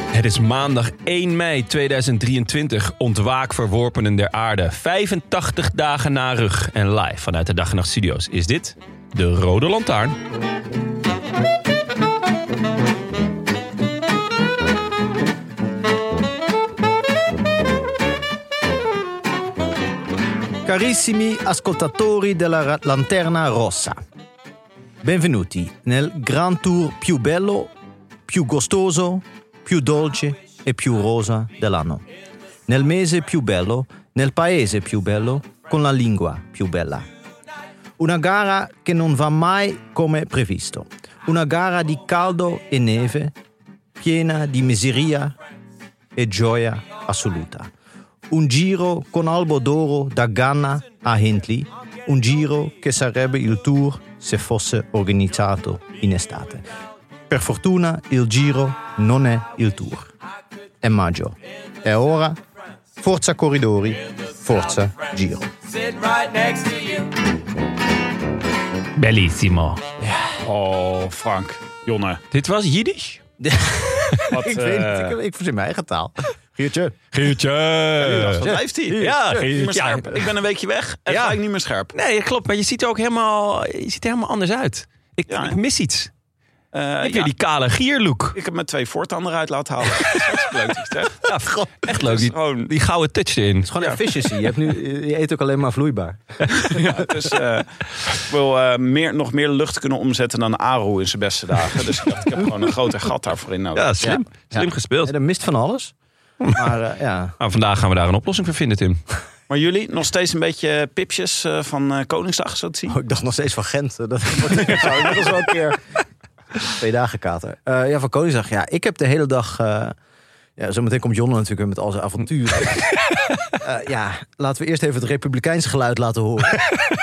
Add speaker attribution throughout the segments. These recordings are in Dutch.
Speaker 1: Het is maandag 1 mei 2023, ontwaak verworpenen der aarde. 85 dagen na rug en live vanuit de Dag en Nacht Studio's is dit de Rode Lantaarn.
Speaker 2: Carissimi ascoltatori della Ra- Lanterna Rossa. Benvenuti nel Grand Tour più bello, più gustoso, più dolce e più rosa dell'anno. Nel mese più bello, nel paese più bello, con la lingua più bella. Una gara che non va mai come previsto. Una gara di caldo e neve, piena di miseria e gioia assoluta. Un giro con Albodoro da Ghana a Hindley, un giro che sarebbe il tour se fosse organizzato in estate. Per fortuna il giro non è il tour. È maggio. E ora, forza corridori, forza giro.
Speaker 3: Sit right next to you.
Speaker 1: Bellissimo.
Speaker 4: Oh, Frank, Jonne.
Speaker 1: Dit was Jiddisch?
Speaker 4: Wat,
Speaker 2: Ik weet
Speaker 4: eh,
Speaker 2: niet, ik, ik verzin mijn eigen taal. Giertje.
Speaker 1: Geertje.
Speaker 4: Wat blijft hij?
Speaker 1: Ja,
Speaker 4: Ja, niet meer
Speaker 1: ja.
Speaker 4: scherp. Ik ben een weekje weg en
Speaker 1: Ja.
Speaker 4: ga ik niet meer scherp.
Speaker 1: Nee, klopt, maar je ziet er ook helemaal, je ziet er helemaal anders uit. Ik,
Speaker 4: Ja, hè?
Speaker 1: ik mis iets.
Speaker 4: Eh,
Speaker 1: Heb je
Speaker 4: ja,
Speaker 1: die kale gierlook?
Speaker 4: Ik heb mijn twee voortanden eruit laten halen. Dat is hartstikke leuk, dat je het zegt.
Speaker 1: Ja, echt leuk,
Speaker 4: is
Speaker 1: die,
Speaker 4: gewoon-
Speaker 1: die gouden touch erin.
Speaker 2: Gewoon efficiency. Je, hebt nu, je eet ook alleen maar vloeibaar.
Speaker 4: Dus eh, ik wil eh, meer, nog meer lucht kunnen omzetten dan Aru in zijn beste dagen. Dus ik dacht, ik heb gewoon een groter gat daarvoor in nodig.
Speaker 1: Ja, slim. Slim gespeeld.
Speaker 2: Ja, dat mist van alles. Maar eh, ja,
Speaker 1: Nou, vandaag gaan we daar een oplossing voor vinden, Tim.
Speaker 4: Maar jullie, nog steeds een beetje pipjes eh, van eh, Koningsdag, zo te zien?
Speaker 2: Oh, ik dacht nog steeds van Gent. eh, Dat wordt zou ik nog eens wel een keer. Twee dagen kater. Eh, ja, van Koningsdag. Ja, ik heb de hele dag... eh ja, zometeen komt Jonne natuurlijk weer met al zijn avonturen. Eh, ja, laten we eerst even het republikeins geluid laten horen.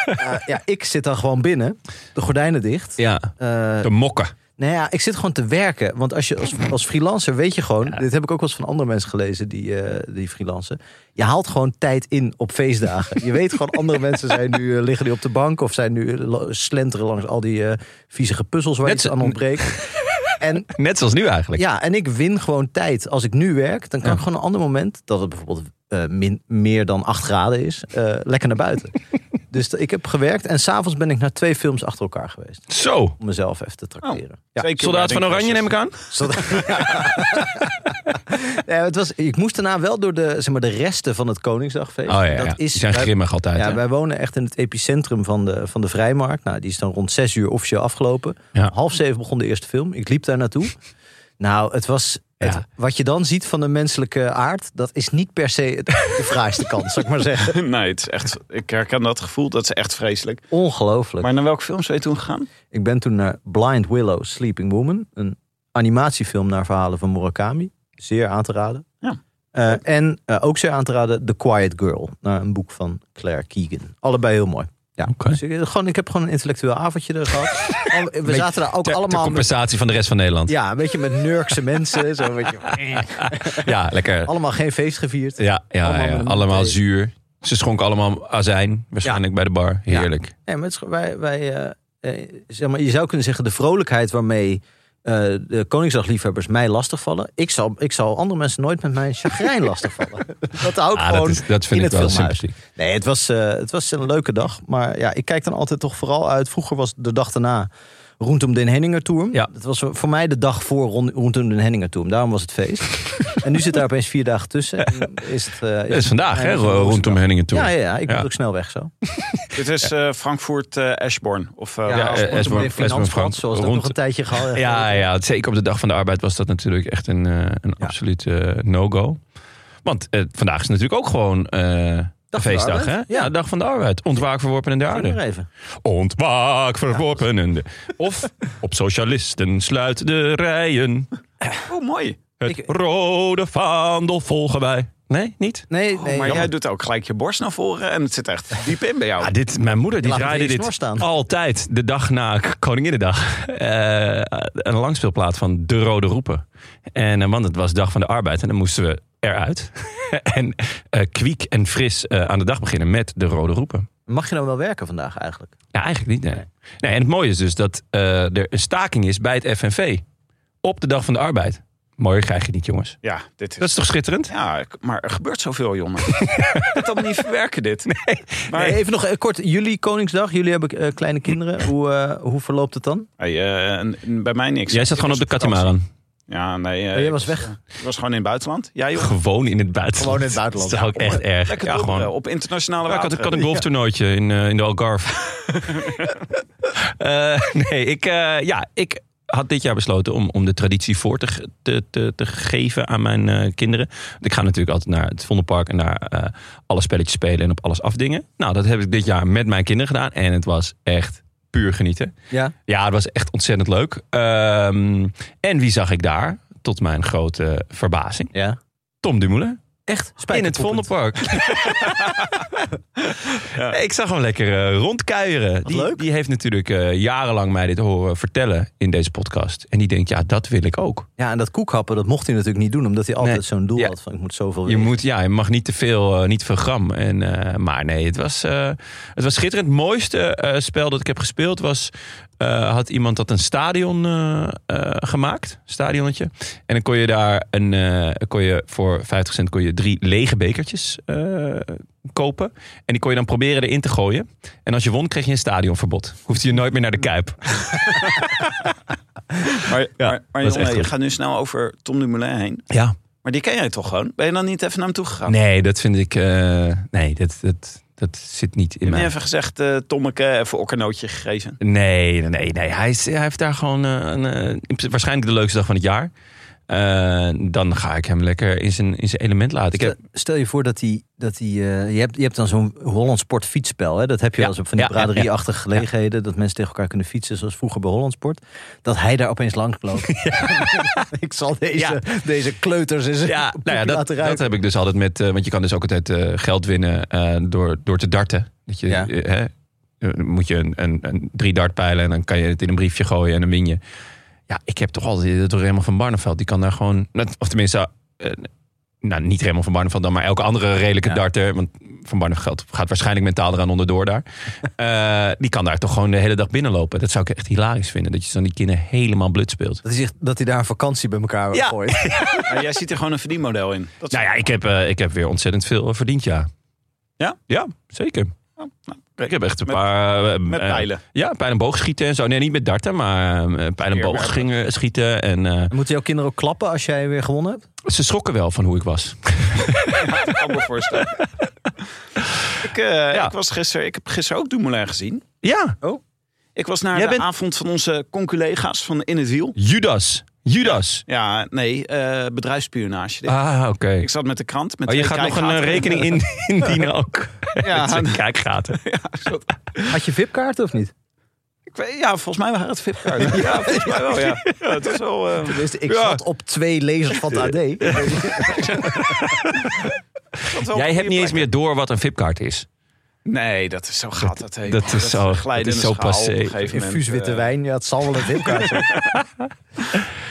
Speaker 2: Eh, ja, ik zit dan gewoon binnen. De gordijnen dicht.
Speaker 1: Ja,
Speaker 2: Eh,
Speaker 1: de mokken.
Speaker 2: Nou ja, ik zit gewoon te werken. Want als je als, als freelancer weet je gewoon. Dit heb ik ook wel eens van andere mensen gelezen die, eh, die freelancen. Je haalt gewoon tijd in op feestdagen. Je weet gewoon, andere mensen zijn nu, eh, liggen nu op de bank of zijn nu eh, lo- slenteren langs al die eh viezige puzzels waar
Speaker 1: Net
Speaker 2: iets
Speaker 1: zo-
Speaker 2: aan ontbreekt. En
Speaker 1: Net zoals nu eigenlijk.
Speaker 2: ja, en ik win gewoon tijd. Als ik nu werk, dan kan ik gewoon een ander moment dat het bijvoorbeeld eh, min, meer dan 8 graden is, eh, lekker naar buiten. Dus t- ik heb gewerkt en s'avonds ben ik naar twee films achter elkaar geweest.
Speaker 1: Zo.
Speaker 2: Om mezelf even te tracteren.
Speaker 1: Oh,
Speaker 2: ja.
Speaker 4: Twee keer
Speaker 1: Soldaat van
Speaker 4: wedding
Speaker 1: Oranje neem ik
Speaker 4: crashes.
Speaker 1: aan.
Speaker 2: Ja, het was, ik moest daarna wel door de, zeg maar, de resten van het Koningsdagfeest.
Speaker 1: Oh ja, ja.
Speaker 2: dat
Speaker 1: Die zijn
Speaker 2: wij-
Speaker 1: grimmig altijd.
Speaker 2: Ja,
Speaker 1: hè?
Speaker 2: wij wonen echt in het epicentrum van de, van de Vrijmarkt. Nou, die is dan rond zes uur officieel afgelopen.
Speaker 1: Ja.
Speaker 2: Om Half zeven begon de eerste film. Ik liep daar naartoe. Nou, het was... het-
Speaker 1: Ja.
Speaker 2: wat je dan ziet van de menselijke aard... dat is niet per se het- de fraaiste kant, zou ik maar zeggen.
Speaker 4: Nee, het is echt, ik herken dat gevoel, dat is echt vreselijk.
Speaker 2: Ongelooflijk.
Speaker 4: Maar naar welke films ben je toen gegaan?
Speaker 2: Ik ben toen naar Blind Willow, Sleeping Woman. Een animatiefilm naar verhalen van Murakami. Zeer aan te raden.
Speaker 4: Ja.
Speaker 2: Eh, en eh, ook zeer aan te raden The Quiet Girl. Naar een boek van Claire Keegan. Allebei heel mooi. Ja.
Speaker 1: Oké.
Speaker 2: Dus ik, gewoon, ik heb gewoon een intellectueel avondje er gehad. Al- We zaten daar ook
Speaker 1: Ter, ter
Speaker 2: allemaal... met-
Speaker 1: compensatie van de rest van Nederland. Ja,
Speaker 2: ja, een beetje met nurkse mensen. Zo, weet je,
Speaker 1: lekker.
Speaker 2: allemaal geen feest gevierd.
Speaker 1: Ja, ja,
Speaker 2: allemaal
Speaker 1: allemaal,
Speaker 2: met
Speaker 1: ja.
Speaker 2: een
Speaker 1: allemaal
Speaker 2: thee.
Speaker 1: zuur. Ze schonken allemaal azijn, waarschijnlijk bij de bar. Heerlijk.
Speaker 2: Nee, maar het is gewoon- wij, wij, eh, eh, zeg maar, je zou kunnen zeggen de vrolijkheid waarmee eh, de Koningsdagliefhebbers mij lastigvallen. Ik zal, ik zal andere mensen nooit met mijn chagrijn lastigvallen. Dat hou ik
Speaker 1: Ah, dat
Speaker 2: gewoon
Speaker 1: is- dat vind
Speaker 2: in
Speaker 1: ik
Speaker 2: het
Speaker 1: wel
Speaker 2: filmhuis.
Speaker 1: sympathiek.
Speaker 2: Nee, het was, eh, het was een leuke dag. Maar ja, ik kijk dan altijd toch vooral uit. Vroeger was de dag daarna Rondom den Henninger Tour.
Speaker 1: Ja.
Speaker 2: Dat was voor mij de dag voor Rond- Rondom den Henninger Tour. Daarom was het feest. en nu zit daar opeens vier dagen tussen. En Is het, eh,
Speaker 1: Dat is vandaag, hè,
Speaker 2: Ja,
Speaker 1: rondom Henningen toe.
Speaker 2: Ja, ja, ja, ik moet
Speaker 1: Ja.
Speaker 2: ook snel weg zo.
Speaker 4: Dit is eh, Frankfurt eh, Ashbourne. Of, eh,
Speaker 1: Ja,
Speaker 2: als
Speaker 1: eh,
Speaker 2: Rondom
Speaker 1: Esbjorn-
Speaker 2: den Finans
Speaker 1: Esbjorn Frank-
Speaker 2: had, Zoals dat
Speaker 1: rond-
Speaker 2: nog een tijdje gehad.
Speaker 1: Ja, ja, zeker op de dag van de arbeid was dat natuurlijk echt een, eh, een
Speaker 2: Ja.
Speaker 1: absoluut eh, no-go. Want eh, vandaag is natuurlijk ook gewoon eh, een
Speaker 2: van de
Speaker 1: feestdag, hè?
Speaker 2: arbeid?
Speaker 1: Ja,
Speaker 2: Ja.
Speaker 1: dag van de arbeid. Ontwaak verworpen in de
Speaker 2: Doe maar
Speaker 1: aarde.
Speaker 2: even.
Speaker 1: Ontwaak verworpen in de... Of op socialisten sluit de rijen. eh,
Speaker 4: Oh, mooi.
Speaker 1: Het rode vaandel volgen wij. Nee, niet?
Speaker 2: Nee,
Speaker 4: Oh,
Speaker 2: nee.
Speaker 4: maar jij
Speaker 2: jammer.
Speaker 4: doet ook gelijk je borst naar voren en het zit echt diep in bij jou.
Speaker 1: Ja, dit, mijn moeder die
Speaker 2: laat me
Speaker 1: draaide
Speaker 2: even snor
Speaker 1: dit
Speaker 2: staan.
Speaker 1: altijd de dag na K- Koninginnedag. Eh, een langspeelplaat van De Rode Roepen. En, eh, want het was dag van de arbeid en dan moesten we eruit. en eh, kwiek en fris eh, aan de dag beginnen met De Rode Roepen.
Speaker 2: Mag je nou wel werken vandaag eigenlijk?
Speaker 1: Ja, eigenlijk niet. Nee. Nee, en het mooie is dus dat eh, er een staking is bij het FNV. Op de dag van de arbeid. Mooier krijg je niet, jongens.
Speaker 4: Ja, dit
Speaker 1: Dat
Speaker 4: is...
Speaker 1: is toch schitterend?
Speaker 4: Ja, k- maar er gebeurt zoveel, jongen. Ik kan het niet verwerken, dit. Maar
Speaker 2: Nee, even nog eh, kort, jullie Koningsdag, jullie hebben eh, kleine kinderen. Hoe, eh, hoe verloopt het dan?
Speaker 4: Hey, eh, en- en bij mij niks.
Speaker 1: Jij zat
Speaker 4: Ik
Speaker 1: gewoon op de
Speaker 4: was vakantie.
Speaker 1: katamaran.
Speaker 4: Ja, nee. eh,
Speaker 2: Oh, jij
Speaker 4: ik
Speaker 2: was weg.
Speaker 4: eh, ik was gewoon in het buitenland. Jij, joh.
Speaker 1: Gewoon in het buitenland.
Speaker 2: Gewoon in het buitenland.
Speaker 1: Dat is ook echt erg.
Speaker 4: Lekker
Speaker 1: ja,
Speaker 4: door,
Speaker 1: gewoon
Speaker 4: eh, op internationale
Speaker 1: Ja, ik had,
Speaker 4: wateren.
Speaker 1: ik had een golftoernooitje in, eh, in de Algarve. Eh, nee, ik, eh, ja, ik had dit jaar besloten om, om de traditie voor te, ge- te, te, te geven aan mijn eh, kinderen. Want ik ga natuurlijk altijd naar het Vondelpark en daar eh, alle spelletjes spelen en op alles afdingen. Nou, dat heb ik dit jaar met mijn kinderen gedaan en het was echt puur genieten.
Speaker 2: Ja,
Speaker 1: Ja, het was echt ontzettend leuk. Ehm, en wie zag ik daar? Tot mijn grote verbazing.
Speaker 2: ja.
Speaker 1: Tom Dumoulin.
Speaker 2: echt
Speaker 1: In het Vondelpark. Ja. Ik zag hem lekker eh, rondkuieren. Die,
Speaker 2: leuk.
Speaker 1: die heeft natuurlijk eh, jarenlang mij dit horen vertellen in deze podcast. En die denkt, ja, dat wil ik ook.
Speaker 2: Ja, en dat koekhappen, dat mocht hij natuurlijk niet doen, omdat hij altijd
Speaker 1: Nee.
Speaker 2: zo'n doel
Speaker 1: Ja.
Speaker 2: had van ik moet zoveel
Speaker 1: Je,
Speaker 2: wegen.
Speaker 1: moet, ja, je mag niet te veel, eh, niet te veel gram. En, eh, maar nee, het was, eh, het was schitterend. Het mooiste eh, spel dat ik heb gespeeld was... eh, had iemand dat een stadion eh, eh, gemaakt. Stadionnetje. En dan kon je daar een, eh, kon je voor 50 cent kon je drie lege bekertjes eh, kopen. En die kon je dan proberen erin te gooien. En als je won, kreeg je een stadionverbod. Hoefde je nooit meer naar de Kuip.
Speaker 4: Maar, maar, maar
Speaker 1: was echt
Speaker 4: jongen, je
Speaker 1: goed.
Speaker 4: gaat nu snel over Tom Dumoulin heen.
Speaker 1: Ja.
Speaker 4: Maar die ken jij toch gewoon? Ben je dan niet even naar hem toe gegaan?
Speaker 1: Nee, dat vind ik... eh, nee, dat, dat, dat zit niet in
Speaker 4: Heb je
Speaker 1: mij.
Speaker 4: even gezegd, eh Tommeke, even okkernootje gegeven?
Speaker 1: Nee, nee, nee. Hij, is- hij heeft daar gewoon eh, een, eh, in principe waarschijnlijk de leukste dag van het jaar. Eh, dan ga ik hem lekker in zijn, in zijn element laten. Ik heb,
Speaker 2: Stel- Stel je voor dat hij, dat hij eh, je, hebt, je hebt dan zo'n Holland Sport fietsspel. Hè? Dat heb je
Speaker 1: Ja.
Speaker 2: wel eens op van die
Speaker 1: Ja, ja, ja.
Speaker 2: braderieachtige gelegenheden. Dat mensen tegen elkaar kunnen fietsen, zoals vroeger bij Holland Sport. Dat hij daar opeens langs loopt. ik zal deze,
Speaker 1: Ja.
Speaker 2: deze kleuters
Speaker 1: ja,
Speaker 2: eens een
Speaker 1: nou ja,
Speaker 2: poepje
Speaker 1: dat,
Speaker 2: laten
Speaker 1: dat
Speaker 2: ruiken.
Speaker 1: heb ik dus altijd met. eh, want je kan dus ook altijd eh, geld winnen eh, door, door te darten. Dat je,
Speaker 2: Ja.
Speaker 1: eh, hè, eh, dan moet je een, een, een drie dartpijlen en dan kan je het in een briefje gooien en dan win je. Ja, ik heb toch altijd dat door Raymond van Barneveld. Die kan daar gewoon. net- Of tenminste, eh, nou, niet Raymond van Barneveld dan, maar elke andere redelijke
Speaker 2: Ja.
Speaker 1: darter. Want van Barneveld gaat waarschijnlijk mentaal eraan onderdoor daar. Eh, die kan daar toch gewoon de hele dag binnenlopen. Dat zou ik echt hilarisch vinden. Dat je dan die kinderen helemaal blut speelt.
Speaker 2: Dat hij, zich, dat hij daar een vakantie bij elkaar
Speaker 1: Ja.
Speaker 2: gooit.
Speaker 4: Maar jij ziet er gewoon een verdienmodel in. Dat is-
Speaker 1: Nou ja, ik heb, eh, ik heb weer ontzettend veel eh, verdiend, ja.
Speaker 4: Ja?
Speaker 1: Ja, zeker.
Speaker 4: kijk,
Speaker 1: ik heb echt een
Speaker 4: met-
Speaker 1: paar... eh,
Speaker 4: met
Speaker 1: eh,
Speaker 4: pijlen.
Speaker 1: ja, pijlen en boogschieten en zo. Nee, niet met darten, maar eh, pijlen en
Speaker 4: Eerwerpen.
Speaker 1: boogschieten schieten. En eh,
Speaker 2: Moeten jouw kinderen ook klappen als jij weer gewonnen hebt?
Speaker 1: ze schrokken wel van hoe ik was.
Speaker 4: Ik kan me voorstellen. ik, eh, ik, was gisteren, ik heb gisteren ook Dumoulin gezien.
Speaker 1: Ja,
Speaker 4: Ik was naar
Speaker 1: Jij
Speaker 4: de
Speaker 1: bent-
Speaker 4: avond van onze conculega's van In het Wiel.
Speaker 1: Judas. Judas.
Speaker 4: Ja, nee, eh, bedrijfsspionage.
Speaker 1: Ah, oké.
Speaker 4: Ik zat met de E krant. Met
Speaker 1: Oh, je
Speaker 4: twee
Speaker 1: gaat nog een eh,
Speaker 4: kijkgaten.
Speaker 1: rekening in- indienen ook.
Speaker 4: Ja.
Speaker 1: Met zijn kijkgaten.
Speaker 2: Had je VIP-kaart of niet?
Speaker 4: Ik weet- ja, volgens mij waren het VIP-kaarten. ja, volgens mij wel, ja. ja het was wel... eh,
Speaker 2: Tenminste, ik
Speaker 4: Ja.
Speaker 2: zat op twee lezers van het AD.
Speaker 4: het was wel
Speaker 1: Jij
Speaker 4: een
Speaker 1: hebt niet eens
Speaker 4: goede
Speaker 1: meer door wat een VIP-kaart is.
Speaker 4: plek. Nee, dat is zo gaat dat heen.
Speaker 1: dat is zo-
Speaker 4: een glijdende
Speaker 1: dat is zo
Speaker 4: schaal op
Speaker 1: passé.
Speaker 4: een gegeven moment,
Speaker 2: Infuus witte
Speaker 4: eh,
Speaker 2: wijn, ja, het zal wel een VIP-kaart zijn.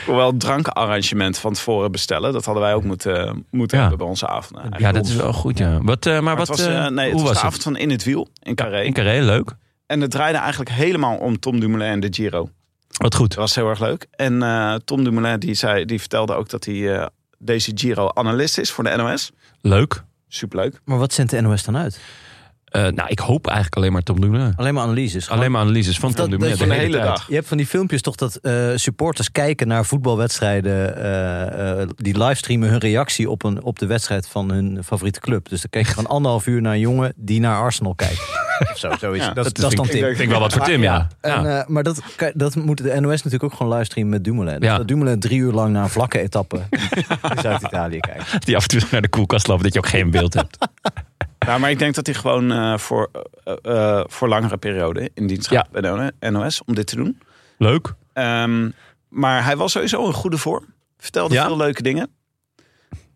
Speaker 4: Hoewel het drankarrangement van tevoren bestellen. Dat hadden wij ook moeten, eh, moeten
Speaker 1: Ja.
Speaker 4: hebben bij onze avond. Nou,
Speaker 1: Ja,
Speaker 4: eigenlijk
Speaker 1: dat is wel goed, ja. Wat, eh, maar,
Speaker 4: Maar
Speaker 1: wat,
Speaker 4: het was, eh,
Speaker 1: eh,
Speaker 4: nee, het
Speaker 1: hoe was
Speaker 4: was, de
Speaker 1: het?
Speaker 4: avond van In het Wiel in Carré.
Speaker 1: In Carré, leuk.
Speaker 4: En het draaide eigenlijk helemaal om Tom Dumoulin en de Giro.
Speaker 1: Wat goed.
Speaker 4: Dat was heel erg leuk. En eh, Tom Dumoulin die zei, die vertelde ook dat hij eh, deze Giro analist is voor de NOS.
Speaker 1: Leuk.
Speaker 4: Superleuk.
Speaker 2: Maar wat zendt de NOS dan uit?
Speaker 1: Eh, nou, ik hoop eigenlijk alleen maar Tom Dumoulin.
Speaker 2: Alleen maar analyses. gewoon.
Speaker 1: Alleen maar analyses van Tom
Speaker 2: Dat-
Speaker 1: Dumoulin.
Speaker 2: dat je
Speaker 4: de hele
Speaker 1: tijd.
Speaker 4: dag.
Speaker 2: Je hebt van die filmpjes toch dat eh, supporters kijken naar voetbalwedstrijden. eh, eh, die livestreamen hun reactie op, een, op de wedstrijd van hun favoriete club. Dus dan kijk je gewoon anderhalf uur naar een jongen die naar Arsenal kijkt. of zo, zoiets.
Speaker 4: Ja,
Speaker 2: dat, is- dat is dan
Speaker 4: ik- ik
Speaker 2: Tim.
Speaker 1: Ik denk wel wat voor Tim, ja.
Speaker 2: En,
Speaker 1: Ja.
Speaker 2: eh, maar dat, kan- dat moet de NOS natuurlijk ook gewoon livestreamen met Dumoulin. Dus
Speaker 1: Ja.
Speaker 2: dat Dumoulin drie uur lang naar een vlakke etappe in Zuid-Italië kijkt.
Speaker 1: Die af en toe naar de koelkast lopen, dat je ook geen beeld hebt.
Speaker 4: Nou, maar ik denk dat hij gewoon eh, voor, eh, eh, voor langere periode in dienst gaat bij de NOS om dit te doen.
Speaker 1: Leuk.
Speaker 4: Ehm, maar hij was sowieso in goede vorm. Vertelde
Speaker 1: Ja?
Speaker 4: veel leuke dingen.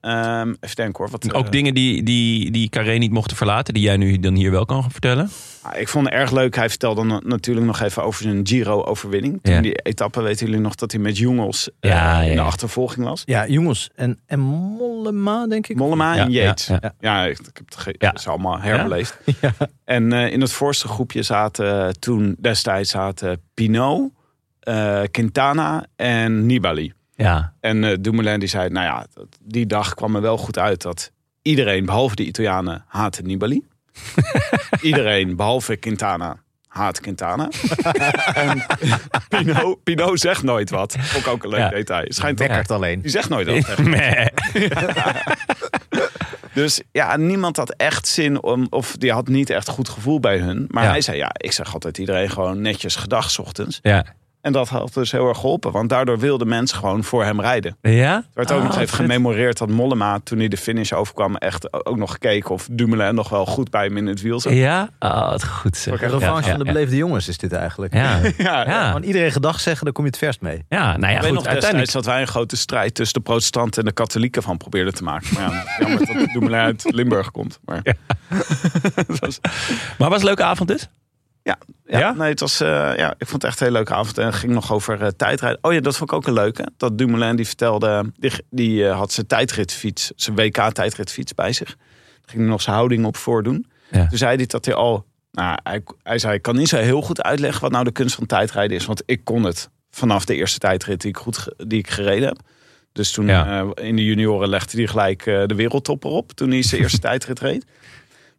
Speaker 4: Ehm, even denken hoor. Wat,
Speaker 1: Ook
Speaker 4: eh,
Speaker 1: dingen die, die, die Carré niet mochten verlaten, die jij nu dan hier wel kan vertellen.
Speaker 4: ah, ik vond het erg leuk. Hij vertelde na- natuurlijk nog even over zijn Giro-overwinning.
Speaker 1: Ja.
Speaker 4: Toen die etappe, weten jullie nog, dat hij met jongens eh,
Speaker 1: Ja, ja,
Speaker 4: in de
Speaker 1: ja.
Speaker 4: achtervolging was.
Speaker 2: Ja, jongens. En, en Mollema, denk ik.
Speaker 4: Mollema en
Speaker 1: Ja,
Speaker 4: Yates.
Speaker 1: ja,
Speaker 4: Ja,
Speaker 1: ja.
Speaker 4: ik, ik heb het ge-
Speaker 1: Ja.
Speaker 4: het is allemaal herbeleefd.
Speaker 2: Ja.
Speaker 4: En eh, in het voorste groepje zaten eh, toen destijds zaten Pinot, eh, Quintana en Nibali.
Speaker 1: Ja.
Speaker 4: En eh Dumoulin die zei, nou ja, dat- die dag kwam er wel goed uit dat iedereen, behalve de Italianen, haatte Nibali. iedereen, behalve Quintana, haat Quintana. en Pinot, Pinot zegt nooit wat. Ook, ook een leuk
Speaker 1: Ja.
Speaker 4: detail. Schijnt dat-
Speaker 2: Dekkert alleen.
Speaker 4: die zegt nooit wat.
Speaker 1: Meh.
Speaker 4: Dus ja, niemand had echt zin om, of die had niet echt goed gevoel bij hun. Maar
Speaker 1: Ja.
Speaker 4: hij zei, ja, ik zeg altijd iedereen gewoon netjes gedag 's ochtends.
Speaker 1: Ja.
Speaker 4: En dat had dus heel erg geholpen, want daardoor wilden mensen gewoon voor hem rijden. Er
Speaker 1: Ja?
Speaker 4: werd ook
Speaker 1: Ah,
Speaker 4: nog even
Speaker 1: vet.
Speaker 4: gememoreerd dat Mollema, toen hij de finish overkwam, echt ook nog gekeken of Dumoulin nog wel goed bij hem in het wiel zat. Ja,
Speaker 1: Ja? Oh, wat goed zeg.
Speaker 2: De revanche
Speaker 1: ja,
Speaker 2: van de
Speaker 1: ja,
Speaker 2: beleefde jongens is dit eigenlijk.
Speaker 1: Ja. Ja. Ja.
Speaker 2: Gewoon iedereen gedag zeggen, daar kom je het verst mee.
Speaker 1: Ja, nou ja,
Speaker 4: ik weet
Speaker 1: goed,
Speaker 4: nog destijds
Speaker 1: uiteindelijk.
Speaker 4: dat wij een grote strijd tussen de protestanten en de katholieken van probeerden te maken. Maar ja, jammer dat Dumoulin uit Limburg komt. Maar
Speaker 1: Maar was een leuke avond dus?
Speaker 4: Ja, ja,
Speaker 1: Ja?
Speaker 4: Nee, het was, eh, ja, ik vond het echt een hele leuke avond. En het ging nog over eh, tijdrijden. Oh ja, dat vond ik ook een leuke. Dat Dumoulin die vertelde, die, die eh, had zijn tijdritfiets, zijn WK-tijdritfiets bij zich. Daar ging hij nog zijn houding op voordoen.
Speaker 1: Ja.
Speaker 4: Toen zei hij dat hij al, nou, hij, hij zei, ik kan niet zo heel goed uitleggen wat nou de kunst van tijdrijden is. Want ik kon het vanaf de eerste tijdrit die ik, goed, ge- die ik gereden heb. Dus toen
Speaker 1: Ja.
Speaker 4: eh, in de junioren legde hij gelijk eh, de wereldtopper op. Toen hij zijn eerste tijdrit reed.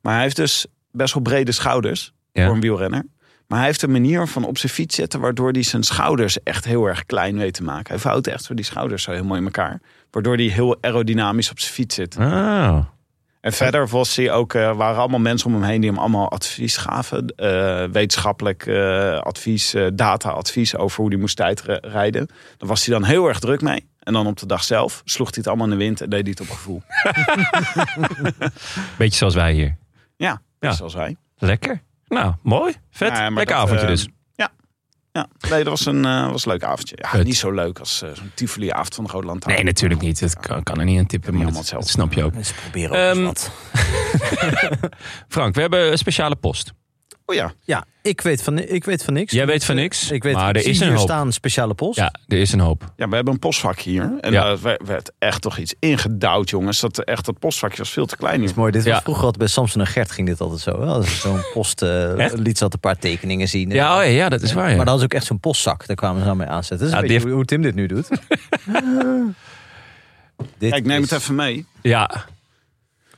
Speaker 4: Maar hij heeft dus best wel brede schouders
Speaker 1: Ja.
Speaker 4: voor een wielrenner. Maar hij heeft een manier van op zijn fiets zetten... waardoor hij zijn schouders echt heel erg klein weet te maken. Hij vouwt echt zo die schouders zo helemaal in elkaar. Waardoor hij heel aerodynamisch op zijn fiets zit.
Speaker 1: Oh.
Speaker 4: En verder was hij ook, eh, waren allemaal mensen om hem heen... die hem allemaal advies gaven. Eh, wetenschappelijk eh, advies, eh, data-advies over hoe hij moest tijdrijden. Daar was hij dan heel erg druk mee. En dan op de dag zelf sloeg hij het allemaal in de wind... en deed hij het op gevoel.
Speaker 1: Beetje zoals wij hier.
Speaker 4: Ja,
Speaker 1: Ja.
Speaker 4: zoals wij.
Speaker 1: Lekker. Nou, mooi. Vet.
Speaker 4: Ja, maar
Speaker 1: Lekker
Speaker 4: dat,
Speaker 1: avondje
Speaker 4: eh,
Speaker 1: dus.
Speaker 4: Ja. ja. Nee, dat was een, eh, was een leuk avondje. Ja,
Speaker 1: Vet.
Speaker 4: niet zo leuk als eh, zo'n Tivoli-avond van de Rode Lantaarn.
Speaker 1: Nee, natuurlijk niet. Dat kan, kan er niet aan tippen, maar
Speaker 4: Niet
Speaker 1: dat,
Speaker 4: allemaal
Speaker 1: dat
Speaker 4: hetzelfde.
Speaker 1: snap je ook.
Speaker 2: Mensen proberen ook
Speaker 1: Ehm,
Speaker 2: eens wat.
Speaker 1: Frank, we hebben een speciale post.
Speaker 4: Oh ja,
Speaker 2: Ja, ik weet van, ik weet van niks.
Speaker 1: Jij weet van niks,
Speaker 2: Ik weet,
Speaker 1: maar
Speaker 2: ik
Speaker 1: er
Speaker 2: zie
Speaker 1: is een
Speaker 2: hier
Speaker 1: hoop.
Speaker 2: staan speciale post.
Speaker 1: Ja, er is een hoop.
Speaker 4: ja, we hebben een postvak hier. En
Speaker 1: Ja.
Speaker 4: daar werd- werd echt toch iets ingedouwd, jongens. Dat, echt, dat postvakje was veel te klein. joh.
Speaker 2: Mooi, dit
Speaker 1: Ja.
Speaker 2: was vroeger altijd bij Samson en Gert ging dit altijd zo. hè? Als er zo'n post eh,
Speaker 1: Echt?
Speaker 2: liet ze altijd een paar tekeningen zien.
Speaker 1: Ja, oh ja, ja, dat is waar. Ja.
Speaker 2: Maar dat is ook echt zo'n postzak. Daar kwamen ze aan mee aanzetten. Dat is
Speaker 1: Ja,
Speaker 2: een
Speaker 1: die
Speaker 2: beetje hoe Tim dit nu doet. dit
Speaker 4: Ja, ik neem
Speaker 2: is
Speaker 4: het even mee.
Speaker 1: ja.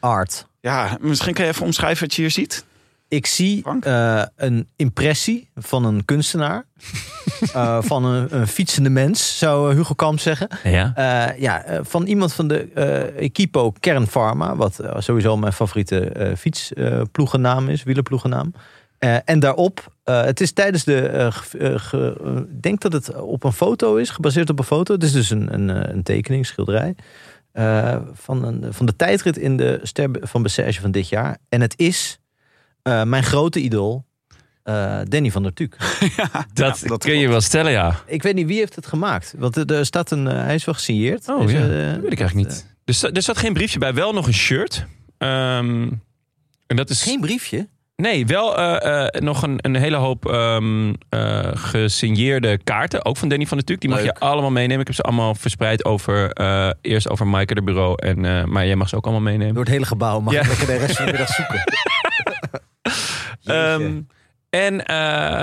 Speaker 2: art.
Speaker 4: Ja, misschien kan je even omschrijven wat je hier ziet.
Speaker 2: Ik zie
Speaker 4: Frank?
Speaker 2: eh, een impressie van een kunstenaar. eh, van een, een fietsende mens, zou eh, Hugo Kamp zeggen.
Speaker 1: ja.
Speaker 2: Eh, ja, eh, van iemand van de eh Equipo Kernpharma, wat eh, sowieso mijn favoriete eh fietsploegennaam is, wielerploegennaam. Eh, en daarop, eh, het is tijdens de, eh, ge- eh, ge- eh, ik denk dat het op een foto is, gebaseerd op een foto. Het is dus een, een, eh, een tekening, schilderij, eh, van, een, van de tijdrit in de Ster van Bessage van dit jaar. En het is eh, mijn grote idool, eh, Danny van der Tuuk.
Speaker 1: Dat,
Speaker 4: Ja, dat
Speaker 1: kun je wel stellen, ja.
Speaker 2: Ik weet niet wie heeft het gemaakt, want er- er staat een, eh, hij is wel gesigneerd.
Speaker 1: Oh
Speaker 2: Dus,
Speaker 1: ja,
Speaker 2: eh,
Speaker 1: dat weet ik eigenlijk niet. Er sta- er zat geen briefje bij, wel nog een shirt. Ehm, en dat is...
Speaker 2: Geen briefje?
Speaker 1: Nee, wel eh, eh, nog een, een hele hoop ehm, eh, gesigneerde kaarten. Ook van Danny van der Tuuk. Die mag
Speaker 4: Leuk.
Speaker 1: je allemaal meenemen. Ik heb ze allemaal verspreid over... eh, eerst over Maaike de Bureau. En, eh, maar jij mag ze ook allemaal meenemen.
Speaker 2: Door het hele gebouw mag
Speaker 1: Ja.
Speaker 2: ik lekker de rest van de middag zoeken. Jeetje.
Speaker 1: Ehm, En eh,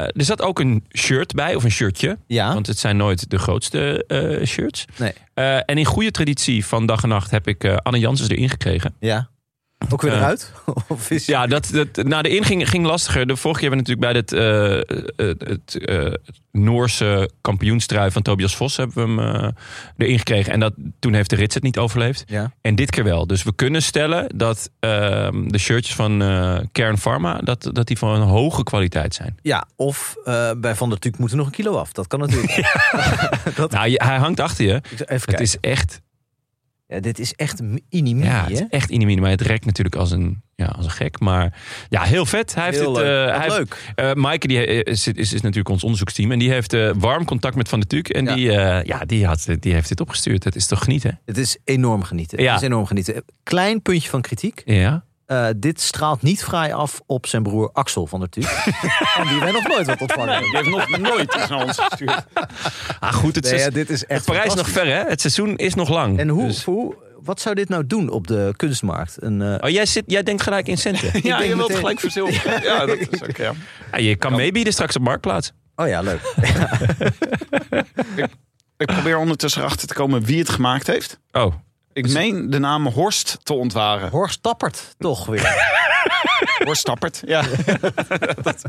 Speaker 1: er zat ook een shirt bij, of een shirtje.
Speaker 2: Ja.
Speaker 1: Want het zijn nooit de grootste eh, shirts.
Speaker 2: Ah. Nee.
Speaker 1: Eh, en in goede traditie van dag en nacht heb ik eh, Anne Janssens erin gekregen.
Speaker 2: Ja. Ook weer
Speaker 1: Eh.
Speaker 2: eruit? of is...
Speaker 1: Ja, dat, dat, nou, de in ging, ging lastiger. De vorige keer hebben we natuurlijk bij het, eh, eh, het, eh, het Noorse kampioenstrui van Tobias Vos hebben we hem eh, erin gekregen. En dat, toen heeft de rits het niet overleefd.
Speaker 2: Ja.
Speaker 1: En dit keer wel. Dus we kunnen stellen dat ehm, de shirtjes van eh, Kern Pharma... Dat, dat die van een hoge kwaliteit zijn.
Speaker 2: ja, of eh, bij Van der Tuuk moet er nog een kilo af. Dat kan natuurlijk.
Speaker 1: Nou, je- hij hangt achter je.
Speaker 2: Ik zal Even
Speaker 1: Het
Speaker 2: kijken.
Speaker 1: is echt,
Speaker 2: Ja, dit is echt inimie,
Speaker 1: ja, het
Speaker 2: hè?
Speaker 1: is echt inimine. Maar het rekt natuurlijk als een, ja, als een gek. Maar ja, heel vet. Hij heeft
Speaker 2: Heel
Speaker 1: het,
Speaker 2: leuk.
Speaker 1: eh,
Speaker 2: Wat
Speaker 1: hij heeft-
Speaker 2: leuk.
Speaker 1: Eh Maaike die eh, is, is, is natuurlijk ons onderzoeksteam. En die heeft eh, warm contact met Van der Tuuk. En
Speaker 2: Ja.
Speaker 1: die, eh, ja, die, had, die heeft dit opgestuurd. Het is toch genieten?
Speaker 2: Het is enorm genieten.
Speaker 1: Ja.
Speaker 2: Het is enorm genieten. Eh, Klein puntje van kritiek.
Speaker 1: Ja.
Speaker 2: Eh, dit straalt niet vrij af op zijn broer Axel van der Tuuk. en die wij nog nooit wat ontvangen.
Speaker 4: Die heeft nog nooit iets naar ons gestuurd.
Speaker 1: Ah, goed. Het,
Speaker 2: Nee, ja,
Speaker 1: seizoen-
Speaker 2: dit is echt
Speaker 1: Parijs is nog
Speaker 2: fantastisch.
Speaker 1: ver, hè? Het seizoen is nog lang.
Speaker 2: En hoe,
Speaker 1: Dus-
Speaker 2: hoe, wat zou dit nou doen op de kunstmarkt? Een, eh,
Speaker 1: Oh, jij, zit, jij denkt gelijk in centen.
Speaker 4: Ja, je wilt
Speaker 2: meteen-
Speaker 4: gelijk verzilveren. Ja, dat is ook, ja.
Speaker 1: Ja, je kan meebieden straks op Marktplaats.
Speaker 2: oh ja, leuk.
Speaker 4: Ik probeer ondertussen erachter te komen wie het gemaakt heeft.
Speaker 1: Oh,
Speaker 4: Ik meen de naam Horst te ontwaren.
Speaker 2: Horst Tappert, toch weer.
Speaker 4: Horst Tappert, ja. Dat-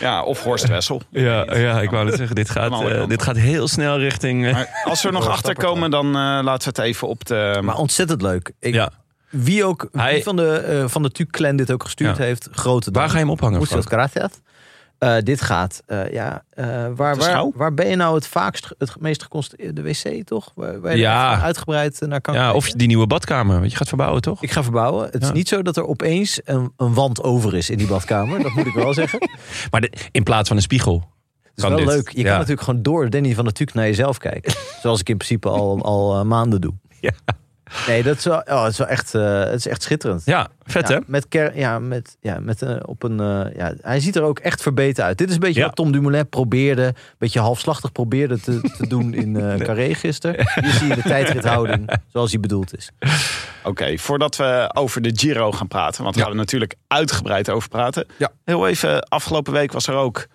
Speaker 4: ja, of Horst Wessel.
Speaker 1: ja, ja ik wou net zeggen. Dit
Speaker 4: Aan de
Speaker 1: gaat,
Speaker 4: andere
Speaker 1: eh,
Speaker 4: kant.
Speaker 1: dit gaat heel snel richting... eh,
Speaker 4: Maar als we er nog
Speaker 2: Horst
Speaker 4: achter
Speaker 2: Tappert
Speaker 4: komen, dan eh, laten we het even op de...
Speaker 2: Maar ontzettend leuk. Ik,
Speaker 1: ja.
Speaker 2: Wie ook wie
Speaker 1: Hij-
Speaker 2: van de, eh, van de Tuuk-clan dit ook gestuurd
Speaker 1: Ja.
Speaker 2: heeft, grote dank.
Speaker 1: Waar ga je nou hem ophangen?
Speaker 2: Muchas
Speaker 1: Frank?
Speaker 2: gracias. Eh, dit gaat, eh, ja, eh, waar,
Speaker 4: De
Speaker 2: waar,
Speaker 4: schouw?
Speaker 2: waar ben je nou het vaakst, ge- het meest geconstateerd? De wc, toch? Waar, waar je
Speaker 1: Ja.
Speaker 2: echt uitgebreid eh, naar kan
Speaker 1: Ja,
Speaker 2: kijken?
Speaker 1: of die nieuwe badkamer. Want je gaat verbouwen, toch?
Speaker 2: Ik ga verbouwen. Het is
Speaker 1: Ja.
Speaker 2: niet zo dat er opeens een, een wand over is in die badkamer. Dat moet ik wel zeggen. Het
Speaker 1: Maar de- in plaats van een spiegel.
Speaker 2: is
Speaker 1: Kan
Speaker 2: wel
Speaker 1: dit.
Speaker 2: leuk. Je
Speaker 1: Ja.
Speaker 2: kan natuurlijk gewoon door Danny van Natuurlijk naar jezelf kijken. Zoals ik in principe al, al eh, maanden doe.
Speaker 1: Ja.
Speaker 2: Nee, dat is wel, oh, het is wel echt, eh, het is echt schitterend.
Speaker 1: Ja, vet,
Speaker 2: Ja,
Speaker 1: hè?
Speaker 2: met ker, ja, met, ja, met eh, op een, eh, ja, hij ziet er ook echt verbeterd uit. Dit is een beetje
Speaker 1: Ja.
Speaker 2: wat Tom Dumoulin probeerde, een beetje halfslachtig probeerde te, te doen in eh Carré gisteren. Hier zie je de tijdrithouding zoals hij bedoeld is.
Speaker 4: Oké, voordat we over de Giro gaan praten, want daar gaan we natuurlijk uitgebreid over praten.
Speaker 2: Ja.
Speaker 4: Heel even, afgelopen week was er ook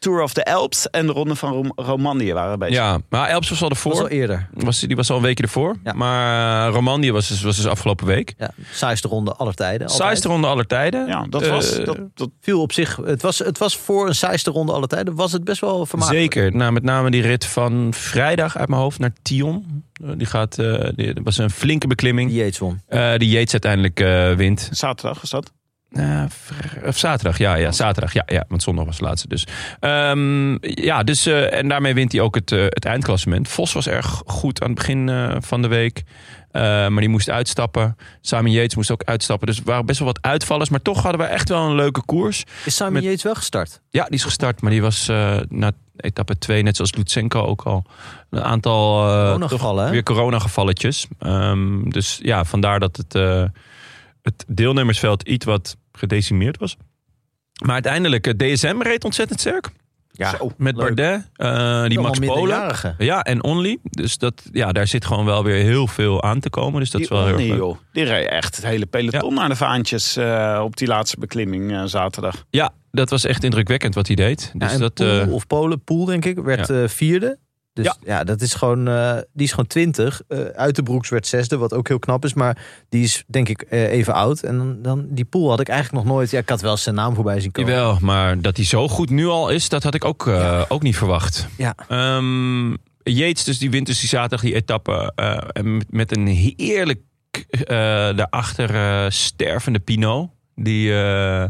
Speaker 4: Tour of the Alps en de Ronde van Rom- Romandie waren bezig.
Speaker 1: Ja, maar Elps was al
Speaker 2: Dat was
Speaker 1: ervoor.
Speaker 2: al eerder.
Speaker 1: Was, die was al een weekje ervoor.
Speaker 2: Ja.
Speaker 1: Maar eh, Romandie was dus, was dus afgelopen week.
Speaker 2: Ja, saaiste ronde aller tijden. altijd.
Speaker 1: Saaiste ronde aller tijden.
Speaker 4: Ja, dat
Speaker 1: Eh,
Speaker 4: was... Dat, dat,
Speaker 2: Viel op zich, het was, het was voor een saaiste ronde aller tijden, was het best wel vermakelijk.
Speaker 1: Zeker. Nou, met name die rit van vrijdag uit mijn hoofd naar Tion. Eh, Die gaat, eh, die, dat was een flinke beklimming.
Speaker 2: Die Yates won.
Speaker 1: Eh, die Yates uiteindelijk eh, wint.
Speaker 4: zaterdag was dat?
Speaker 1: Eh, vr- of zaterdag, ja, ja, zaterdag. Ja, ja, want zondag was de laatste dus. Ehm, ja, dus eh, en daarmee wint hij ook het, eh, het eindklassement. Vos was erg goed aan het begin eh, van de week. Eh, maar die moest uitstappen. Simon Yates moest ook uitstappen. Dus er waren best wel wat uitvallers. Maar toch hadden we echt wel een leuke koers.
Speaker 2: Is Simon
Speaker 1: Met-
Speaker 2: Yates wel gestart?
Speaker 1: Ja, die is gestart. Maar die was eh, na etappe 2, net zoals Lutsenko ook al, een aantal eh,
Speaker 2: Coronagevallen, hè?
Speaker 1: weer coronagevalletjes. Ehm, dus ja, vandaar dat het, eh, het deelnemersveld iets wat gedecimeerd was. Maar uiteindelijk, eh, het DSM reed ontzettend sterk.
Speaker 2: Ja, Zo,
Speaker 1: Met
Speaker 2: leuk.
Speaker 1: Bardet, eh, die Max Polen. Ja, en Only. Dus dat, ja, daar zit gewoon wel weer heel veel aan te komen. Dus dat is wel heel erg
Speaker 4: nee,
Speaker 1: leuk.
Speaker 4: joh. Die reed echt het hele peloton naar de vaantjes eh, op die laatste beklimming eh, zaterdag.
Speaker 1: Ja, dat was echt indrukwekkend wat hij deed. Dus
Speaker 2: Ja, en
Speaker 1: dat,
Speaker 2: Poel
Speaker 1: eh,
Speaker 2: of Polen, Poel denk ik, werd eh, vierde. Dus
Speaker 1: Ja.
Speaker 2: ja. dat is gewoon, eh, die is gewoon twintig. uit de Broeks werd zesde, wat ook heel knap is. Maar die is denk ik eh, even oud. En dan, dan, die Poel had ik eigenlijk nog nooit... Ja, ik had wel eens zijn naam voorbij zien komen.
Speaker 1: Jawel, maar dat hij zo goed nu al is, dat had ik ook, eh, ook niet verwacht.
Speaker 2: Ja.
Speaker 1: Ehm, Yates, dus die wint dus die zaterdag die etappe. eh, en met- met een heerlijk eh, daarachter eh, stervende Pinot. Die, eh,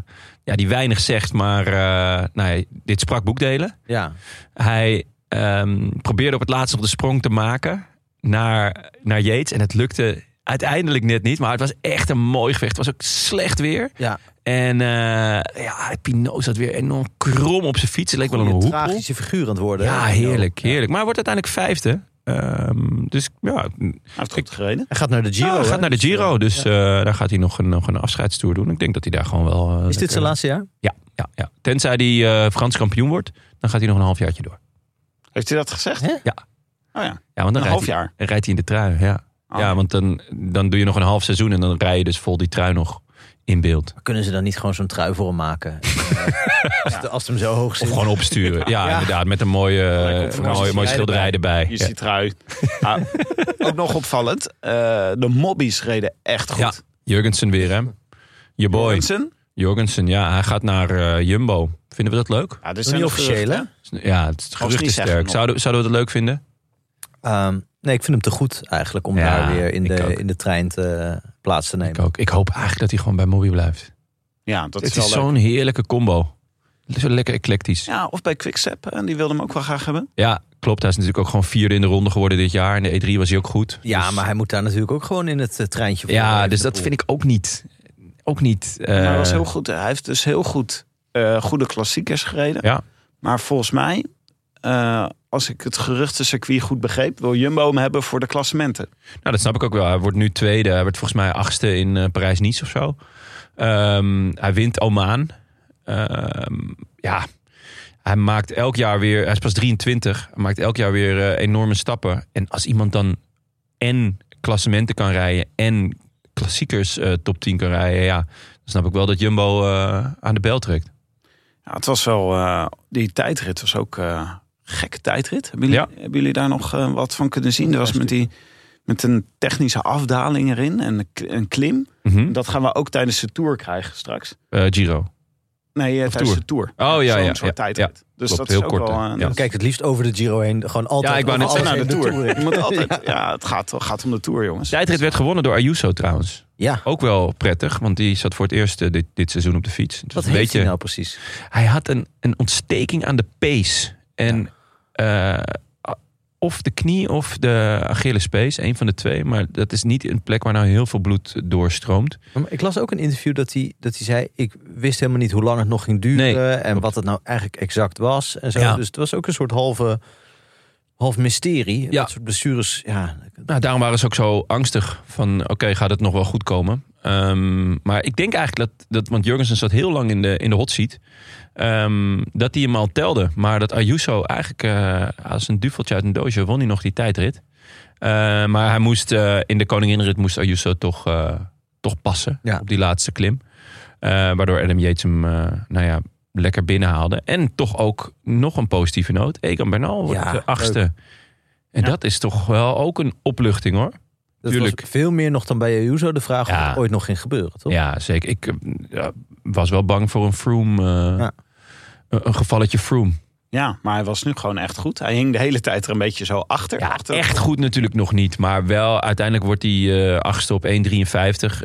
Speaker 1: ja, die weinig zegt, maar eh, nou ja, dit sprak boekdelen.
Speaker 2: Ja.
Speaker 1: Hij ehm, probeerde op het laatst nog de sprong te maken naar, naar Yates. En het lukte uiteindelijk net niet. Maar het was echt een mooi gevecht. Het was ook slecht weer.
Speaker 2: ja.
Speaker 1: En eh ja, Pinot zat weer enorm krom op zijn fiets. Het leek wel een
Speaker 2: Goeie
Speaker 1: hoepel.
Speaker 2: tragische figuur aan het worden.
Speaker 1: Ja,
Speaker 2: hè?
Speaker 1: heerlijk, heerlijk. Maar hij wordt uiteindelijk vijfde. Ehm, dus ja,
Speaker 4: Hij heeft goed gereden.
Speaker 2: Hij gaat naar de Giro.
Speaker 1: hij
Speaker 2: hè?
Speaker 1: gaat naar de Giro. Dus eh, daar gaat hij nog een, nog een afscheidstoer doen. Ik denk dat hij daar gewoon wel... eh,
Speaker 2: Is
Speaker 1: lekker-
Speaker 2: dit zijn laatste jaar?
Speaker 1: Ja, ja, ja. Tenzij hij eh, Frans kampioen wordt, dan gaat hij nog een halfjaartje door.
Speaker 4: Heeft hij dat gezegd?
Speaker 2: Hè?
Speaker 1: Ja.
Speaker 4: Oh ja,
Speaker 1: Ja, want dan
Speaker 4: een half
Speaker 1: rijdt hij,
Speaker 4: jaar.
Speaker 1: rijdt hij in de trui, ja.
Speaker 4: Oh.
Speaker 1: Ja, want dan, dan doe je nog een half seizoen en dan rij je dus vol die trui nog. in beeld.
Speaker 2: Kunnen ze dan niet gewoon zo'n trui voor hem maken? Eh, als, het, als het hem zo hoog zit.
Speaker 1: Of gewoon opsturen. Ja, inderdaad. Met een mooie,
Speaker 4: Lekker
Speaker 1: eh, een mooie, mooie schilderij erbij.
Speaker 4: Je
Speaker 1: Ja.
Speaker 4: ziet eruit. Ah, ook nog opvallend. eh, de mobbies reden echt goed.
Speaker 1: Ja, Jurgensen weer, hè? Je boy.
Speaker 4: Johansson?
Speaker 1: Jurgensen, ja. Hij gaat naar eh, Jumbo. Vinden we dat leuk?
Speaker 4: Ja, dat
Speaker 2: Nog niet officieel, hè?
Speaker 1: Ja, het gerucht
Speaker 4: niet
Speaker 1: is
Speaker 4: zeggen
Speaker 1: sterk.
Speaker 4: nog.
Speaker 1: Zouden, zouden we het leuk vinden?
Speaker 2: Ehm, nee, ik vind hem te goed eigenlijk om
Speaker 1: Ja,
Speaker 2: daar weer in
Speaker 1: ik
Speaker 2: de,
Speaker 1: ook.
Speaker 2: in de trein te, eh, plaats te
Speaker 1: Ik
Speaker 2: nemen.
Speaker 1: ook. Ik hoop eigenlijk dat hij gewoon bij Moby blijft.
Speaker 4: Ja, dat
Speaker 1: Het
Speaker 4: is
Speaker 1: is
Speaker 4: wel leuk.
Speaker 1: zo'n heerlijke combo. Zo lekker eclectisch. Ja.
Speaker 4: Ja, of bij Quickstep. En die wilde hem ook wel graag hebben.
Speaker 1: klopt. Hij is natuurlijk ook gewoon vierde in de ronde geworden dit jaar. In de E3 was hij ook goed.
Speaker 2: Ja,
Speaker 1: Dus-
Speaker 2: maar hij moet daar natuurlijk ook gewoon in het eh, treintje voor.
Speaker 1: Ja, dus dat vind ik ook niet. Ook niet.
Speaker 4: Maar hij,
Speaker 1: eh,
Speaker 4: was heel goed. hij heeft dus heel goed eh, goede klassiekers gereden.
Speaker 1: Ja.
Speaker 4: Maar volgens mij, eh, als ik het geruchtencircuit goed begreep... wil Jumbo hem hebben voor de klassementen.
Speaker 1: Nou, dat snap ik ook wel. Hij wordt nu tweede. Hij werd volgens mij achtste in eh, Parijs-Nice of zo. Ehm, hij wint Oman. Ehm, ja, hij maakt elk jaar weer... Hij is pas 23. Hij maakt elk jaar weer eh, enorme stappen. En als iemand dan en klassementen kan rijden... en klassiekers eh, top 10 kan rijden... ja, dan snap ik wel dat Jumbo eh, aan de bel trekt.
Speaker 4: Ja, het was wel... eh, die tijdrit was ook eh gekke tijdrit. Hebben jullie, hebben jullie daar nog eh, wat van kunnen zien? Dat was met, die, met een technische afdaling erin en een k- een klim.
Speaker 1: Mhm.
Speaker 4: Dat gaan we ook tijdens de tour krijgen straks.
Speaker 1: Eh, Giro.
Speaker 4: Nee, eh, tijdens
Speaker 1: tour.
Speaker 4: de tour.
Speaker 1: Oh, ja,
Speaker 4: Zo'n
Speaker 1: ja,
Speaker 4: soort
Speaker 1: ja,
Speaker 4: tijdrit.
Speaker 1: ja.
Speaker 4: Dus
Speaker 1: Klopt,
Speaker 4: dat
Speaker 1: heel
Speaker 4: is ook
Speaker 1: kort,
Speaker 4: wel...
Speaker 1: hè?
Speaker 4: eh,
Speaker 1: Ja.
Speaker 2: Ik kijk het liefst over de Giro heen. Gewoon altijd.
Speaker 1: Ja, ik wou
Speaker 2: over
Speaker 1: net zeggen,
Speaker 2: alles
Speaker 4: naar de,
Speaker 2: heen
Speaker 4: tour.
Speaker 2: in.
Speaker 4: Je moet altijd, ja, het gaat, het gaat om de tour, jongens.
Speaker 1: De tijdrit werd gewonnen door Ayuso trouwens.
Speaker 2: Ja.
Speaker 1: Ook wel prettig, want die zat voor het eerst eh, dit, dit seizoen op de fiets. Het was
Speaker 2: Wat
Speaker 1: een
Speaker 2: heeft
Speaker 1: beetje-
Speaker 2: hij nou precies?
Speaker 1: hij had een, een ontsteking aan de pees. En eh, of de knie of de Achillespees, een van de twee. Maar dat is niet een plek waar nou heel veel bloed doorstroomt.
Speaker 2: Maar Ik las ook een interview dat hij, dat hij zei... ik wist helemaal niet hoe lang het nog ging duren...
Speaker 1: Nee,
Speaker 2: en
Speaker 1: klopt.
Speaker 2: wat het nou eigenlijk exact was. En zo.
Speaker 1: Ja.
Speaker 2: Dus het was ook een soort halve, half mysterie.
Speaker 1: Ja.
Speaker 2: Dat soort blessures, ja...
Speaker 1: Nou, daarom waren ze ook zo angstig van, oké, gaat het nog wel goed komen? Ehm, maar ik denk eigenlijk dat, dat want Jurgensen zat heel lang in de, in de hot seat, ehm, dat hij hem al telde. Maar dat Ayuso eigenlijk eh, als een duveltje uit een doosje won hij nog die tijdrit. Eh, maar hij moest, eh, in de koninginrit moest Ayuso toch, eh, toch passen
Speaker 2: Ja.
Speaker 1: op die laatste klim. Eh, waardoor Adam Yates hem, eh, nou ja, lekker binnenhaalde. En toch ook nog een positieve noot. Egan Bernal wordt
Speaker 2: Ja,
Speaker 1: de achtste. En dat is toch wel ook een opluchting hoor.
Speaker 2: Dat
Speaker 1: Tuurlijk.
Speaker 2: was veel meer nog dan bij Ayuso de vraag
Speaker 1: Ja.
Speaker 2: of het ooit nog ging gebeuren, toch?
Speaker 1: Ja, zeker. Ik eh, ja, was wel bang voor een Froome. eh,
Speaker 2: Ja.
Speaker 1: een, een gevalletje Froome.
Speaker 4: Ja, maar hij was nu gewoon echt goed. Hij hing de hele tijd er een beetje zo achter.
Speaker 1: Ja,
Speaker 4: achter.
Speaker 1: echt goed natuurlijk nog niet. Maar wel, uiteindelijk wordt hij eh, achtste op 1,53.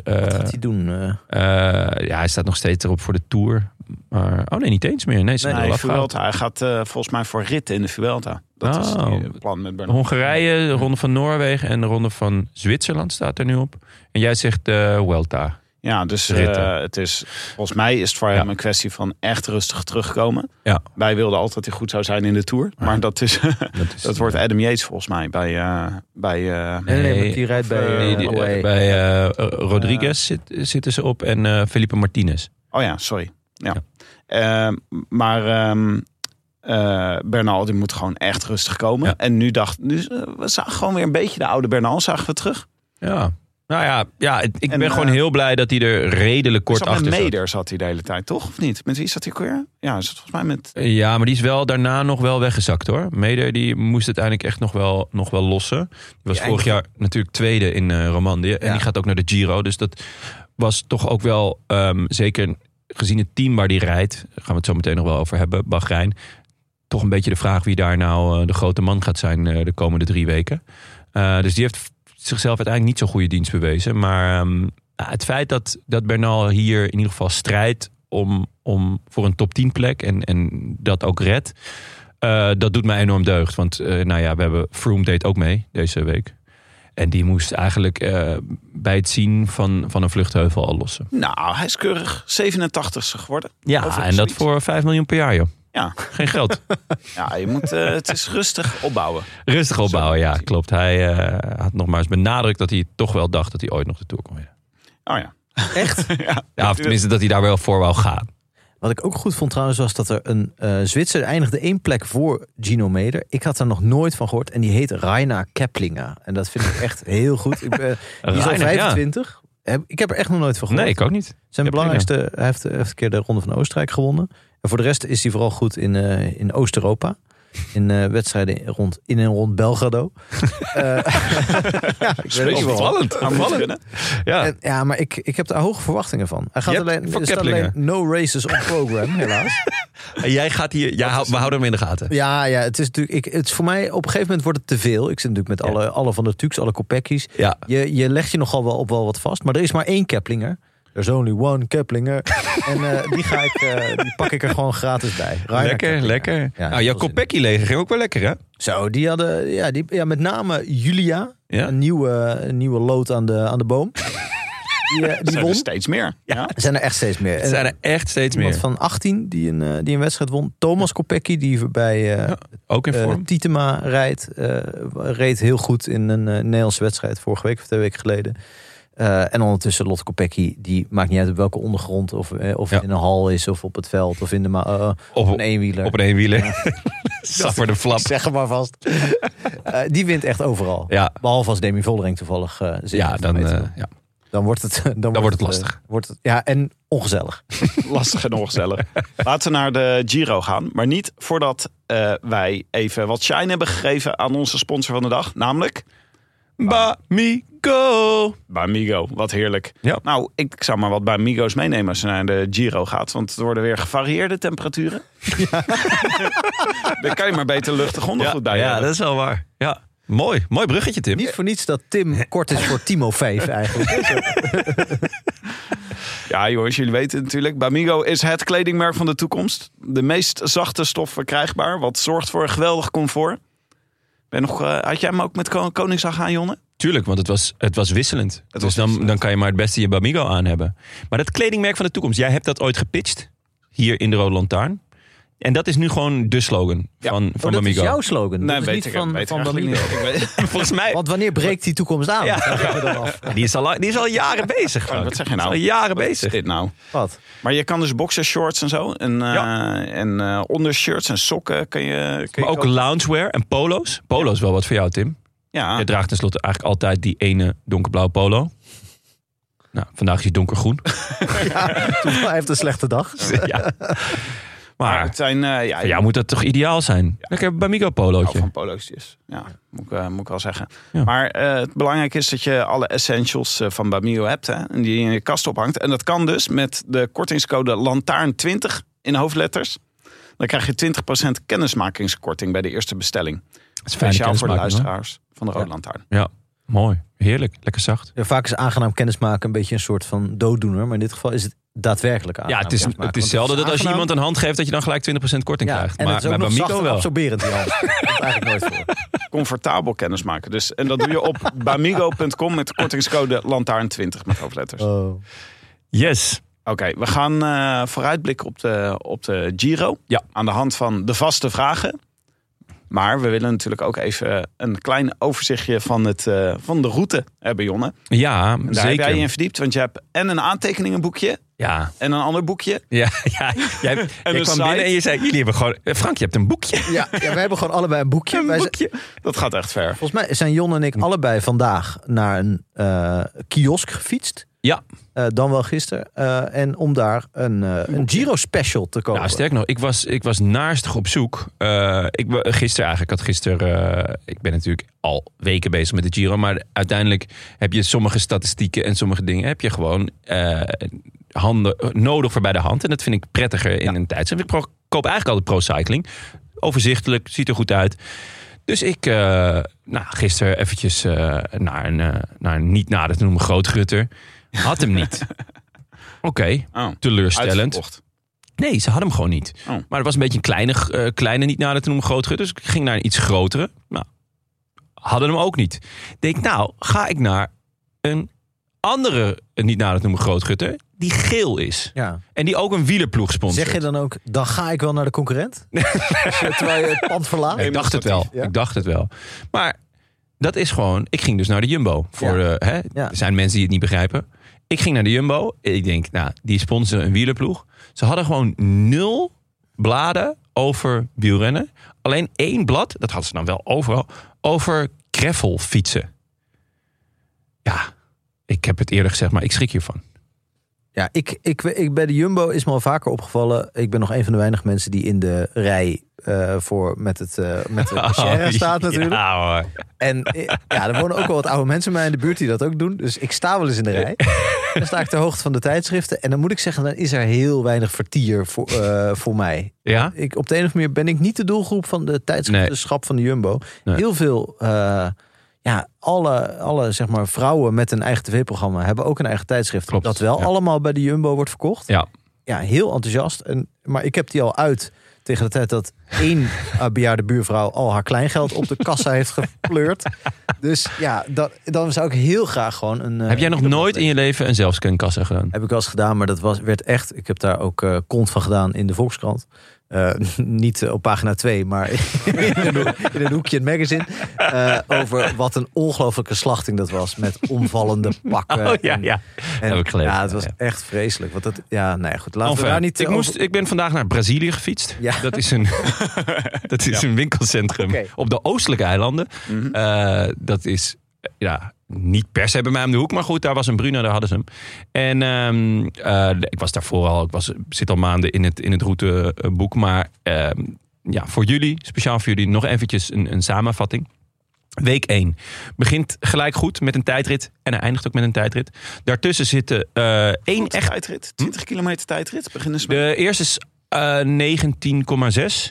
Speaker 2: Wat
Speaker 1: Eh,
Speaker 2: gaat hij doen? eh?
Speaker 1: eh, ja, hij staat nog steeds erop voor de Tour. Maar, oh nee, niet eens meer. Nee, ze
Speaker 4: Nee,
Speaker 1: zijn al afgehaald.
Speaker 4: Vuelta. Hij gaat eh, volgens mij voor ritten in de Vuelta. Dat is
Speaker 1: Oh.
Speaker 4: het eh, plan met Bernal.
Speaker 1: Hongarije, de Ronde van Noorwegen en de Ronde van Zwitserland staat er nu op. En jij zegt eh Welta.
Speaker 4: Ja, dus eh,
Speaker 1: Ritten.
Speaker 4: het is, volgens mij is het voor hem een kwestie van echt rustig terugkomen.
Speaker 1: Ja.
Speaker 4: Wij wilden altijd dat hij goed zou zijn in de Tour. Maar dat, is,
Speaker 1: Dat, is,
Speaker 4: dat wordt Adam Yates volgens mij bij... eh, bij eh,
Speaker 2: Nee, nee,
Speaker 1: Nee,
Speaker 2: want die rijdt bij...
Speaker 4: eh,
Speaker 1: Nee,
Speaker 2: eh,
Speaker 1: die-
Speaker 2: Away.
Speaker 1: bij eh, Rodriguez zit, zitten ze op en eh Felipe Martinez.
Speaker 4: Oh ja, sorry. Ja. Eh, maar ehm, eh, Bernal die moet gewoon echt rustig komen.
Speaker 1: Ja.
Speaker 4: En nu dacht, nu eh, we zagen gewoon weer een beetje de oude Bernal zagen we terug.
Speaker 1: Ja. Nou ja, ja het- ik
Speaker 4: En,
Speaker 1: ben gewoon
Speaker 4: eh,
Speaker 1: heel blij dat hij er redelijk kort
Speaker 4: zat met
Speaker 1: achter zat.
Speaker 4: Meder zat hij de hele tijd, toch? Of niet? Met wie zat hij ook weer? Ja, zat volgens mij met.
Speaker 1: Ja, maar die is wel daarna nog wel weggezakt hoor. Meder die moest uiteindelijk echt nog wel, nog wel lossen. Die was vorig jaar natuurlijk tweede in eh Romandie. En
Speaker 2: Ja.
Speaker 1: die gaat ook naar de Giro. Dus dat was toch ook wel, ehm, zeker gezien het team waar die rijdt. daar gaan we het zo meteen nog wel over hebben, Bahrein. Toch een beetje de vraag wie daar nou eh, de grote man gaat zijn eh, de komende drie weken. Eh, dus die heeft zichzelf uiteindelijk niet zo'n goede dienst bewezen. Maar ehm, ja, het feit dat, dat Bernal hier in ieder geval strijdt om, om voor een top 10 plek en, en dat ook redt, eh, dat doet mij enorm deugd. Want eh, nou ja, we hebben Froome deed ook mee deze week. En die moest eigenlijk eh, bij het zien van, van een vluchtheuvel al lossen.
Speaker 4: Nou, hij is keurig 87ste geworden. Of
Speaker 1: Ja,
Speaker 4: iets
Speaker 1: en dat
Speaker 4: zoiets.
Speaker 1: voor 5 miljoen per jaar, joh.
Speaker 4: Ja,
Speaker 1: Geen geld.
Speaker 4: ja je moet, eh, het is rustig opbouwen.
Speaker 1: Rustig opbouwen, ja,
Speaker 4: Zo.
Speaker 1: klopt. Hij eh, had nogmaals benadrukt dat hij toch wel dacht dat hij ooit nog de Tour kon winnen.
Speaker 4: Oh ja.
Speaker 2: Echt?
Speaker 4: ja.
Speaker 1: Ja, of tenminste dat hij daar wel voor wou gaan.
Speaker 2: Wat ik ook goed vond trouwens was dat er een eh, Zwitser eindigde één plek voor Gino Meder. Ik had daar nog nooit van gehoord en die heet Raina Keplinger. En dat vind ik echt heel goed. Ik, ben die is al
Speaker 1: Reiner, ja.
Speaker 2: 25. heb, ik heb er echt nog nooit van gehoord.
Speaker 1: Nee, ik ook niet.
Speaker 2: Zijn
Speaker 1: Ik heb
Speaker 2: belangrijkste, hij heeft, heeft een keer de Ronde van Oostenrijk gewonnen. En voor de rest is hij vooral goed in, eh, in Oost-Europa. In eh, wedstrijden rond, in en rond Belgrado. Eh, ja, ik
Speaker 1: Beetje
Speaker 2: weet het wel.
Speaker 1: opvallend. opvallend. Ja.
Speaker 2: En, ja, maar ik, ik heb daar hoge verwachtingen van. Hij gaat
Speaker 1: Je hebt
Speaker 2: alleen, er staat alleen
Speaker 1: verkettingen.
Speaker 2: no races on program, helaas.
Speaker 1: En jij gaat hier, ja, hou- we houden hem in de gaten.
Speaker 2: Ja, ja het is natuurlijk. Ik, het is voor mij op een gegeven moment wordt het te veel. Ik zit natuurlijk met
Speaker 1: Ja.
Speaker 2: alle, alle van de Tuks, alle Kopekkies.
Speaker 1: Ja.
Speaker 2: Je, je legt je nogal wel op wel wat vast. Maar er is maar één Keplinger. There's only one Keplinger. en eh, die, ga ik, eh, die pak ik er gewoon gratis bij. Rainer
Speaker 1: Lekker,
Speaker 2: Keplinger.
Speaker 1: lekker.
Speaker 2: Ja,
Speaker 1: nou, jouw
Speaker 2: heel zin.
Speaker 1: Kopecky leger ging ook wel lekker, hè?
Speaker 2: Zo, die hadden. Ja, die, ja, met name Julia.
Speaker 1: Ja.
Speaker 2: Een, nieuwe, een nieuwe lood aan de, aan de boom. die eh, die
Speaker 4: zijn er
Speaker 2: won.
Speaker 4: steeds meer. Ja.
Speaker 2: Er zijn er echt steeds meer.
Speaker 1: Het zijn er echt steeds meer.
Speaker 2: Iemand van 18 die een, eh, die een wedstrijd won. Thomas Kopecky, die bij eh
Speaker 1: Ja, ook in
Speaker 2: eh,
Speaker 1: vorm.
Speaker 2: Tietema rijdt. eh, reed heel goed in een eh, Nederlandse wedstrijd vorige week of twee weken geleden. Eh, en ondertussen Lot Kopecky, die maakt niet uit op welke ondergrond. Of, eh, of
Speaker 1: Ja.
Speaker 2: in een hal is, of op het veld, of in de ma- eh,
Speaker 1: Op,
Speaker 2: op een eenwieler.
Speaker 1: op een eenwieler. Saffer de flap.
Speaker 2: Zeg hem maar vast. Eh, die wint echt overal.
Speaker 1: Ja,
Speaker 2: Behalve als Demi Vollering toevallig eh zin
Speaker 1: ja
Speaker 2: heeft
Speaker 1: dan,
Speaker 2: om mee te
Speaker 1: eh,
Speaker 2: doen.
Speaker 1: ja.
Speaker 2: dan wordt het, dan,
Speaker 1: dan wordt het
Speaker 2: eh,
Speaker 1: lastig.
Speaker 2: wordt het, ja, en ongezellig.
Speaker 4: Lastig en ongezellig. Laten we naar de Giro gaan. Maar niet voordat eh, wij even wat shine hebben gegeven aan onze sponsor van de dag. Namelijk
Speaker 1: Bamigo.
Speaker 4: Bamigo. Wat heerlijk.
Speaker 1: Ja.
Speaker 4: Nou, ik zou maar wat Bamigo's meenemen als je naar de Giro gaat. Want het worden weer gevarieerde temperaturen. Dan kan je maar beter luchtig ondergoed bij
Speaker 1: ja,
Speaker 4: hebben.
Speaker 1: dat is wel waar. Ja. Mooi, mooi bruggetje, Tim.
Speaker 2: Niet voor niets dat Tim kort is voor Timo 5 eigenlijk.
Speaker 4: Ja, jongens, jullie weten het natuurlijk. Bamigo is het kledingmerk van de toekomst. De meest zachte stof verkrijgbaar, wat zorgt voor een geweldig comfort. Ben nog, eh, had jij hem ook met Kon- Koningsdag aan, Jonne?
Speaker 1: Tuurlijk, want het was, het was wisselend.
Speaker 4: was
Speaker 1: dus dan,
Speaker 4: wisselend.
Speaker 1: dan kan je maar het beste je Bamigo aan hebben. Maar dat kledingmerk van de toekomst, jij hebt dat ooit gepitcht. Hier in de Rode Lantaarn. En dat is nu gewoon de slogan
Speaker 4: Ja.
Speaker 1: van, van
Speaker 2: Oh, dat is
Speaker 1: Bamigo.
Speaker 2: jouw slogan. dat is
Speaker 4: weet
Speaker 2: niet
Speaker 4: ik-
Speaker 2: van,
Speaker 4: weet ik
Speaker 2: van
Speaker 4: eigenlijk
Speaker 2: Bamigo.
Speaker 4: niet. Ik weet-
Speaker 1: Volgens mij,
Speaker 2: Want wanneer breekt die toekomst aan?
Speaker 1: Ja.
Speaker 2: Dat vragen we dan af.
Speaker 1: die is al, lang- die is al jaren bezig.
Speaker 4: Oh, wat zeg je nou?
Speaker 1: Is al jaren
Speaker 4: Wat is
Speaker 1: bezig.
Speaker 4: dit nou?
Speaker 2: Wat?
Speaker 4: Maar je kan dus boxershorts en zo. En, eh, en eh, ondershirts en sokken kun je... Kun
Speaker 1: Maar
Speaker 4: je
Speaker 1: ook
Speaker 4: kopen.
Speaker 1: loungewear en polo's. Polo's wel wat voor jou, Tim.
Speaker 4: Ja,
Speaker 1: Jij draagt tenslotte eigenlijk altijd die ene donkerblauwe polo. Nou, vandaag is hij donkergroen.
Speaker 2: Hij heeft een slechte dag.
Speaker 1: ja.
Speaker 4: maar
Speaker 1: Maar
Speaker 4: het zijn... eh, ja,
Speaker 1: voor jou moet dat toch ideaal zijn? Lekker Bamigo
Speaker 4: hou
Speaker 1: polootje.
Speaker 4: van polootjes. Ja, moet ik, eh, moet ik wel zeggen.
Speaker 1: Ja.
Speaker 4: Maar eh, het belangrijk is dat je alle essentials eh, van Bamio hebt. Hè, en die je in je kast ophangt. En dat kan dus met de kortingscode LANTAARN20 in hoofdletters. Dan krijg je 20% kennismakingskorting bij de eerste bestelling.
Speaker 1: Dat is fijn.
Speaker 4: Speciaal voor de
Speaker 1: luisteraar.
Speaker 4: luisteraars van de Rode Lantaarn.
Speaker 1: Ja, mooi. Heerlijk. Lekker zacht.
Speaker 4: Nou,
Speaker 2: Ja, vaak is aangenaam kennismaken een beetje een soort van dooddoener. Maar in dit geval is het daadwerkelijk
Speaker 1: Ja,
Speaker 2: aangenaam
Speaker 4: nou,
Speaker 1: het is,
Speaker 2: kennismaken.
Speaker 1: het is
Speaker 2: Want
Speaker 1: zelden dat als je
Speaker 2: aangenaam.
Speaker 1: iemand een hand geeft... dat je dan gelijk 20% korting
Speaker 2: Ja,
Speaker 1: krijgt.
Speaker 2: en het
Speaker 1: Maar
Speaker 2: is ook
Speaker 1: bij
Speaker 2: nog zacht
Speaker 1: Bamigo
Speaker 2: en
Speaker 1: wel.
Speaker 2: absorberend die hand. Dat komt eigenlijk nooit voor.
Speaker 4: Comfortabel kennismaken. Dus, en dat doe je op bamigo.com met de kortingscode LANTAARN20 met hoofdletters. Oké,
Speaker 1: Oh. Yes.
Speaker 4: we gaan eh, vooruitblikken op de, op de Giro.
Speaker 1: Ja.
Speaker 4: Aan de hand van de vaste vragen. Maar we willen natuurlijk ook even een klein overzichtje van, het, eh, van de route hebben, Jonne. En
Speaker 1: Ja,
Speaker 4: daar heb jij je in
Speaker 1: zeker.
Speaker 4: verdiept, want je hebt en een aantekeningenboekje
Speaker 1: Ja,
Speaker 4: en een ander boekje.
Speaker 1: ja, ja. Jij, jij
Speaker 4: een
Speaker 1: kwam
Speaker 4: site.
Speaker 1: binnen en je zei... jullie hebben gewoon... eh, Frank, je hebt een boekje.
Speaker 2: Ja, ja, wij hebben gewoon allebei een boekje.
Speaker 1: Een
Speaker 2: Wij zijn-
Speaker 1: boekje.
Speaker 4: Dat gaat echt ver.
Speaker 2: volgens mij zijn Jon en ik allebei vandaag naar een eh, kiosk gefietst.
Speaker 1: Ja,
Speaker 2: Eh, dan wel gisteren. Eh, en om daar een, eh, een Giro special te kopen.
Speaker 1: Nou, sterk nog, ik was, ik was naastig op zoek. Eh, ik, wa- gisteren eigenlijk, ik had gisteren... eh, ik ben natuurlijk al weken bezig met de Giro. Maar uiteindelijk heb je sommige statistieken en sommige dingen... heb je gewoon eh, handen, nodig voor bij de hand. En dat vind ik prettiger in een tijdstip. Ik pro- koop eigenlijk altijd pro-cycling. Overzichtelijk, ziet er goed uit. Dus ik, eh, nou, gisteren eventjes eh, naar, een, eh, naar een niet nader te noemen grootgutter. Had hem niet. Oké,
Speaker 4: Oh,
Speaker 1: teleurstellend.
Speaker 4: uitverkocht.
Speaker 1: Nee, ze hadden hem gewoon niet.
Speaker 4: Oh.
Speaker 1: Maar het was een beetje een kleine, eh, kleine niet nader te noemen grotere. Dus ik ging naar een iets grotere. Nou, hadden hem ook niet. Denk, nou, ga ik naar een andere eh, niet nader te noemen grootgutter. Die geel is.
Speaker 2: Ja.
Speaker 1: En die ook een wielerploeg sponsort.
Speaker 2: Zeg je dan ook, dan ga ik wel naar de concurrent? Als je- Terwijl je het pand verlaat?
Speaker 1: ik dacht het wel.
Speaker 2: ja.
Speaker 1: Ik dacht het wel. Maar dat is gewoon. Ik ging dus naar de Jumbo. Voor, eh, hè,
Speaker 2: Ja.
Speaker 1: Er zijn mensen die het niet begrijpen. Ik ging naar de Jumbo. Ik denk, nou, die sponsoren een wielerploeg. Ze hadden gewoon nul bladen over wielrennen. Alleen één blad, dat hadden ze dan wel overal, over greffelfietsen. Ja, Ik heb het eerder gezegd, maar ik schrik hiervan.
Speaker 2: Ja, ik, ik, ik, bij de Jumbo is me al vaker opgevallen. Ik ben nog een van de weinige mensen die in de rij eh, voor met het eh met de
Speaker 1: Oh,
Speaker 2: cashier staat natuurlijk.
Speaker 1: Ja, hoor.
Speaker 2: En eh, ja, er wonen ook wel wat oude mensen bij in de buurt die dat ook doen. Dus ik sta wel eens in de rij. Dan sta ik ter hoogte van de tijdschriften. En dan moet ik zeggen, dan is er heel weinig vertier voor, eh, voor mij.
Speaker 1: Ja?
Speaker 2: Ik, op de een of andere manier ben ik niet de doelgroep van de tijdschriftenschap van de Jumbo.
Speaker 1: Nee.
Speaker 2: Heel veel, eh, ja, alle, alle zeg maar, vrouwen met een eigen tv-programma hebben ook een eigen tijdschrift.
Speaker 1: Klopt,
Speaker 2: dat wel
Speaker 1: ja.
Speaker 2: allemaal bij de Jumbo wordt verkocht.
Speaker 1: Ja.
Speaker 2: Ja, heel enthousiast. En, maar ik heb die al uit tegen de tijd dat één eh, bejaarde buurvrouw al haar kleingeld op de kassa heeft gepleurd. Dus ja, dat, dan zou ik heel graag gewoon een... eh,
Speaker 1: heb jij nog
Speaker 2: een-
Speaker 1: nooit in je leven een zelfscankassa gedaan?
Speaker 2: heb ik wel eens gedaan, maar dat was, werd echt. Ik heb daar ook eh, kont van gedaan in de Volkskrant. Eh, niet eh, op pagina 2, maar in, een, hoek- in een hoekje in het magazine. Eh, over wat een ongelofelijke slachting dat was. Met omvallende pakken.
Speaker 1: Oh, ja,
Speaker 2: en-
Speaker 1: ja.
Speaker 2: en-
Speaker 1: heb ik gelezen,
Speaker 2: ja, het was
Speaker 1: ja.
Speaker 2: echt vreselijk. Want dat, ja, nee, goed. Laten
Speaker 1: Enfin,
Speaker 2: we daar niet
Speaker 1: ik,
Speaker 2: eh,
Speaker 1: moest,
Speaker 2: over-
Speaker 1: ik ben vandaag naar Brazilië gefietst.
Speaker 2: Ja.
Speaker 1: Dat is een, dat is een winkelcentrum
Speaker 2: Oké. Mhm.
Speaker 1: op de oostelijke eilanden. Eh, dat is eh, ja, niet per se bij mij om de hoek. Maar goed, daar was een Bruno, daar hadden ze hem. En ehm, eh, ik was daarvoor al, ik was, zit al maanden in het, in het routeboek. Maar ehm, ja, voor jullie, speciaal voor jullie, nog eventjes een, een samenvatting. Week 1 begint gelijk goed met een tijdrit. En hij eindigt ook met een tijdrit. Daartussen zitten eh één
Speaker 4: Korte
Speaker 1: echt
Speaker 4: tijdrit. 20 kilometer tijdrit. Beginnen ze met.
Speaker 1: Hm? de eerste is eh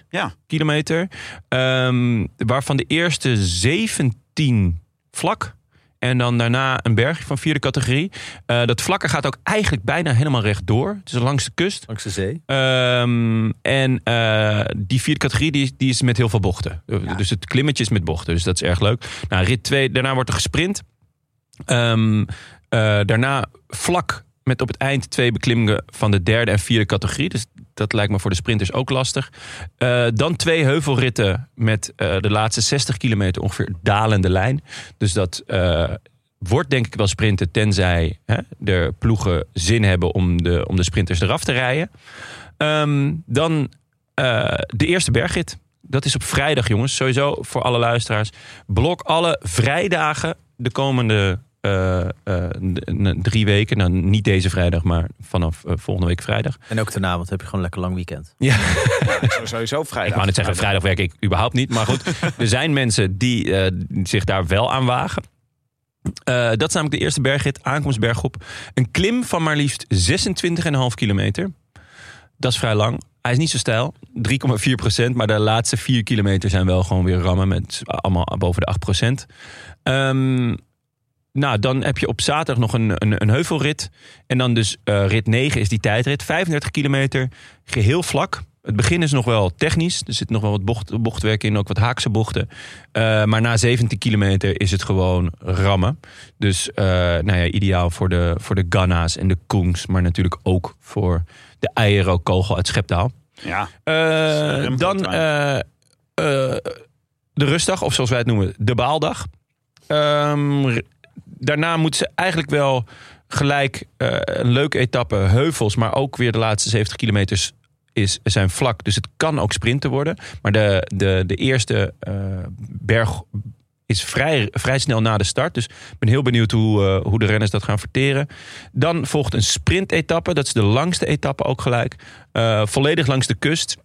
Speaker 1: 19,6
Speaker 4: Ja.
Speaker 1: kilometer. Ehm, waarvan de eerste 17 vlak. En dan daarna een berg van vierde categorie. Eh, dat vlakke gaat ook eigenlijk bijna helemaal rechtdoor. Het is langs de kust.
Speaker 2: Langs de zee.
Speaker 1: Ehm, en eh, die vierde categorie die, is- die is met heel veel bochten. Dus het klimmetje is met bochten. Dus dat is erg leuk. Nou, rit 2, daarna wordt er gesprint. Ehm, eh, daarna vlak met op het eind twee beklimmingen van de derde en vierde categorie. Dus dat lijkt me voor de sprinters ook lastig. Eh, dan twee heuvelritten met eh, de laatste 60 kilometer ongeveer dalende lijn. Dus dat eh, wordt denk ik wel sprinten, tenzij hè, de ploegen zin hebben om de, om de sprinters eraf te rijden. Ehm, dan eh, de eerste bergrit. Dat is op vrijdag, jongens. Sowieso voor alle luisteraars. Blok alle vrijdagen de komende eh, eh, n- n- drie weken. Nou, niet deze vrijdag, maar vanaf eh, volgende week vrijdag.
Speaker 2: En ook daarna, want heb je gewoon een lekker lang weekend.
Speaker 4: Zo- Sowieso vrijdag.
Speaker 1: Ik wou net zeggen, vrijdag werk ik überhaupt niet. Maar goed, er zijn mensen die eh, zich daar wel aan wagen. Eh, dat is namelijk de eerste bergrit, aankomstberg op. Een klim van maar liefst 26,5 kilometer. Dat is vrij lang. Hij is niet zo stijl, 3,4 procent. Maar de laatste 4 kilometer zijn wel gewoon weer rammen. Met allemaal boven de 8 procent. Ehm, nou, dan heb je op zaterdag nog een, een, een heuvelrit. En dan dus eh, rit 9 is die tijdrit. 35 kilometer, geheel vlak. Het begin is nog wel technisch. Er zit nog wel wat bocht, bochtwerk in, ook wat haakse bochten. Eh, maar na 17 kilometer is het gewoon rammen. Dus eh, nou ja, ideaal voor de, voor de Ganna's en de Koens. Maar natuurlijk ook voor de eierokogel uit Schepdaal.
Speaker 4: Ja.
Speaker 1: Eh,
Speaker 4: Remco
Speaker 1: dan eh, eh, de rustdag, of zoals wij het noemen, de baaldag. Ehm, r- daarna moeten ze eigenlijk wel gelijk eh, een leuke etappe, heuvels, maar ook weer de laatste 70 kilometers is, zijn vlak. Dus het kan ook sprinten worden. Maar de, de, de eerste eh, berg is vrij, vrij snel na de start. Dus ik ben heel benieuwd hoe, eh, hoe de renners dat gaan verteren. Dan volgt een sprintetappe. Dat is de langste etappe ook gelijk. Eh, volledig langs de kust.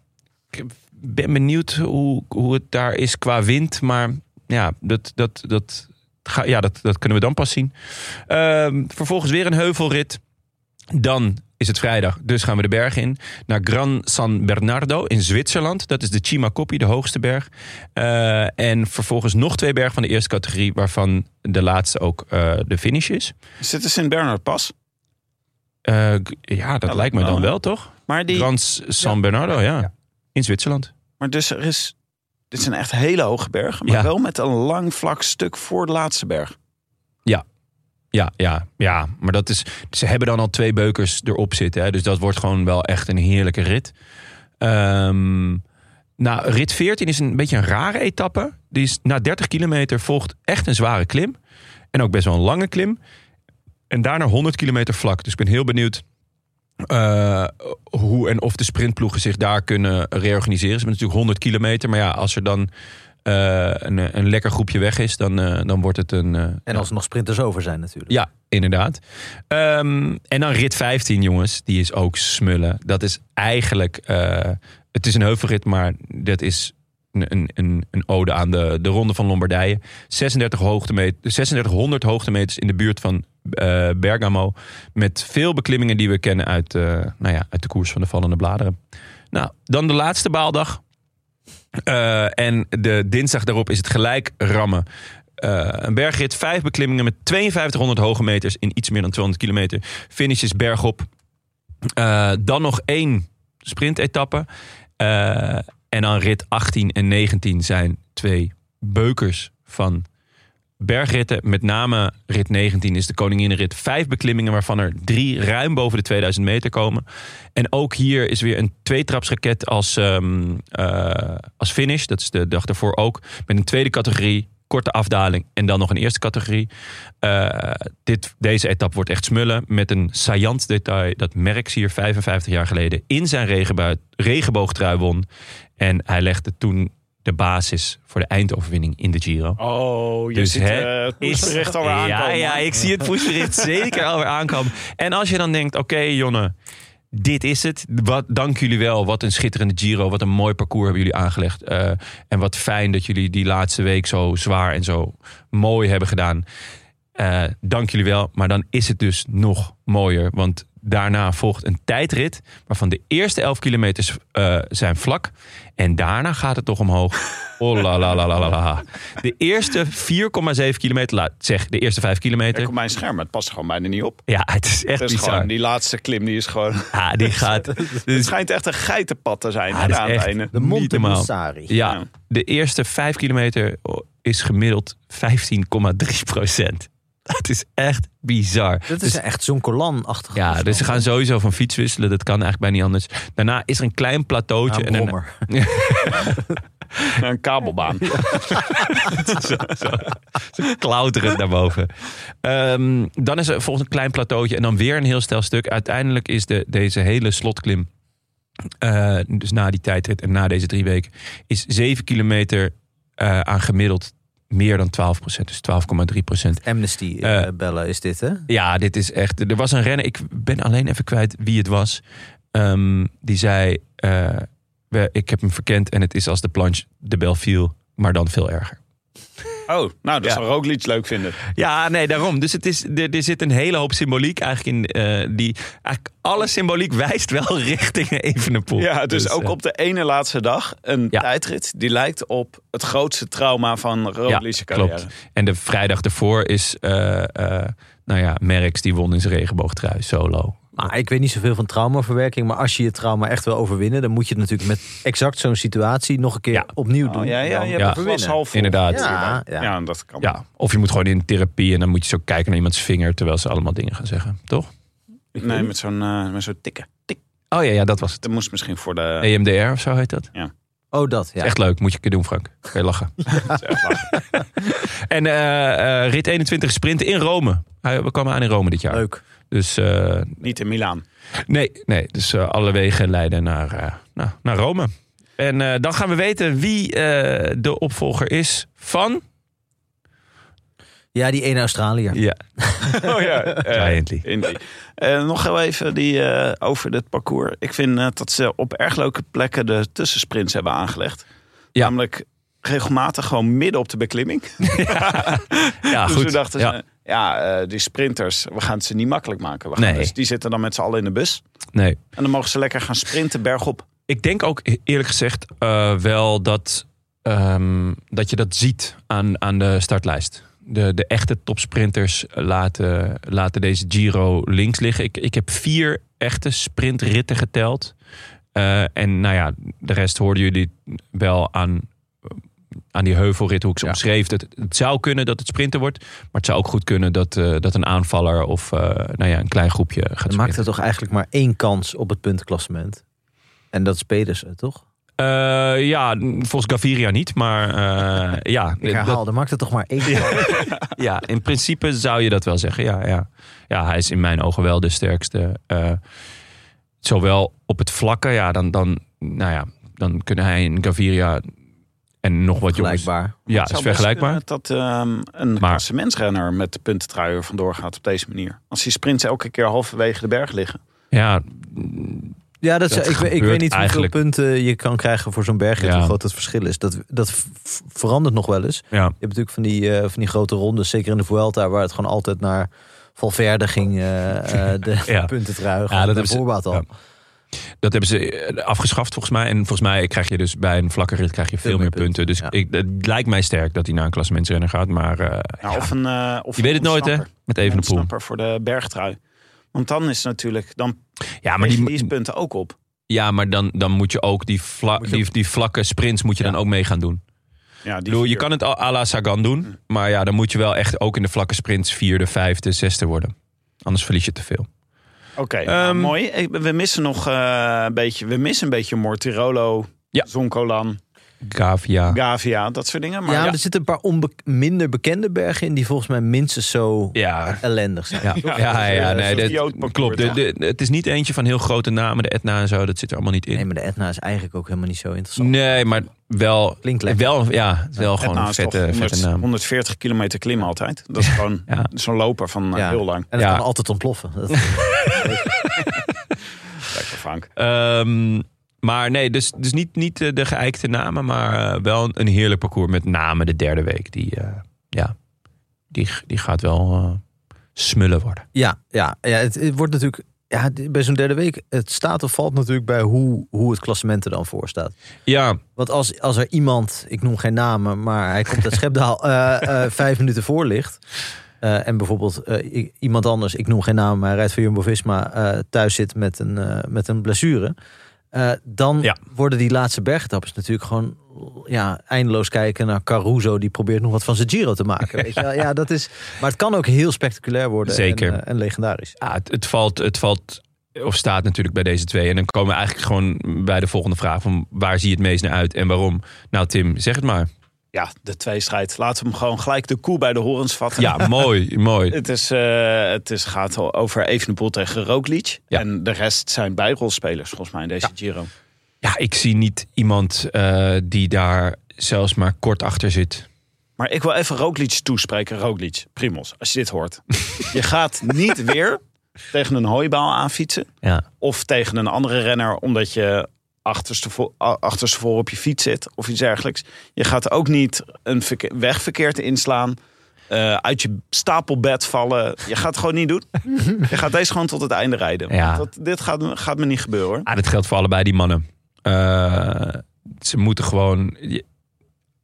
Speaker 1: Ik ben benieuwd hoe, hoe het daar is qua wind. Maar ja, dat, dat, dat, ga, ja, dat, dat kunnen we dan pas zien. Ehm, vervolgens weer een heuvelrit. Dan is het vrijdag, dus gaan we de berg in. Naar Gran San Bernardo in Zwitserland. Dat is de Cima Coppi, de hoogste berg. Eh, en vervolgens nog twee bergen van de eerste categorie... waarvan de laatste ook eh, de finish is.
Speaker 4: Dus Is dit de Sint Bernard pas?
Speaker 1: Eh, g- ja, dat lijkt me dan
Speaker 4: hè?
Speaker 1: wel, toch?
Speaker 4: Maar, die,
Speaker 1: Gran S- San Bernardo, ja. In Zwitserland.
Speaker 4: maar dus er is. Dit zijn echt hele hoge bergen. Maar
Speaker 1: Ja.
Speaker 4: wel met een lang vlak stuk voor de laatste berg.
Speaker 1: Ja, ja, ja. Maar dat is, ze hebben dan al twee beukers erop zitten. Hè? Dus dat wordt gewoon wel echt een heerlijke rit. Ehm, nou, rit 14 is een beetje een rare etappe. Die is, na 30 kilometer volgt echt een zware klim. En ook best wel een lange klim. En daarna 100 kilometer vlak. Dus ik ben heel benieuwd eh, hoe en of de sprintploegen zich daar kunnen reorganiseren. Ze hebben natuurlijk 100 kilometer. Maar ja, als er dan eh, eh, een, een lekker groepje weg is, dan, eh, dan wordt het een... eh,
Speaker 2: En als er nog sprinters over zijn natuurlijk.
Speaker 1: ja, inderdaad. Ehm, en dan rit 15, jongens. Die is ook smullen. Dat is eigenlijk... eh, het is een heuvelrit, maar dat is een, een- een, een ode aan de, de Ronde van Lombardije. 36 hoogtemet- 3600 hoogtemeters in de buurt van eh, Bergamo. Met veel beklimmingen die we kennen uit, eh, nou ja, uit de koers van de vallende bladeren. Nou, dan de laatste baaldag. Eh, en de dinsdag daarop is het gelijk rammen. Eh, een bergrit, vijf beklimmingen met 5200 hoge meters in iets meer dan 200 kilometer. Finishes bergop. Eh, dan nog één sprintetappe. Eh, en dan rit 18 en 19 zijn twee beukers van bergritten. Met name rit 19 is de koninginrit. Vijf beklimmingen waarvan er drie ruim boven de 2000 meter komen. En ook hier is weer een tweetrapsraket als, ehm, eh, als finish. Dat is de dag daarvoor ook. Met een tweede categorie, korte afdaling en dan nog een eerste categorie. Eh, dit, deze etappe wordt echt smullen met een saillant detail dat Merckx hier 55 jaar geleden in zijn regenbui- regenboogtrui won. En hij legde toen de basis voor de eindoverwinning in de Giro.
Speaker 4: Oh, je
Speaker 1: Dus,
Speaker 4: ziet
Speaker 1: hè,
Speaker 4: eh, het pushbericht alweer
Speaker 1: ja,
Speaker 4: aankomen.
Speaker 1: Ja, ik zie het pushbericht zeker alweer aankomen. En als je dan denkt, oké Jonne, dit is het. Wat, dank jullie wel. Wat een schitterende Giro. Wat een mooi parcours hebben jullie aangelegd. Eh, en wat fijn dat jullie die laatste week zo zwaar en zo mooi hebben gedaan. Eh, dank jullie wel. Maar dan is het dus nog mooier. Want daarna volgt een tijdrit. Waarvan de eerste 11 kilometers eh, zijn vlak. En daarna gaat het toch omhoog. Oh la la la la la la. De eerste 4,7 kilometer. laat- Zeg, de eerste 5
Speaker 4: Kijk
Speaker 1: kilometer.
Speaker 4: op mijn scherm, het past gewoon bijna niet op.
Speaker 1: Ja, het is echt
Speaker 4: Het is
Speaker 1: bizar.
Speaker 4: gewoon, die laatste klim die is gewoon...
Speaker 1: Ja, die gaat.
Speaker 4: Het
Speaker 1: Dus,
Speaker 4: schijnt echt een geitenpad te zijn
Speaker 1: Ah, dat is
Speaker 4: aan het
Speaker 1: echt-
Speaker 4: einde.
Speaker 2: De
Speaker 1: Niet
Speaker 2: Monte
Speaker 1: normaal.
Speaker 2: Mussari.
Speaker 1: ja, de eerste 5 kilometer oh, is gemiddeld 15,3 procent. Dat is echt bizar.
Speaker 2: Dat
Speaker 1: Dus
Speaker 2: is echt zo'n Colan-achtig.
Speaker 1: Ja, dus ze gaan sowieso van fiets wisselen. Dat kan eigenlijk bij niet anders. Daarna is er een klein plateautje. en daarna-
Speaker 4: Een kabelbaan.
Speaker 1: ze klauteren daarboven. Ehm, dan is er volgens een klein plateautje. En dan weer een heel stijl stuk. Uiteindelijk is de, deze hele slotklim... eh, dus na die tijdrit en na deze drie weken... is 7 kilometer eh, aan gemiddeld meer dan 12 Dus 12,3
Speaker 2: Amnesty
Speaker 1: Eh,
Speaker 2: eh, bellen is dit, hè?
Speaker 1: ja, dit is echt. Er was een renner. Ik ben alleen even kwijt wie het was. ehm, die zei: eh, we, Ik heb hem verkend en het is als de planche de bel viel, maar dan veel erger.
Speaker 4: Oh, nou, dat
Speaker 1: Ja.
Speaker 4: zou Roglic leuk vinden.
Speaker 1: Ja, nee, daarom. Dus het is, er, er zit een hele hoop symboliek eigenlijk in. eh, die, eigenlijk alle symboliek wijst wel richting Evenepoel.
Speaker 4: Ja, dus, ook
Speaker 1: eh,
Speaker 4: op de ene laatste dag een
Speaker 1: Ja.
Speaker 4: tijdrit. Die lijkt op het grootste trauma van Roglic's carrière.
Speaker 1: klopt. En de vrijdag ervoor is, eh, eh, nou ja, Merckx die won in zijn regenboogtrui solo.
Speaker 2: Maar ik weet niet zoveel van traumaverwerking. Maar als je je trauma echt wil overwinnen... dan moet je het natuurlijk met exact zo'n situatie nog een keer
Speaker 1: Ja.
Speaker 2: opnieuw doen.
Speaker 4: Oh, ja, ja,
Speaker 2: Dan-
Speaker 4: je hebt
Speaker 1: Ja.
Speaker 4: het glas half vol.
Speaker 1: Inderdaad.
Speaker 2: Ja, ja.
Speaker 4: Ja, dat kan.
Speaker 1: Ja, of je moet gewoon in therapie en dan moet je zo kijken naar iemands vinger terwijl ze allemaal dingen gaan zeggen, toch?
Speaker 4: Nee, met zo'n eh, met zo'n tikken. Tik.
Speaker 1: Oh ja, ja dat was het. E
Speaker 4: Dat moest misschien voor de...
Speaker 1: EMDR of zo heet dat.
Speaker 2: Oh, dat, ja.
Speaker 1: Echt leuk, moet je een keer doen, Frank. Kan je lachen. en eh, eh, rit 21 sprint in Rome. Hij- We kwamen aan in Rome dit jaar.
Speaker 2: Leuk.
Speaker 1: Dus eh,
Speaker 4: Niet in Milaan.
Speaker 1: nee, nee. Dus eh, alle wegen leiden naar, eh, nou, naar Rome. En eh, dan gaan we weten wie eh, de opvolger is van.
Speaker 2: Ja, die ene Australiër.
Speaker 1: Ja,
Speaker 4: Oh ja. eh,
Speaker 1: Giantly.
Speaker 4: in die. Eh, nog heel even die, eh, over dit parcours. Ik vind eh, dat ze op erg leuke plekken de tussensprints hebben aangelegd.
Speaker 1: Ja.
Speaker 4: Namelijk regelmatig gewoon midden op de beklimming.
Speaker 1: ja
Speaker 4: dus
Speaker 1: Ah, goed.
Speaker 4: we dachten,
Speaker 1: ja.
Speaker 4: ja, ja eh, die sprinters, we gaan het ze niet makkelijk maken. We gaan
Speaker 1: Nee.
Speaker 4: dus, die zitten dan met z'n allen in de bus.
Speaker 1: Nee.
Speaker 4: En dan mogen ze lekker gaan sprinten bergop.
Speaker 1: Ik denk ook e- eerlijk gezegd eh, wel dat, ehm, dat je dat ziet aan, aan de startlijst. De, de echte topsprinters laten, laten deze Giro links liggen. Ik, ik heb vier echte sprintritten geteld. Eh, en nou ja, de rest hoorden jullie wel aan, aan die heuvelrit hoe ik ze omschreef. Het, het zou kunnen dat het sprinten wordt. Maar het zou ook goed kunnen dat, eh, dat een aanvaller of eh, nou ja, een klein groepje gaat
Speaker 2: Dan
Speaker 1: sprinten.
Speaker 2: maakt er toch eigenlijk maar één kans op het puntenklassement. En dat is Pedersen, toch?
Speaker 1: Eh, ja, volgens Gaviria niet, maar eh, ja.
Speaker 2: Ik herhaal,
Speaker 1: dat-
Speaker 2: dan maakt er toch maar één kans.
Speaker 1: ja, in principe zou je dat wel zeggen. Ja, ja. ja hij is in mijn ogen wel de sterkste. eh, zowel op het vlakke, ja, dan, dan, nou ja, dan kunnen hij en Gaviria En nog wat jongens.
Speaker 2: blijkbaar.
Speaker 1: Ja,
Speaker 4: Het
Speaker 1: is
Speaker 4: zou best
Speaker 1: vergelijkbaar.
Speaker 4: kunnen Dat ehm, een
Speaker 1: Maar-
Speaker 4: klassementsrenner met de puntentruier vandoor gaat op deze manier. Als die sprints elke keer halverwege de berg liggen.
Speaker 1: Ja,
Speaker 2: Ja, dat
Speaker 1: Dat
Speaker 2: zou- ik, weet- ik
Speaker 1: gebeurt
Speaker 2: weet niet
Speaker 1: eigenlijk.
Speaker 2: hoeveel punten je kan krijgen voor zo'n bergrit.
Speaker 1: Ja.
Speaker 2: Hoe groot het verschil is. Dat, dat v- v- verandert nog wel eens.
Speaker 1: ja.
Speaker 2: Je hebt natuurlijk van die, eh, van die grote rondes, zeker in de Vuelta, waar het gewoon altijd naar Valverde ging, eh, eh, de
Speaker 1: Ja.
Speaker 2: punten truigen.
Speaker 1: Ja, dat
Speaker 2: Ja, dat
Speaker 1: hebben ze-
Speaker 2: voorbaat al.
Speaker 1: ja. Dat hebben ze eh, afgeschaft volgens mij. En volgens mij krijg je dus bij een vlakke rit krijg je veel, meer punten. Dus
Speaker 2: ja.
Speaker 1: ik, het lijkt mij sterk dat hij naar een klassementsrenner gaat. Maar eh,
Speaker 4: Nou,
Speaker 1: ja,
Speaker 4: Of een, eh, of
Speaker 1: je weet het nooit hè,
Speaker 4: ontsnapper.
Speaker 1: met even de poel.
Speaker 4: Ontsnapper voor de bergtrui. Want dan is natuurlijk, dan
Speaker 1: Ja, maar,
Speaker 4: maar die,
Speaker 1: die,
Speaker 4: punten ook op.
Speaker 1: ja, maar dan, dan moet je ook die, vla,
Speaker 2: Moet je
Speaker 1: die, die vlakke sprints moet je dan ook mee gaan doen.
Speaker 4: Ja, die
Speaker 1: Ik bedoel, je
Speaker 4: vier.
Speaker 1: kan het al à la Sagan doen. Maar ja, dan moet je wel echt ook in de vlakke sprints vierde, vijfde, zesde worden. Anders verlies je te veel.
Speaker 4: Oké, nou,
Speaker 1: Ehm,
Speaker 4: mooi. Ik- We missen nog eh, een beetje, we missen een beetje Mortirolo,
Speaker 1: Ja. Ah.
Speaker 4: Zonkolan,
Speaker 1: Gavia.
Speaker 4: Gavia, dat soort dingen.
Speaker 2: ja,
Speaker 4: Maar
Speaker 2: dus-
Speaker 4: ja,
Speaker 2: maar er zitten een paar onbe- minder bekende bergen in die volgens mij minstens zo
Speaker 1: Ja,
Speaker 2: ellendig zijn.
Speaker 1: Ja, ja, ja,
Speaker 4: ja,
Speaker 1: nee,
Speaker 4: zo'n
Speaker 1: dat-
Speaker 4: idiootparcours,
Speaker 1: klopt. De-
Speaker 4: ja.
Speaker 1: de- het is niet eentje van heel grote namen, de Etna en zo, dat zit er allemaal niet
Speaker 2: Nee,
Speaker 1: in.
Speaker 2: maar de Etna is eigenlijk ook helemaal niet zo interessant.
Speaker 1: Nee, maar wel,
Speaker 2: Klinkt lekker.
Speaker 1: wel, ja, het is wel gewoon
Speaker 4: nou,
Speaker 1: een
Speaker 4: is toch
Speaker 1: vette,
Speaker 4: 100
Speaker 1: vette naam.
Speaker 4: 140 kilometer klimmen altijd. Dat is gewoon
Speaker 1: Ja.
Speaker 4: zo'n loper van eh,
Speaker 2: Ja.
Speaker 4: heel lang.
Speaker 2: En dat
Speaker 1: Ja.
Speaker 2: kan altijd ontploffen. Dat-
Speaker 4: Lekker Frank.
Speaker 1: Ehm, maar nee, dus, dus niet, niet eh, de geëikte namen, maar eh, wel een, een heerlijk parcours. Met name de derde week, die, eh, ja, die, die gaat wel eh, smullen worden.
Speaker 2: Ja, ja, ja het, het wordt natuurlijk. Ja, d- bij zo'n derde week, het staat of valt natuurlijk bij hoe, hoe het klassement er dan voor staat.
Speaker 1: Ja,
Speaker 2: Want als, als er iemand, ik noem geen namen, maar hij komt uit Schepdaal eh, eh, vijf minuten voor ligt. eh, en bijvoorbeeld eh, i- iemand anders, ik noem geen namen, maar hij rijdt voor Jumbo-Visma, eh, thuis zit met een, eh, met een blessure. eh, dan
Speaker 1: Ja.
Speaker 2: worden die laatste bergetappes natuurlijk gewoon ja, eindeloos kijken naar Caruso. Die probeert nog wat van zijn Giro te maken. Weet je? wel. Ja, dat is, maar het kan ook heel spectaculair worden en,
Speaker 1: Zeker.
Speaker 2: eh, en legendarisch.
Speaker 1: Ja, ah, het, het valt, het valt of staat natuurlijk bij deze twee. En dan komen we eigenlijk gewoon bij de volgende vraag van waar zie je het meest naar uit en waarom? Nou Tim, zeg het maar.
Speaker 4: Ja, de tweestrijd. Laten we hem gewoon gelijk de koe bij de horens vatten.
Speaker 1: Ja, mooi, mooi.
Speaker 4: Het, is, eh, het is, gaat al over Evenepoel tegen Roglic.
Speaker 1: Ja.
Speaker 4: En de rest zijn bijrolspelers volgens mij in deze Giro.
Speaker 1: Ja, ik zie niet iemand eh, die daar zelfs maar kort achter zit.
Speaker 4: Maar ik wil even Roglic toespreken. Roglic, Primos, als je dit hoort. je gaat niet weer tegen een hooibaal aanfietsen.
Speaker 1: Ja.
Speaker 4: Of tegen een andere renner omdat je achterstevo- a- achterstevoren op je fiets zit. Of iets dergelijks. Je gaat ook niet een verke- weg verkeerd inslaan. eh, uit je stapelbed vallen. Je gaat het gewoon niet doen. Je gaat deze gewoon tot het einde rijden.
Speaker 1: Ja.
Speaker 4: Want Dat, dit gaat, me- gaat me niet gebeuren hoor.
Speaker 1: Ah, dat geldt voor allebei die mannen. Eh, ze moeten gewoon je-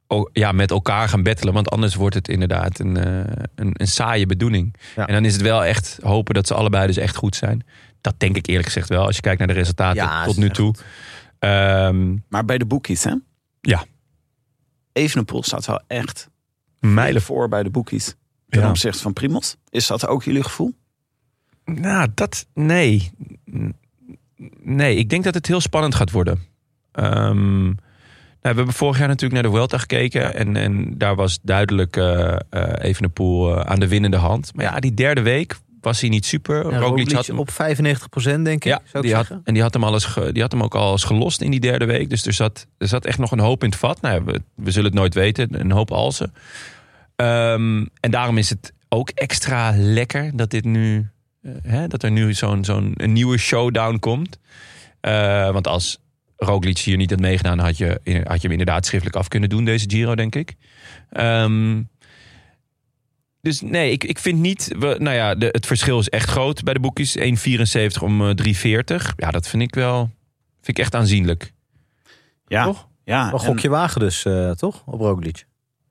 Speaker 1: o- ja, met elkaar gaan battelen. Want anders wordt het inderdaad een, eh, een, een saaie bedoeling.
Speaker 2: Ja.
Speaker 1: En dan is het wel echt hopen dat ze allebei dus echt goed zijn. Dat denk ik eerlijk gezegd wel. Als je kijkt naar de resultaten
Speaker 2: Ja, ze
Speaker 1: tot nu
Speaker 2: zijn
Speaker 1: toe.
Speaker 2: goed.
Speaker 1: Ehm
Speaker 4: Maar bij de boekies hè?
Speaker 1: Ja.
Speaker 4: Evenepoel staat wel echt
Speaker 1: mijlen.
Speaker 4: voor bij de boekies. ten
Speaker 1: Ja.
Speaker 4: opzichte van Primos. Is dat ook jullie gevoel?
Speaker 1: Nou, dat. Nee. N- Nee, ik denk dat het heel spannend gaat worden. Ehm, nou, we hebben vorig jaar natuurlijk naar de Vuelta gekeken. En, en daar was duidelijk eh eh Evenepoel eh, aan de winnende hand. Maar ja, die derde week was hij niet super.
Speaker 2: En
Speaker 1: Roglic had hem-
Speaker 2: op 95% denk ik,
Speaker 1: ja,
Speaker 2: zou ik
Speaker 1: die had,
Speaker 2: zeggen.
Speaker 1: en die had, hem al eens ge- die had hem ook al eens gelost in die derde week. Dus er zat, er zat echt nog een hoop in het vat. Nou, ja, we, we zullen het nooit weten, een hoop alsen. Ehm, en daarom is het ook extra lekker dat dit nu... eh, hè, dat er nu zo'n zo'n een nieuwe showdown komt. Eh, want als Roglic hier niet had meegedaan... Had je, had je hem inderdaad schriftelijk af kunnen doen, deze Giro, denk ik. Ehm, dus nee, ik, ik vind niet. We, nou ja, de, het verschil is echt groot bij de boekjes. 1,74 om eh, 3,40. Ja, dat vind ik wel. Vind ik echt aanzienlijk.
Speaker 4: Ja.
Speaker 1: Toch?
Speaker 4: Ja.
Speaker 2: Een gokje wagen dus, eh, toch? Op Roglic.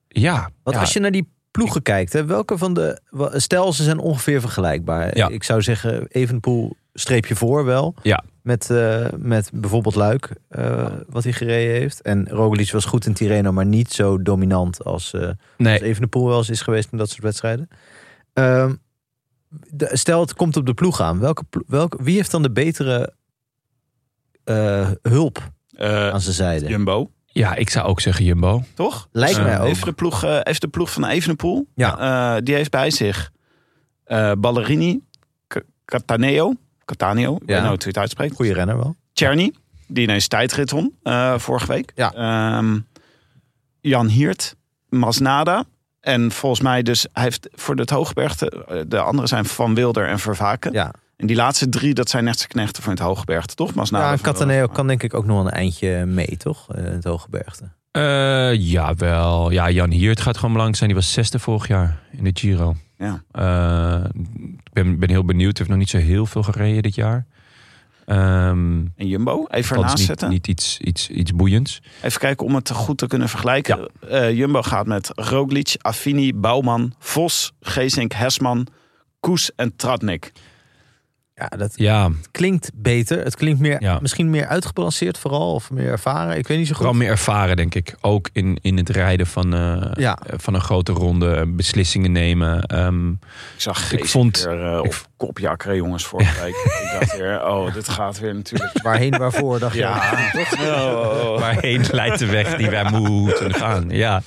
Speaker 1: Ja.
Speaker 2: Want
Speaker 1: ja.
Speaker 2: als je naar die ploegen kijkt, hè, welke van de. wa- Stel, ze zijn ongeveer vergelijkbaar.
Speaker 1: Ja.
Speaker 2: Ik zou zeggen, Evenpoel streep je voor wel.
Speaker 1: Ja.
Speaker 2: Met, eh, met bijvoorbeeld Luik, eh, wat hij gereden heeft. En Roglic was goed in Tirreno, maar niet zo dominant als, eh als
Speaker 1: nee.
Speaker 2: Evenepoel wel eens is geweest in dat soort wedstrijden. Ehm, de- stel, het komt op de ploeg aan. Welke, plo- welke, wie heeft dan de betere eh, hulp
Speaker 4: Eh,
Speaker 2: aan zijn zijde?
Speaker 4: Jumbo,
Speaker 1: Ja, ik zou ook zeggen Jumbo.
Speaker 4: toch?
Speaker 2: Lijkt
Speaker 1: Eh,
Speaker 2: mij ook.
Speaker 4: Heeft de ploeg, eh, heeft de ploeg van Evenepoel.
Speaker 2: Ja.
Speaker 4: Eh, die heeft bij zich eh, Ballerini, K- Cataneo, Cataneo, ik weet
Speaker 2: Ja.
Speaker 4: nooit hoe je het uitspreekt.
Speaker 2: Goede renner wel.
Speaker 4: Czerny, die ineens tijdrit won eh, vorige week.
Speaker 2: Ja.
Speaker 4: Ehm, Jan Hiert, Masnada. En volgens mij dus, hij heeft voor het Hoogbergte, eh, de anderen zijn Van Wilder en Vervaken.
Speaker 2: Ja,
Speaker 4: En die laatste drie, dat zijn echt zijn knechten van het Hoogbergte, toch?
Speaker 1: Nou,
Speaker 4: Masnada,
Speaker 2: ja
Speaker 4: Van
Speaker 2: Cataneo
Speaker 4: Wilder.
Speaker 2: kan denk ik ook nog wel een eindje mee, toch? Eh, het Hooggebergte.
Speaker 1: Eh, jawel. Ja, Jan Hiert gaat gewoon belangrijk zijn. Die was zesde vorig jaar in de Giro.
Speaker 4: Ja.
Speaker 1: Eh, ik ben, ben heel benieuwd. Hij heeft nog niet zo heel veel gereden dit jaar. Ehm
Speaker 4: En Jumbo, even
Speaker 1: dat
Speaker 4: ernaast
Speaker 1: is niet,
Speaker 4: zetten.
Speaker 1: niet iets, iets, iets boeiends.
Speaker 4: Even kijken om het goed te kunnen vergelijken. Eh, Jumbo gaat met Roglic, Affini, Bouwman, Vos, Geesink, Hesman, Koes en Tratnik.
Speaker 2: Ja, dat
Speaker 1: Ja,
Speaker 2: klinkt beter. Het klinkt meer,
Speaker 1: Ja.
Speaker 2: misschien meer uitgebalanceerd vooral. Of meer ervaren. Ik weet niet zo goed.
Speaker 1: vooral meer ervaren, denk ik. Ook in, in het rijden van, eh,
Speaker 2: Ja.
Speaker 1: eh, van een grote ronde. eh, Beslissingen nemen. Ehm,
Speaker 4: Ik zag
Speaker 1: Ik
Speaker 4: Geesink
Speaker 1: vond-
Speaker 4: weer eh,
Speaker 1: ik-
Speaker 4: op kopjakker, jongens, vorige week. Ik dacht weer, oh, dit gaat weer natuurlijk.
Speaker 2: Waarheen, waarvoor, dacht je?
Speaker 4: Ja, Oh.
Speaker 1: waarheen leidt de weg die wij moeten gaan. Ja.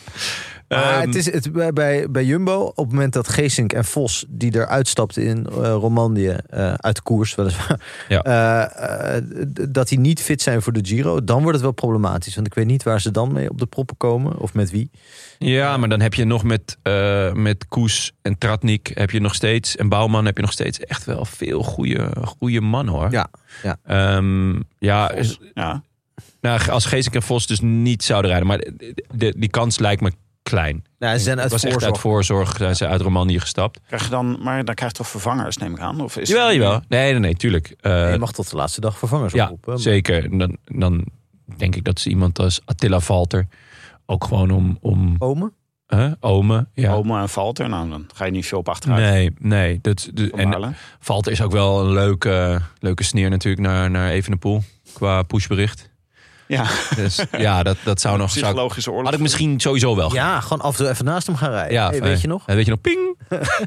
Speaker 2: Maar
Speaker 1: Ehm,
Speaker 2: het is het, bij- bij, bij Jumbo, op het moment dat Geesink en Vos, die er uitstapten in eh, Romandie, eh, uit de koers weliswaar,
Speaker 1: Ja.
Speaker 2: eh, eh, d- dat die niet fit zijn voor de Giro, dan wordt het wel problematisch. Want ik weet niet waar ze dan mee op de proppen komen of met wie.
Speaker 1: Ja, maar dan heb je nog met, eh, met Koes en Tratnik heb je nog steeds. En Bouwman heb je nog steeds echt wel veel goede, goede mannen hoor.
Speaker 2: Ja, ja.
Speaker 1: Ehm, ja is-
Speaker 4: Ja.
Speaker 1: nou, als Geesink en Vos dus niet zouden rijden. Maar de- de- die kans lijkt me klein.
Speaker 2: Nou, ze zijn
Speaker 1: Het
Speaker 2: uit
Speaker 1: was echt uit
Speaker 2: voorzorg.
Speaker 1: voorzorg zijn ze uit Romandie gestapt.
Speaker 4: Krijg je dan, maar dan krijg je toch vervangers, neem ik aan? Of is
Speaker 1: Jawel, jawel. Nee, nee, nee, tuurlijk. Eh,
Speaker 2: Je mag tot de laatste dag vervangers
Speaker 1: ja,
Speaker 2: oproepen. Maar-
Speaker 1: zeker. En Dan, dan denk ik dat ze iemand als Attila Valter ook gewoon om... om
Speaker 2: Komen?
Speaker 1: hè, Ome, ja.
Speaker 4: Homo en Valter, nou, dan ga je niet veel op achteruit.
Speaker 1: Nee, nee. Dat, de-
Speaker 4: Van
Speaker 1: en
Speaker 4: Baarle.
Speaker 1: Valt is ook wel een leuke, leuke sneer natuurlijk naar, naar Evenepoel. Qua pushbericht.
Speaker 4: ja,
Speaker 1: Dus ja, dat, dat zou nog... Zou,
Speaker 4: psychologische oorlog.
Speaker 1: had ik misschien sowieso wel gedaan.
Speaker 2: Ja, gewoon af en toe even naast hem gaan rijden.
Speaker 1: Ja,
Speaker 2: Hey,
Speaker 1: van,
Speaker 2: weet je nog?
Speaker 1: eh, Weet je nog, ping!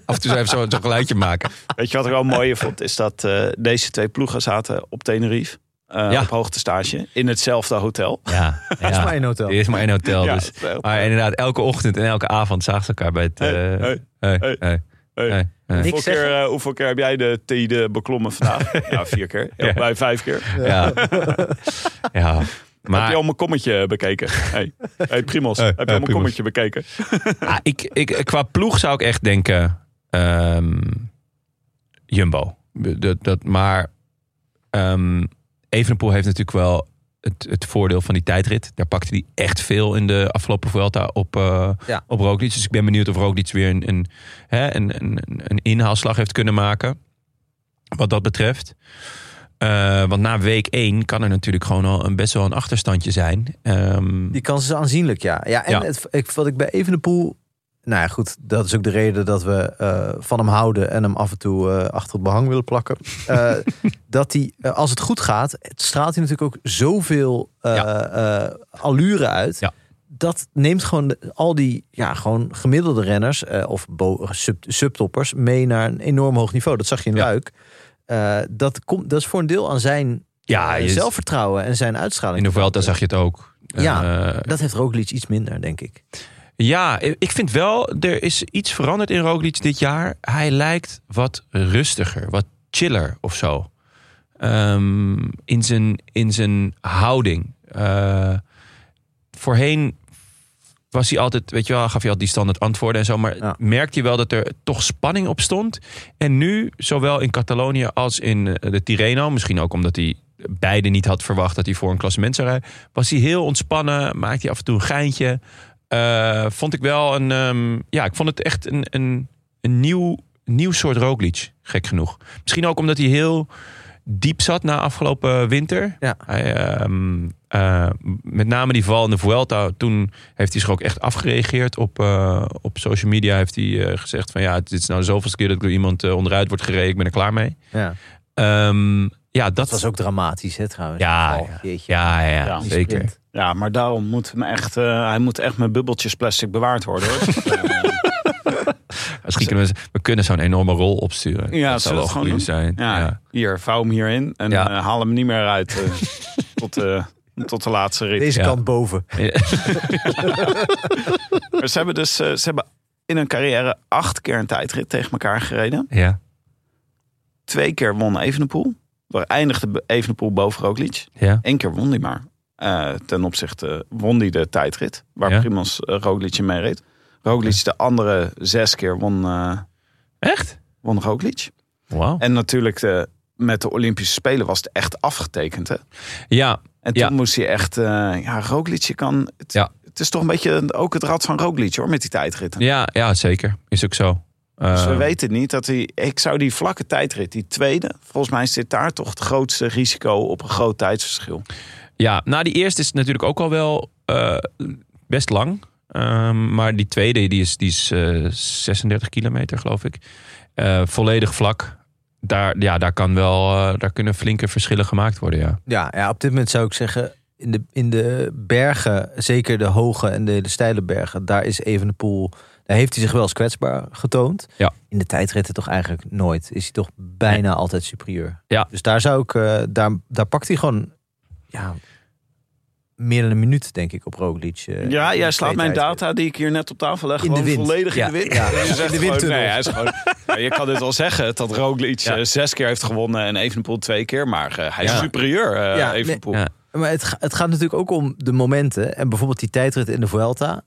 Speaker 1: Af en toe zou even zo- zo'n geluidje maken.
Speaker 4: Weet je wat ik wel mooi vond? Is dat eh, deze twee ploegen zaten op Tenerife. eh,
Speaker 1: Ja.
Speaker 4: Op hoogtestage. In hetzelfde hotel.
Speaker 1: Ja, ja.
Speaker 2: Dat is maar één hotel.
Speaker 1: Er is maar één hotel.
Speaker 4: Ja,
Speaker 1: dus.
Speaker 4: wel.
Speaker 1: Maar inderdaad, elke ochtend en elke avond zagen ze elkaar bij het... eh,
Speaker 4: Hey, hey,
Speaker 1: hey,
Speaker 4: hey,
Speaker 1: hey,
Speaker 4: hey.
Speaker 1: hey, hey.
Speaker 2: Niks
Speaker 4: Hoeveel keer, eh, hoeveel keer heb jij de TD beklommen vandaag? ja, vier keer. Ja,
Speaker 1: Ja.
Speaker 4: Bij vijf keer.
Speaker 1: Ja. ja.
Speaker 4: Heb
Speaker 1: Maar
Speaker 4: je al mijn kommetje bekeken? Hey, hey Primos,
Speaker 1: Hey,
Speaker 4: heb je
Speaker 1: hey,
Speaker 4: al mijn
Speaker 1: Primos.
Speaker 4: kommetje bekeken?
Speaker 1: Ah, ik, ik, qua ploeg zou ik echt denken... ehm, Jumbo. Dat, dat, maar ehm Evenepoel heeft natuurlijk wel het, het voordeel van die tijdrit. Daar pakte hij echt veel in de afgelopen Vuelta op, eh
Speaker 2: Ja.
Speaker 1: op Roglic. Dus ik ben benieuwd of Roglic weer een, een, hè, een, een, een inhaalslag heeft kunnen maken. Wat dat betreft. Eh, want na week 1 kan er natuurlijk gewoon al een, best wel een achterstandje zijn. Ehm,
Speaker 2: Die kans is aanzienlijk, ja. ja en
Speaker 1: Ja.
Speaker 2: Het, ik, wat ik bij Evenepoel... Nou ja, goed, dat is ook de reden dat we eh, van hem houden... en hem af en toe eh, achter het behang willen plakken. Eh, dat hij, eh, als het goed gaat, het straalt hij natuurlijk ook zoveel eh, eh, allure uit...
Speaker 1: Ja.
Speaker 2: Dat neemt gewoon de- al die ja, gewoon gemiddelde renners eh, of bo- sub- subtoppers mee naar een enorm hoog niveau. Dat zag je in
Speaker 1: Ja.
Speaker 2: Luik. Eh, dat, komt, dat is voor een deel aan zijn
Speaker 1: ja,
Speaker 2: eh,
Speaker 1: je-
Speaker 2: zelfvertrouwen en zijn uitstraling.
Speaker 1: in de Vuelta zag je het ook.
Speaker 2: Ja.
Speaker 1: Eh,
Speaker 2: Dat heeft Roglic iets minder, denk ik.
Speaker 1: Ja, ik vind wel, er is iets veranderd in Roglic dit jaar. Hij lijkt wat rustiger, wat chiller of zo. Ehm, in, zijn, in zijn houding. Eh, voorheen was hij altijd, weet je wel, gaf hij altijd die standaard antwoorden en zo. Maar
Speaker 2: Ja.
Speaker 1: merkte je wel dat er toch spanning op stond. En nu, zowel in Catalonië als in eh, de Tirreno, misschien ook omdat hij beide niet had verwacht dat hij voor een klassement zou rijden, was hij heel ontspannen, maakte hij af en toe een geintje. Eh, vond ik wel een, ehm, ja, ik vond het echt een, een, een nieuw, nieuw soort Roglic, gek genoeg. Misschien ook omdat hij heel diep zat na afgelopen winter.
Speaker 2: Ja.
Speaker 1: Hij, ehm, eh, met name die val in de Vuelta, toen heeft hij zich ook echt afgereageerd op, eh, op social media. Heeft hij eh, gezegd van ja, dit is nou zoveel keer dat ik door iemand eh, onderuit word gereden, ik ben er klaar mee.
Speaker 2: Ja.
Speaker 1: Ehm, ja, dat,
Speaker 2: Dat was ook dramatisch, hè, trouwens.
Speaker 1: Ja,
Speaker 2: Oh, jeetje.
Speaker 1: Ja, ja,
Speaker 4: Ja.
Speaker 1: zeker.
Speaker 4: Ja, maar daarom moet me echt, eh, hij moet echt met bubbeltjes plastic bewaard worden. Hoor. Dus, eh,
Speaker 1: Misschien kunnen we, we kunnen zo'n enorme rol opsturen.
Speaker 4: Ja,
Speaker 1: dat zou
Speaker 4: zullen
Speaker 1: wel
Speaker 4: we
Speaker 1: goed
Speaker 4: het
Speaker 1: zijn.
Speaker 4: ja,
Speaker 1: ja.
Speaker 4: Hier, vouw hem hierin en
Speaker 1: Ja.
Speaker 4: eh, haal hem niet meer uit eh, tot, eh, tot de laatste rit.
Speaker 2: Deze
Speaker 1: Ja.
Speaker 2: kant boven.
Speaker 4: Maar Ze hebben dus eh, ze hebben in hun carrière acht keer een tijdrit tegen elkaar gereden.
Speaker 1: Ja,
Speaker 4: Twee keer won Evenepoel. Daar eindigde Be- Evenepoel boven Roglic.
Speaker 1: ja.
Speaker 4: Eén keer won die maar. Eh, ten opzichte won hij de tijdrit. Waar
Speaker 1: Ja.
Speaker 4: Primoz uh, Roglic in mee reed. Roglic de andere zes keer won, eh
Speaker 1: Echt?
Speaker 4: won Roglic.
Speaker 1: Wauw.
Speaker 4: En natuurlijk de, met de Olympische Spelen was het echt afgetekend. Hè?
Speaker 1: Ja,
Speaker 4: En
Speaker 1: Ja.
Speaker 4: toen moest hij echt... eh, ja, Roglic je kan... Het,
Speaker 1: Ja.
Speaker 4: het is toch een beetje ook het rad van Roglic hoor, met die tijdritten.
Speaker 1: ja, ja, zeker. Is ook zo.
Speaker 4: Dus we
Speaker 1: Eh,
Speaker 4: weten niet dat hij... Ik zou die vlakke tijdrit, die tweede... Volgens mij zit daar toch het grootste risico op een groot tijdsverschil.
Speaker 1: Ja, nou die eerste is natuurlijk ook al wel eh, best lang. Ehm, maar die tweede die is, die is eh, 36 kilometer geloof ik. Eh, volledig vlak. Daar, ja, daar, kan wel, eh, daar kunnen flinke verschillen gemaakt worden, ja.
Speaker 2: Ja, ja, op dit moment zou ik zeggen, in de, in de bergen, zeker de hoge en de, de steile bergen, daar is Evenepoel, daar heeft hij zich wel eens kwetsbaar getoond.
Speaker 1: Ja.
Speaker 2: In de tijdritten toch eigenlijk nooit. Is hij toch bijna altijd superieur.
Speaker 1: Ja.
Speaker 2: Dus daar zou ik, eh, daar, daar pakt hij gewoon, ja, meer dan een minuut denk ik op Roglic. eh,
Speaker 4: Ja,
Speaker 2: in
Speaker 4: jij
Speaker 2: de
Speaker 4: slaat mijn
Speaker 2: tweetijdrit.
Speaker 4: data die ik hier net op tafel leg
Speaker 2: In de
Speaker 4: gewoon
Speaker 2: wind.
Speaker 4: volledig
Speaker 2: Ja,
Speaker 4: in de wind.
Speaker 2: ja.
Speaker 4: Je zegt
Speaker 2: In de
Speaker 4: gewoon,
Speaker 2: windtunnel.
Speaker 4: nee, hij is gewoon, Ja, je kan dit wel zeggen dat Roglic
Speaker 1: Ja.
Speaker 4: eh, zes keer heeft gewonnen en Evenepoel twee keer. Maar eh, hij is
Speaker 1: Ja.
Speaker 4: superieur, eh,
Speaker 2: Ja,
Speaker 4: Evenepoel.
Speaker 1: nee, ja.
Speaker 2: Maar het, ga- het gaat natuurlijk ook om de momenten. En bijvoorbeeld die tijdrit in de Vuelta.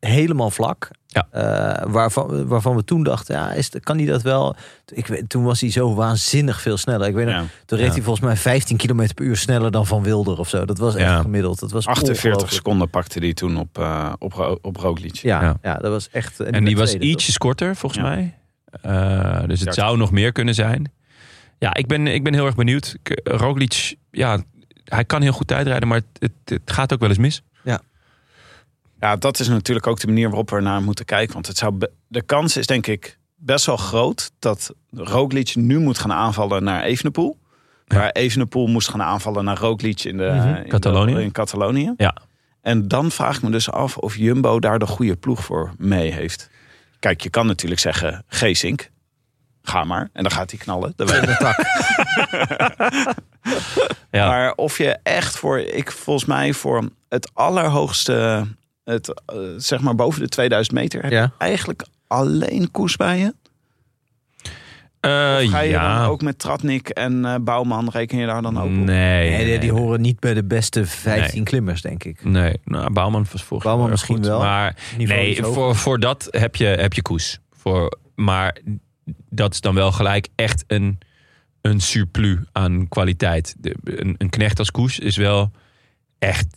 Speaker 2: Helemaal vlak.
Speaker 1: Ja.
Speaker 2: Eh, waarvan, waarvan we toen dachten, ja, is, kan hij dat wel? Ik, weet- toen was hij zo waanzinnig veel sneller. Ik weet nog,
Speaker 4: Ja.
Speaker 2: toen reed
Speaker 1: Ja.
Speaker 2: hij volgens mij 15 km per uur sneller dan Van Wilder of zo. Dat was echt
Speaker 1: Ja.
Speaker 2: gemiddeld. Dat was
Speaker 4: 48
Speaker 2: ongelooflijk.
Speaker 4: seconden pakte hij toen op, eh op, Ro- op Roglic.
Speaker 2: Ja,
Speaker 1: Ja.
Speaker 2: ja. dat was echt...
Speaker 1: En die was
Speaker 2: tweede, toch?
Speaker 1: ietsjes korter, volgens
Speaker 4: Ja.
Speaker 1: mij. Eh, dus het
Speaker 4: Exact.
Speaker 1: zou nog meer kunnen zijn. Ja, ik ben, ik ben heel erg benieuwd. Ik- Roglic, ja, hij kan heel goed tijdrijden, maar het, het, het gaat ook wel eens mis.
Speaker 4: Ja, dat is natuurlijk ook de manier waarop we ernaar moeten kijken. Want het zou be- de kans is denk ik best wel groot dat Roglic nu moet gaan aanvallen naar Evenepoel. Waar Evenepoel moest gaan aanvallen naar Roglic in, de, in, de-
Speaker 1: Mhm. Catalonië.
Speaker 4: in Catalonië.
Speaker 1: Ja.
Speaker 4: En dan vraag ik me dus af of Jumbo daar de goede ploeg voor mee heeft. Kijk, je kan natuurlijk zeggen, Geesink, ga maar. En dan gaat hij knallen. Dat weet ik.
Speaker 1: Ja.
Speaker 4: Maar of je echt voor, ik volgens mij voor het allerhoogste, het, eh, zeg maar boven de 2000 meter, heb
Speaker 2: Ja.
Speaker 4: je eigenlijk alleen koers bij je.
Speaker 1: Eh,
Speaker 4: Of ga je
Speaker 1: ja.
Speaker 4: dan ook met Tratnik en eh, Bouwman, reken je daar dan ook op?
Speaker 1: Nee,
Speaker 2: Nee, die, die
Speaker 1: nee.
Speaker 2: horen niet bij de beste 15
Speaker 1: Nee.
Speaker 2: klimmers, denk ik.
Speaker 1: Nee, nou, Bouwman was vorig
Speaker 2: Bouwman
Speaker 1: jaar
Speaker 2: misschien
Speaker 1: goed,
Speaker 2: wel.
Speaker 1: Maar
Speaker 2: Niveau
Speaker 1: nee,
Speaker 2: is hoog.
Speaker 1: voor, voor dat heb je, heb je koes. Voor, maar dat is dan wel gelijk echt een, een surplus aan kwaliteit. De- een, een knecht als koes is wel echt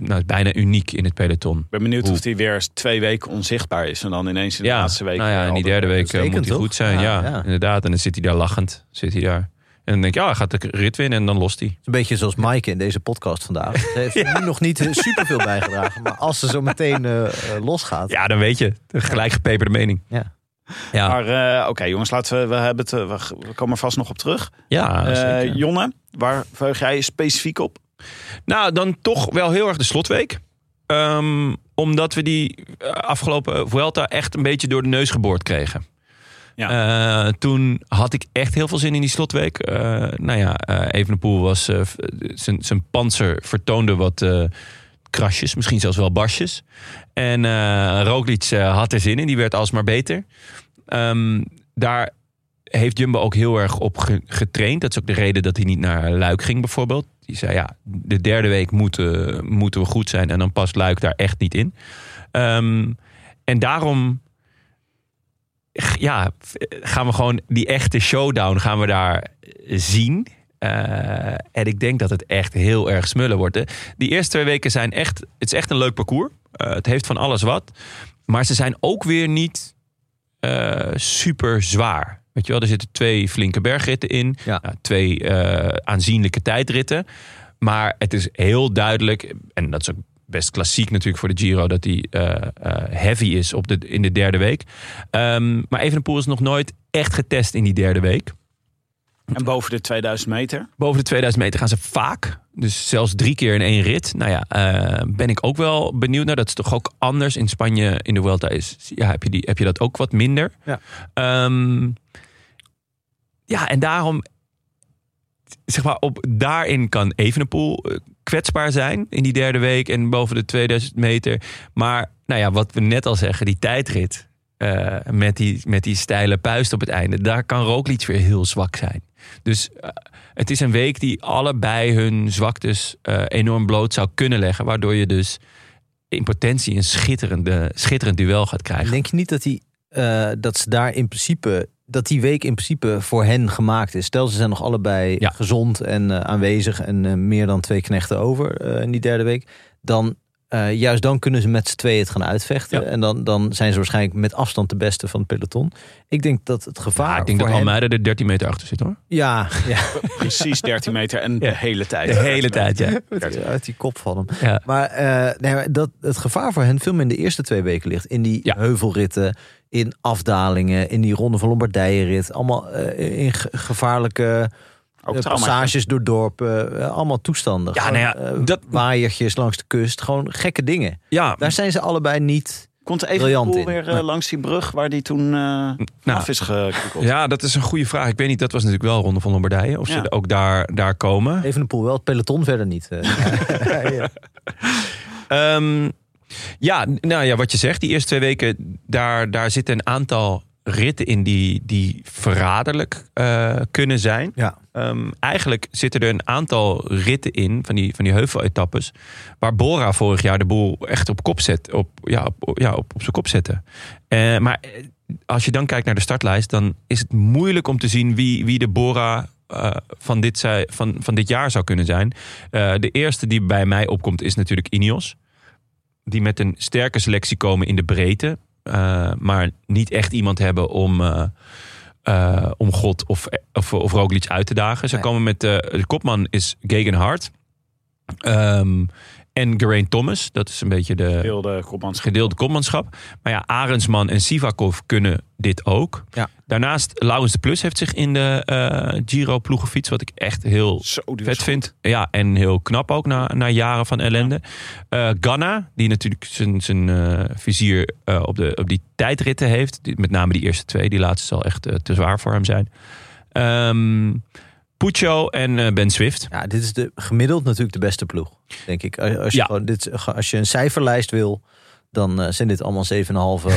Speaker 1: nou, bijna uniek in het peloton.
Speaker 4: Ik ben benieuwd
Speaker 1: Hoe?
Speaker 4: of hij weer eens twee weken onzichtbaar is en dan ineens in de
Speaker 1: Ja,
Speaker 4: laatste week.
Speaker 1: nou ja,
Speaker 4: eh,
Speaker 1: in die
Speaker 4: al de-
Speaker 1: derde week eh,
Speaker 2: uitstekend,
Speaker 1: moet hij
Speaker 2: toch?
Speaker 1: goed zijn.
Speaker 2: Ja,
Speaker 1: Ja,
Speaker 2: ja.
Speaker 1: inderdaad. En dan zit hij daar lachend. Zit hij daar. En dan denk je, ja, hij gaat de rit winnen en dan lost hij.
Speaker 2: Een beetje zoals Maaike in deze podcast vandaag. Ze heeft nu nog niet eh, superveel bijgedragen. Maar als ze zo meteen eh, eh, losgaat.
Speaker 1: Ja, dan weet je. De gelijk gepeperde mening.
Speaker 2: Ja.
Speaker 1: Ja,
Speaker 4: Maar eh, oké, jongens, laten we, we, hebben het, eh, we g- we komen er vast nog op terug.
Speaker 1: ja
Speaker 4: Eh,
Speaker 1: zeker.
Speaker 4: Jonne, waar veug jij je specifiek op?
Speaker 1: Nou, dan toch wel heel erg de slotweek. Ehm, omdat we die eh, afgelopen Vuelta echt een beetje door de neus geboord kregen. Eh, toen had ik echt heel veel zin in die slotweek. Eh nou ja, eh Evenepoel was... eh, v- zijn zijn panzer vertoonde wat eh krasjes. Misschien zelfs wel barsjes. En eh Roglic eh, had er zin in. Die werd alsmaar beter. Ehm, daar heeft Jumbo ook heel erg op ge- getraind. Dat is ook de reden dat hij niet naar Luik ging bijvoorbeeld. Die zei ja, de derde week moeten, moeten we goed zijn. En dan past Luik daar echt niet in. Ehm, en daarom g- ja, f- gaan we gewoon die echte showdown gaan we daar zien. Eh, en ik denk dat het echt heel erg smullen wordt. Hè. Die eerste twee weken zijn echt... Het is echt een leuk parcours. Eh, het heeft van alles wat. Maar ze zijn ook weer niet eh, super zwaar. Weet je wel, er zitten twee flinke bergritten in.
Speaker 2: Ja.
Speaker 1: Nou, twee eh, aanzienlijke tijdritten. Maar het is heel duidelijk, en dat is ook best klassiek natuurlijk voor de Giro, dat die eh, eh, heavy is op de, in de derde week. Ehm, maar Evenepoel is nog nooit echt getest in die derde week.
Speaker 4: En boven de 2000 meter?
Speaker 1: Boven de 2000 meter gaan ze vaak. Dus zelfs drie keer in één rit. Nou ja, eh, ben ik ook wel benieuwd naar. Dat is toch ook anders in Spanje in de Vuelta. Is, ja, heb, je die, heb je dat ook wat minder?
Speaker 2: Ja.
Speaker 1: Ehm, ja, en daarom... Zeg maar, op, daarin kan Evenepoel eh, kwetsbaar zijn in die derde week en boven de 2000 meter. Maar nou ja, wat we net al zeggen, die tijdrit eh, met, die, met die steile puist op het einde, daar kan Roglic weer heel zwak zijn. Dus eh, Het is een week die allebei hun zwaktes eh, enorm bloot zou kunnen leggen. Waardoor je dus in potentie een schitterende, schitterend duel gaat krijgen.
Speaker 2: Denk je niet dat, die, eh, dat ze daar in principe. Dat die week in principe voor hen gemaakt is. Stel, ze zijn nog allebei
Speaker 1: Ja.
Speaker 2: gezond en eh, aanwezig en eh, meer dan twee knechten over eh, in die derde week. Dan eh, juist dan kunnen ze met z'n tweeën het gaan uitvechten.
Speaker 1: Ja.
Speaker 2: En dan, dan zijn ze waarschijnlijk met afstand de beste van het peloton. Ik denk dat het gevaar.
Speaker 1: Ja, ik denk
Speaker 2: voor
Speaker 1: dat
Speaker 2: hen-
Speaker 1: Almeida er 13 meter achter zit hoor.
Speaker 2: Ja, ja
Speaker 4: Precies 13 meter en
Speaker 1: Ja.
Speaker 4: de hele tijd.
Speaker 1: De hele tijd, ja.
Speaker 2: uit die- uit die kop van hem.
Speaker 1: Ja.
Speaker 2: Maar, eh, nee, maar dat het gevaar voor hen veel meer in de eerste twee weken ligt. In die
Speaker 1: Ja.
Speaker 2: heuvelritten, in afdalingen, in die ronde van Lombardijenrit. Allemaal eh, in ge- gevaarlijke
Speaker 4: Ook
Speaker 2: eh,
Speaker 4: trauma.
Speaker 2: passages door dorpen. eh, allemaal toestanden.
Speaker 1: Ja,
Speaker 2: Gewoon,
Speaker 1: nou ja,
Speaker 2: eh,
Speaker 1: dat-
Speaker 2: Waaiertjes langs de kust. Gewoon gekke dingen.
Speaker 1: Ja,
Speaker 2: Daar zijn ze allebei niet...
Speaker 4: Komt even
Speaker 2: Briljant
Speaker 4: cool
Speaker 2: in.
Speaker 4: weer eh, langs die brug waar die toen eh
Speaker 1: nou,
Speaker 4: af is gekukeld.
Speaker 1: ja, dat is een goede vraag. Ik weet niet, dat was natuurlijk wel Ronde van Lombardije. Of
Speaker 4: Ja.
Speaker 1: ze ook daar, daar komen.
Speaker 2: Even een poel, wel het peloton verder niet. eh.
Speaker 1: Ehm, ja, nou ja, wat je zegt, die eerste twee weken, daar, daar zitten een aantal ritten in die, die verraderlijk eh, kunnen zijn.
Speaker 2: ja.
Speaker 1: Ehm, eigenlijk zitten er een aantal ritten in van die, van die heuveletappes. Waar Bora vorig jaar de boel echt op kop zet. Op, ja, op, ja, op, op zijn kop zette. Eh, maar eh, als je dan kijkt naar de startlijst, dan is het moeilijk om te zien wie, wie de Bora. eh, van, dit zij, van, van dit jaar zou kunnen zijn. Eh, de eerste die bij mij opkomt is natuurlijk Ineos. Die met een sterke selectie komen in de breedte. eh, maar niet echt iemand hebben om, eh, eh, om God of, of, of Roglic uit te dagen. Ze
Speaker 2: Nee.
Speaker 1: komen met eh, de kopman is Gegenhard. Ehm en Geraint Thomas. Dat is een beetje de,
Speaker 4: Wilde kopmanschap.
Speaker 1: gedeelde kopmanschap. Maar ja, Arendsman en Sivakov kunnen dit ook.
Speaker 2: Ja.
Speaker 1: Daarnaast, Laurens de Plus heeft zich in de eh Giro ploeg gefietst. Wat ik echt heel
Speaker 4: Zo duur.
Speaker 1: vet vind. Ja, en heel knap ook na, na jaren van ellende. Eh, Ganna, die natuurlijk zijn, zijn eh, vizier eh, op, de, op die tijdritten heeft. Die- Met name die eerste twee. Die laatste zal echt eh, te zwaar voor hem zijn. Ehm Puccio en eh, Ben Swift.
Speaker 2: ja, dit is de, gemiddeld natuurlijk de beste ploeg, denk ik. Als, als je,
Speaker 1: Ja.
Speaker 2: gewoon dit, als je een cijferlijst wil, dan eh, zijn dit allemaal 7,5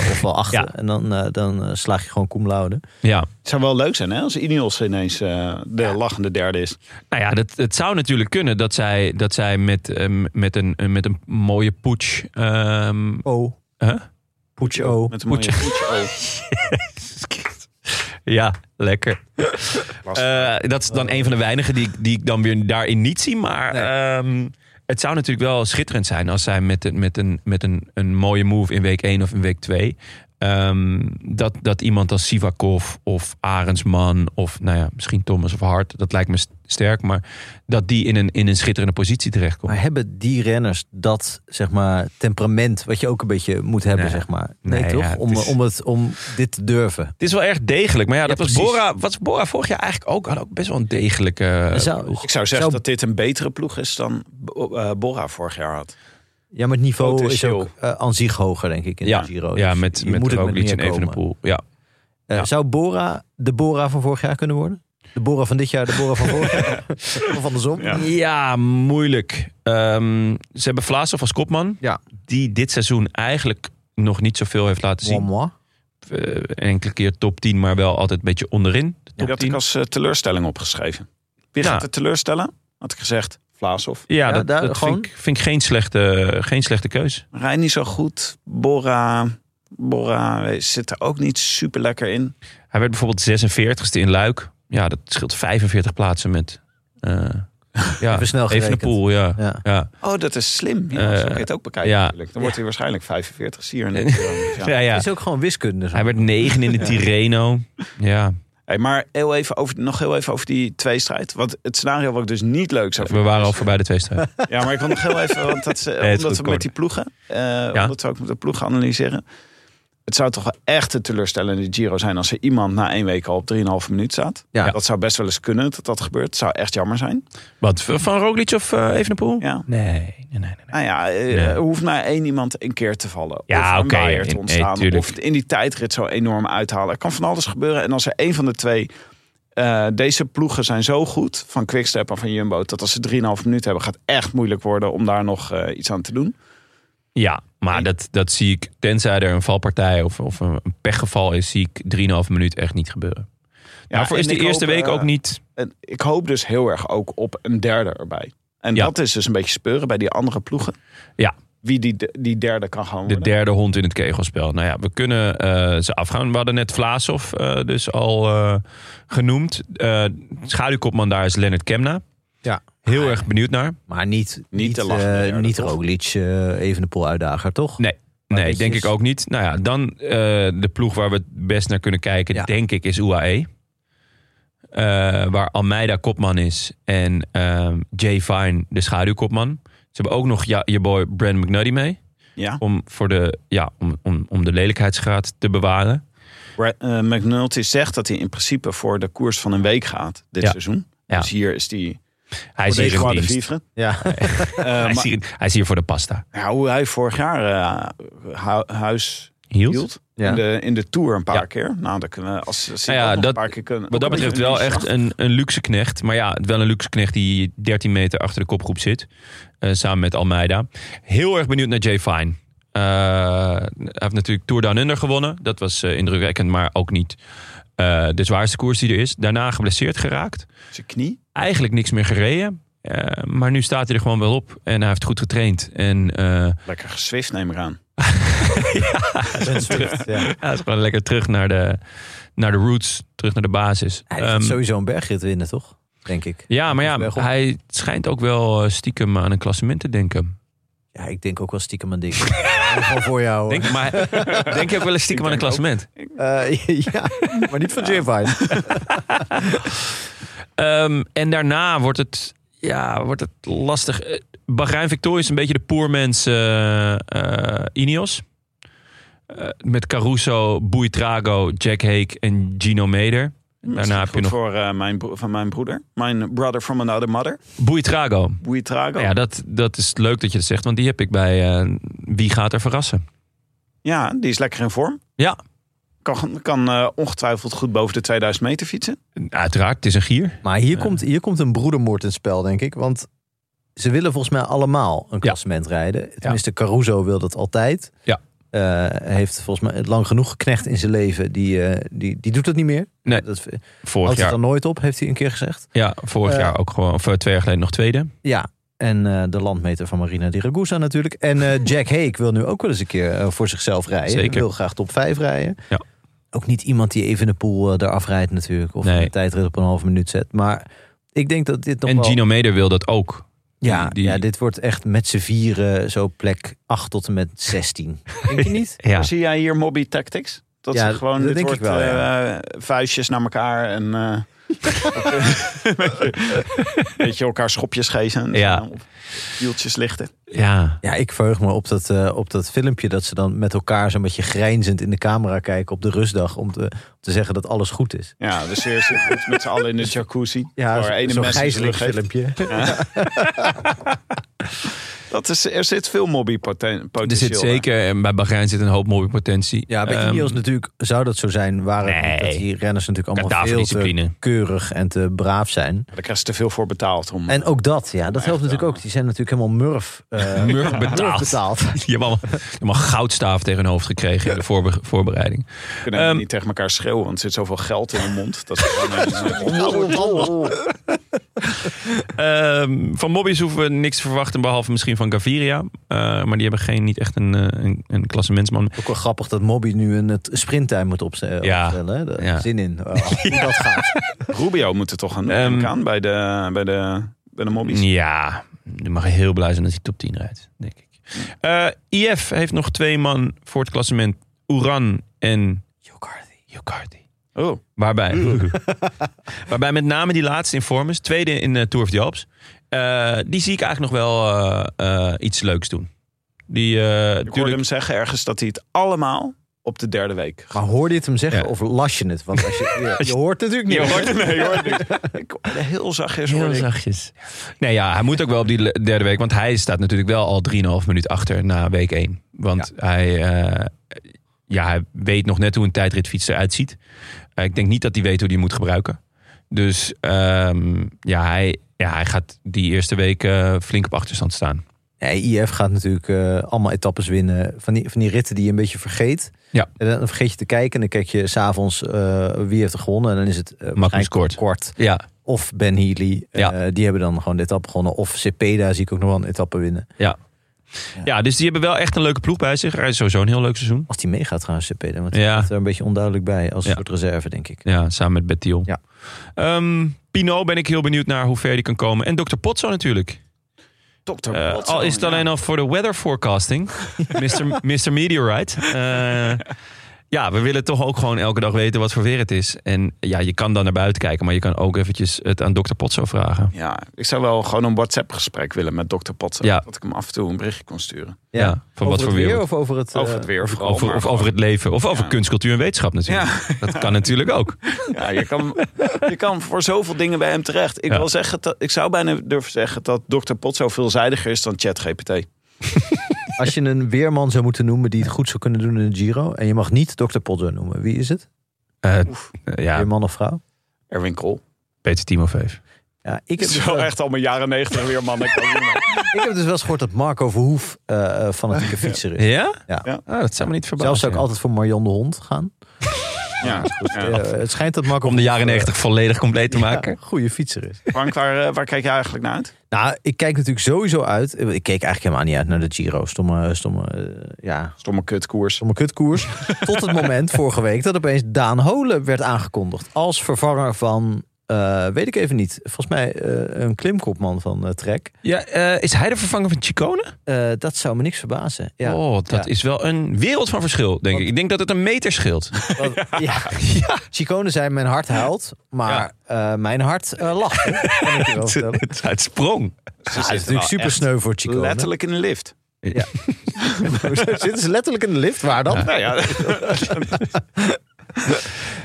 Speaker 2: of wel 8.
Speaker 1: Ja.
Speaker 2: En dan, eh, dan eh, slaag je gewoon cum laude.
Speaker 1: Ja.
Speaker 4: Het zou wel leuk zijn hè, als Ineos ineens eh, de lachende derde is.
Speaker 1: Nou ja, dat, het zou natuurlijk kunnen dat zij, dat zij met, ehm, met, een, met een mooie putsch. ehm,
Speaker 2: O.
Speaker 1: Huh?
Speaker 2: Poets O.
Speaker 4: Met een mooie poetje. Oh,
Speaker 1: ja, lekker.
Speaker 4: lastig.
Speaker 1: Eh, dat is dan een van de weinigen die, ik- die ik dan weer daarin niet zie. Maar
Speaker 2: Nee.
Speaker 1: ehm, het zou natuurlijk wel schitterend zijn als zij met, een- met, een, met een, een mooie move in week 1 of in week 2. ehm, dat, dat iemand als Sivakov of Arendsman of nou ja, misschien Thomas of Hart, dat lijkt me st- sterk, maar dat die in een, in een schitterende positie terechtkomt.
Speaker 2: Maar hebben die renners dat zeg maar, temperament wat je ook een beetje moet hebben,
Speaker 1: Nee.
Speaker 2: zeg maar? Nee,
Speaker 1: Nee,
Speaker 2: toch?
Speaker 1: ja, het
Speaker 2: om,
Speaker 1: is-
Speaker 2: om, het, om dit te durven.
Speaker 1: Het is wel erg degelijk. Maar ja, dat was
Speaker 2: precies.
Speaker 1: Bora, was Bora vorig jaar eigenlijk ook. Had ook best wel een degelijke.
Speaker 2: Zou,
Speaker 4: Ik zou zeggen
Speaker 2: zou-
Speaker 4: dat dit een betere ploeg is dan Bo- eh, Bora vorig jaar had.
Speaker 2: ja, maar het niveau is
Speaker 4: potentieel.
Speaker 2: ook eh, aan zich hoger, denk ik, in
Speaker 1: ja,
Speaker 2: de Giro.
Speaker 1: ja,
Speaker 2: Dus
Speaker 1: met,
Speaker 2: je
Speaker 1: met
Speaker 2: moet het
Speaker 1: Roglic en
Speaker 2: meer komen.
Speaker 1: Evenepoel. Ja.
Speaker 2: Eh,
Speaker 1: Ja.
Speaker 2: Zou Bora de Bora van vorig jaar kunnen worden? De Bora van dit jaar, de Bora van vorig jaar? of andersom?
Speaker 4: Ja.
Speaker 1: ja, moeilijk. Ehm, ze hebben Vlaasov als kopman.
Speaker 2: Ja.
Speaker 1: Die dit seizoen eigenlijk nog niet zoveel heeft laten zien.
Speaker 2: Moi, moi.
Speaker 1: Eh, enkele keer top 10, maar wel altijd een beetje onderin. De
Speaker 4: Die
Speaker 1: top
Speaker 4: had
Speaker 1: 10.
Speaker 4: ik als eh, teleurstelling opgeschreven. Wie
Speaker 1: Ja.
Speaker 4: gaat het teleurstellen? Had ik gezegd, Vlaasov.
Speaker 1: Ja,
Speaker 2: Ja,
Speaker 1: dat,
Speaker 2: daar
Speaker 1: dat
Speaker 2: gewoon-
Speaker 1: vind, ik, vind ik geen slechte, geen slechte keus.
Speaker 4: Rijn niet zo goed. Bora, Bora eh, zit er ook niet super lekker in.
Speaker 1: Hij werd bijvoorbeeld 46ste in Luik. Ja, dat scheelt 45 plaatsen met. eh ja,
Speaker 2: Even snel gerekend.
Speaker 1: Evenepoel, ja.
Speaker 2: Ja.
Speaker 1: ja.
Speaker 4: Oh, dat is slim. Ja,
Speaker 1: Eh,
Speaker 4: zo kan je het ook bekijken
Speaker 1: ja.
Speaker 4: natuurlijk. Dan wordt hij waarschijnlijk 45 hier. in de- Ja.
Speaker 1: Ja, ja.
Speaker 2: Het is ook gewoon wiskunde. zo.
Speaker 1: Hij werd negen in de Tirreno. Ja,
Speaker 4: Hey, maar heel even over, nog heel even over die tweestrijd. Want het scenario wat ik dus niet leuk zou
Speaker 1: we
Speaker 4: vinden.
Speaker 1: waren al voorbij de twee strijd.
Speaker 4: Ja, maar ik wil nog heel even, want dat, ze-
Speaker 1: het is
Speaker 4: omdat
Speaker 1: goed,
Speaker 4: we
Speaker 1: Cor.
Speaker 4: met die ploegen, eh, omdat we ook met de ploegen analyseren. Het zou toch wel echt een teleurstellende Giro zijn als er iemand na één week al op 3,5 minuut staat.
Speaker 2: Ja.
Speaker 4: Dat zou best wel eens kunnen dat dat gebeurt. Het zou echt jammer zijn.
Speaker 1: Wat, van Roglic of eh, Evenepoel?
Speaker 4: Ja.
Speaker 1: Nee, nee, nee. nee.
Speaker 4: Nou ja, eh,
Speaker 1: Ja.
Speaker 4: er hoeft maar één iemand een keer te vallen.
Speaker 1: Ja,
Speaker 4: of een
Speaker 1: oké,
Speaker 4: waaier te
Speaker 1: in- nee,
Speaker 4: ontstaan.
Speaker 1: tuurlijk.
Speaker 4: of in die tijdrit zo enorm uithalen. Er kan van alles gebeuren. En als er één van de twee... eh, deze ploegen zijn zo goed, van Quickstep en van Jumbo... dat als ze 3,5 minuten hebben, gaat echt moeilijk worden... om daar nog eh, iets aan te doen.
Speaker 1: Ja, maar dat, dat zie ik, tenzij er een valpartij of, of een een pechgeval is, zie ik 3,5 minuut echt niet gebeuren. Daarvoor is
Speaker 4: en
Speaker 1: die
Speaker 4: ik
Speaker 1: eerste
Speaker 4: hoop,
Speaker 1: week
Speaker 4: eh,
Speaker 1: ook niet...
Speaker 4: En ik hoop dus heel erg ook op een derde erbij. En
Speaker 1: Ja.
Speaker 4: dat is dus een beetje speuren bij die andere ploegen.
Speaker 1: Ja.
Speaker 4: Wie die, die derde kan gaan
Speaker 1: De
Speaker 4: worden.
Speaker 1: derde hond in het kegelspel. Nou ja, we kunnen eh, ze afgaan. We hadden net Vlaasov eh, dus al eh, genoemd. Eh schaduwkopman daar is Lennart Kemna.
Speaker 2: Ja.
Speaker 1: Heel erg benieuwd naar.
Speaker 2: Maar niet,
Speaker 4: Niet
Speaker 2: niet,
Speaker 4: te
Speaker 2: eh
Speaker 4: lachen, nee, ja,
Speaker 2: niet
Speaker 4: dat klopt.
Speaker 2: Roglic, eh, even de uitdager, toch?
Speaker 1: Nee, nee
Speaker 2: weet je
Speaker 1: denk
Speaker 2: eens-
Speaker 1: ik ook niet. Nou ja, dan eh, de ploeg waar we het best naar kunnen kijken,
Speaker 2: Ja.
Speaker 1: denk ik, is UAE. Eh, waar Almeida kopman is en ehm, Jay Fine de schaduwkopman. Ze hebben ook nog ja, je boy Brand McNuddy mee.
Speaker 4: Ja.
Speaker 1: Om, voor de, ja, om, om, om de lelijkheidsgraad te bewaren.
Speaker 4: Brad- eh, McNulty zegt dat hij in principe voor de koers van een week gaat dit
Speaker 1: Ja.
Speaker 4: seizoen.
Speaker 1: Ja.
Speaker 4: Dus hier is die
Speaker 1: Hij is,
Speaker 4: voor
Speaker 1: hier
Speaker 4: deze
Speaker 1: in
Speaker 4: Croix de
Speaker 1: dienst.
Speaker 4: Vivre.
Speaker 2: Ja.
Speaker 4: Eh,
Speaker 1: hij, is
Speaker 4: maar,
Speaker 1: hier, hij is hier voor de pasta.
Speaker 4: ja, hoe hij vorig jaar eh, hu- huis
Speaker 1: Hield?
Speaker 4: hield.
Speaker 2: Ja.
Speaker 4: In, de, in de Tour een paar
Speaker 1: Ja.
Speaker 4: keer. Nou, dat kunnen we als ze
Speaker 1: Nou ja,
Speaker 4: dat nog
Speaker 1: dat-
Speaker 4: een paar keer kunnen.
Speaker 1: Wat dat
Speaker 4: ook een
Speaker 1: betreft
Speaker 4: beetje
Speaker 1: wel
Speaker 4: een
Speaker 1: echt een, een luxe knecht. Maar ja, wel een luxe knecht die 13 meter achter de kopgroep zit. eh, samen met Almeida. Heel erg benieuwd naar Jay Fine. Eh, hij heeft natuurlijk Tour Down Under gewonnen. Dat was eh, indrukwekkend, maar ook niet eh, de zwaarste koers die er is. Daarna geblesseerd geraakt.
Speaker 4: Zijn knie.
Speaker 1: Eigenlijk niks meer gereden. Eh, maar nu staat hij er gewoon wel op. En hij heeft goed getraind. En eh,
Speaker 4: Lekker geswift neem ik aan.
Speaker 2: Ben Swift, ja.
Speaker 1: hij is gewoon lekker terug naar de, naar de roots. Terug naar de basis.
Speaker 2: Hij
Speaker 1: Ehm,
Speaker 2: gaat sowieso een bergrit winnen, toch? Denk ik.
Speaker 1: Ja, maar ja,
Speaker 2: Bergop.
Speaker 1: hij schijnt ook wel eh, stiekem aan een klassement te denken.
Speaker 2: Ja, ik denk ook wel stiekem aan dingen. Gewoon voor jou.
Speaker 1: Denk, maar, denk je ook wel eens stiekem aan een
Speaker 4: denk ook.
Speaker 1: klassement?
Speaker 2: Eh, ja, maar niet van Jay Vine.
Speaker 1: Ehm, en daarna wordt het, ja, wordt het lastig. Eh, Bahrein Victoria is een beetje de poor man's eh, eh, Ineos. Eh, met Caruso, Buitrago, Jack Hake en Gino Meder. Daarna heb je nog
Speaker 4: voor eh, mijn bro- van mijn broeder. Mijn brother from another mother.
Speaker 1: Buitrago.
Speaker 4: Buitrago.
Speaker 1: Ja, dat, dat is leuk dat je dat zegt, want die heb ik bij eh, Wie gaat er verrassen?
Speaker 4: Ja, die is lekker in vorm.
Speaker 1: Ja,
Speaker 4: Kan, kan eh, ongetwijfeld goed boven de 2000 meter fietsen.
Speaker 1: uiteraard, het is een gier.
Speaker 2: Maar hier, komt, hier komt een broedermoord in het spel, denk ik. Want ze willen volgens mij allemaal een klassement rijden. Tenminste, Caruso wil dat altijd.
Speaker 1: Ja.
Speaker 2: Eh, heeft volgens mij lang genoeg geknecht in zijn leven. Die, eh, die, die doet dat niet meer.
Speaker 1: Nee.
Speaker 2: Dat
Speaker 1: Vorig
Speaker 2: houdt het
Speaker 1: jaar
Speaker 2: dan nooit op, heeft hij een keer gezegd.
Speaker 1: Ja, vorig
Speaker 2: Eh,
Speaker 1: jaar ook gewoon, of eh, twee jaar geleden nog tweede.
Speaker 2: Ja, en eh, de landmeter van Marina di Ragusa natuurlijk. En eh, Jack Hake wil nu ook wel eens een keer eh, voor zichzelf rijden.
Speaker 1: Zeker.
Speaker 2: Wil graag top 5 rijden.
Speaker 1: Ja.
Speaker 2: Ook niet iemand die even de poel eh, eraf rijdt natuurlijk. Of
Speaker 1: Nee.
Speaker 2: een tijdrit op een halve minuut zet. Maar ik denk dat dit nog
Speaker 1: En
Speaker 2: wel...
Speaker 1: Gino Meder wil dat ook.
Speaker 2: ja,
Speaker 1: die-
Speaker 2: ja, dit wordt echt met z'n vieren zo plek 8 tot en met 16. denk je niet?
Speaker 1: Ja,
Speaker 4: Zie jij hier Mobby Tactics? Dat
Speaker 2: Ja,
Speaker 4: is gewoon,
Speaker 2: dat
Speaker 4: dit
Speaker 2: denk ik
Speaker 4: wordt
Speaker 2: wel,
Speaker 4: eh,
Speaker 2: ja.
Speaker 4: vuistjes naar elkaar en eh, een beetje- een beetje elkaar schopjes geven.
Speaker 1: Ja.
Speaker 4: Of Wieltjes lichten.
Speaker 1: ja.
Speaker 2: Ja, ik verheug me op dat, eh, op dat filmpje dat ze dan met elkaar zo'n beetje grijnzend in de camera kijken op de rustdag. Om te, om te zeggen dat alles goed is.
Speaker 4: Ja, dus eerst zitten met z'n allen in de jacuzzi.
Speaker 2: Ja,
Speaker 4: waar
Speaker 2: zo-
Speaker 4: ene
Speaker 2: zo'n
Speaker 4: mens die terug heeft.
Speaker 2: gijzelingsfilmpje.
Speaker 4: Dat is, er zit veel mobbypotentieel.
Speaker 1: Er zit zeker, en bij Bahrein zit een hoop mooie potentie.
Speaker 2: Ja, bij
Speaker 1: Ehm,
Speaker 2: Ineos natuurlijk zou dat zo zijn, waren
Speaker 1: Nee.
Speaker 2: dat die renners natuurlijk allemaal veel
Speaker 1: Kadaver-discipline.
Speaker 2: te keurig en te braaf zijn.
Speaker 4: Daar krijg je te veel voor betaald. Om,
Speaker 2: En ook dat, ja, dat helpt
Speaker 4: echt
Speaker 2: natuurlijk ook. Die zijn natuurlijk helemaal murf, eh,
Speaker 1: Murf betaald.
Speaker 2: betaald.
Speaker 1: Je hebt allemaal, je hebt allemaal goudstaaf tegen hun hoofd gekregen in de voorbe- voorbereiding.
Speaker 4: kunnen helemaal
Speaker 1: Ehm,
Speaker 4: niet tegen elkaar schreeuwen, want er zit zoveel geld in hun mond. Dat is gewoon, eh,
Speaker 1: Ehm, van Mobbies hoeven we niks te verwachten, behalve misschien van Gaviria. Eh, maar die hebben geen, niet echt een, eh, een, een klassementsman.
Speaker 2: Ook wel grappig dat Mobby nu een het sprinttuin moet opze-
Speaker 1: Ja.
Speaker 2: opstellen. hè. Daar
Speaker 1: Ja.
Speaker 2: Zin in. Oh, hoe dat gaat.
Speaker 4: Rubio moet er toch aan
Speaker 1: Ehm,
Speaker 4: um, aan bij de, bij de, bij de mobbies.
Speaker 1: Ja, je mag heel blij zijn dat hij top 10 rijdt, denk ik. Eh, IF heeft nog twee man voor het klassement. Uran en... Jokardi. Jokardi.
Speaker 4: Oh,
Speaker 1: Waarbij, Mm. waarbij met name die laatste in vorm is. Tweede in de Tour of the Alps. Eh, die zie ik eigenlijk nog wel eh, eh, iets leuks doen. Die, eh
Speaker 4: ik hoorde
Speaker 1: tuurlijk,
Speaker 4: hem zeggen ergens dat hij het allemaal op de derde week.
Speaker 2: Maar hoorde je het hem zeggen
Speaker 1: Ja.
Speaker 2: of las je het? Want als je, je, je hoort het natuurlijk niet.
Speaker 1: Je hoort het
Speaker 4: Nee, hoor. Ik, heel zachtjes
Speaker 1: heel
Speaker 4: hoorde ik.
Speaker 1: zachtjes. Nee, ja, hij moet ook wel op die le- derde week. Want hij staat natuurlijk wel al 3,5 minuut achter na week 1. Want hij, eh, ja, hij weet nog net hoe een tijdritfiets eruit ziet. Eh, ik denk niet dat hij weet hoe die moet gebruiken. Dus ehm, ja, hij, ja, hij gaat die eerste week eh, flink op achterstand staan.
Speaker 2: Nee, IF gaat natuurlijk eh, allemaal etappes winnen. Van die, van die ritten die je een beetje vergeet.
Speaker 1: Ja.
Speaker 2: En dan vergeet je te kijken. En dan kijk je s'avonds eh wie heeft er gewonnen. En dan is het eh, waarschijnlijk
Speaker 1: Kort. Ja,
Speaker 2: Of Ben Healy. eh,
Speaker 1: Ja.
Speaker 2: die hebben dan gewoon de etappe gewonnen. Of Cepeda zie ik ook nog wel een etappe winnen.
Speaker 1: ja. Ja, dus die hebben wel echt een leuke ploeg bij zich. Hij is sowieso een heel leuk seizoen.
Speaker 2: Als die meegaat trouwens, Cepeda. Want die
Speaker 1: Ja.
Speaker 2: staat er een beetje onduidelijk bij. Als een
Speaker 1: Ja.
Speaker 2: soort reserve, denk ik.
Speaker 1: Ja, samen met Bettiol.
Speaker 2: Ja.
Speaker 1: Ehm, Pinot ben ik heel benieuwd naar hoe ver die kan komen. En Dr. Potso natuurlijk.
Speaker 4: Dr.
Speaker 1: Eh,
Speaker 4: Watson,
Speaker 1: al is het
Speaker 4: ja.
Speaker 1: alleen al voor de weather forecasting. Mr. Mr. Meteorite. Eh, ja, we willen toch ook gewoon elke dag weten wat voor weer het is. En ja, je kan dan naar buiten kijken. Maar je kan ook eventjes het aan Dr. Potso vragen.
Speaker 4: Ja, ik zou wel gewoon een WhatsApp-gesprek willen met Dr. Potsen.
Speaker 1: Ja.
Speaker 4: Dat ik hem af en toe een berichtje kon sturen.
Speaker 1: Ja, van
Speaker 2: Over
Speaker 1: wat
Speaker 2: het
Speaker 1: voor weer.
Speaker 2: of over het... eh,
Speaker 4: Over het weer vooral.
Speaker 1: Over,
Speaker 4: maar
Speaker 1: of over het leven. Of over
Speaker 4: Ja.
Speaker 1: kunst, cultuur en wetenschap natuurlijk.
Speaker 4: Ja.
Speaker 1: Dat kan natuurlijk ook.
Speaker 4: Ja, je kan, je kan voor zoveel dingen bij hem terecht. Ik,
Speaker 1: Ja.
Speaker 4: wil zeggen dat, ik zou bijna durven zeggen dat Dr. Pot zo veelzijdiger is dan ChatGPT.
Speaker 2: Als je een weerman zou moeten noemen die het goed zou kunnen doen in de Giro. En je mag niet Dr. Potso noemen. Wie is het?
Speaker 1: Eh, eh, ja,
Speaker 2: Weerman of vrouw?
Speaker 4: Erwin Kool.
Speaker 1: Peter Timofeef.
Speaker 2: Ja, ik
Speaker 4: Het
Speaker 2: heb,
Speaker 4: is
Speaker 2: dus
Speaker 4: wel
Speaker 2: wel,
Speaker 4: echt allemaal jaren negentig weer mannen.
Speaker 2: ik heb dus wel eens gehoord dat Marco Verhoef eh eh, fanatieke fietser is.
Speaker 1: Ja?
Speaker 2: Ja.
Speaker 4: Ja.
Speaker 1: Ah, dat zou me niet verbazen.
Speaker 2: Zelfs zou ik altijd voor Marion de Hond gaan.
Speaker 4: Ja.
Speaker 2: Eh,
Speaker 4: Ja.
Speaker 2: het schijnt dat Marco
Speaker 1: Om de jaren
Speaker 2: Verhoef, eh,
Speaker 1: 90 volledig compleet te maken.
Speaker 2: ja, een goede fietser is.
Speaker 4: Frank, waar, eh, waar kijk jij eigenlijk naar uit?
Speaker 2: Nou, ik kijk natuurlijk sowieso uit. Ik keek eigenlijk helemaal niet uit naar de Giro. Stomme, stomme, eh, ja,
Speaker 4: Stomme kutkoers.
Speaker 2: stomme kutkoers. Tot het moment vorige week dat opeens Daan Holen werd aangekondigd. Als vervanger van, eh, weet ik even niet. Volgens mij eh, een klimkopman van eh Trek.
Speaker 1: Ja, eh, is hij de vervanger van Chicone?
Speaker 2: Eh, dat zou me niks verbazen. Ja.
Speaker 1: oh, dat
Speaker 2: Ja.
Speaker 1: is wel een wereld van verschil, denk ik. Ik denk dat het een meter scheelt.
Speaker 2: Want- ja. Chicone zei, mijn hart huilt, maar eh, mijn hart eh, lacht. Kan ik je wel vertellen.
Speaker 1: het, het sprong.
Speaker 4: Ze
Speaker 2: Ja, het is
Speaker 4: zitten
Speaker 2: natuurlijk
Speaker 4: wel
Speaker 2: super
Speaker 4: echt
Speaker 2: sneu voor Chicone.
Speaker 4: Letterlijk in de lift.
Speaker 2: Zitten ze letterlijk in de lift? Waar dan?
Speaker 4: Nou ja,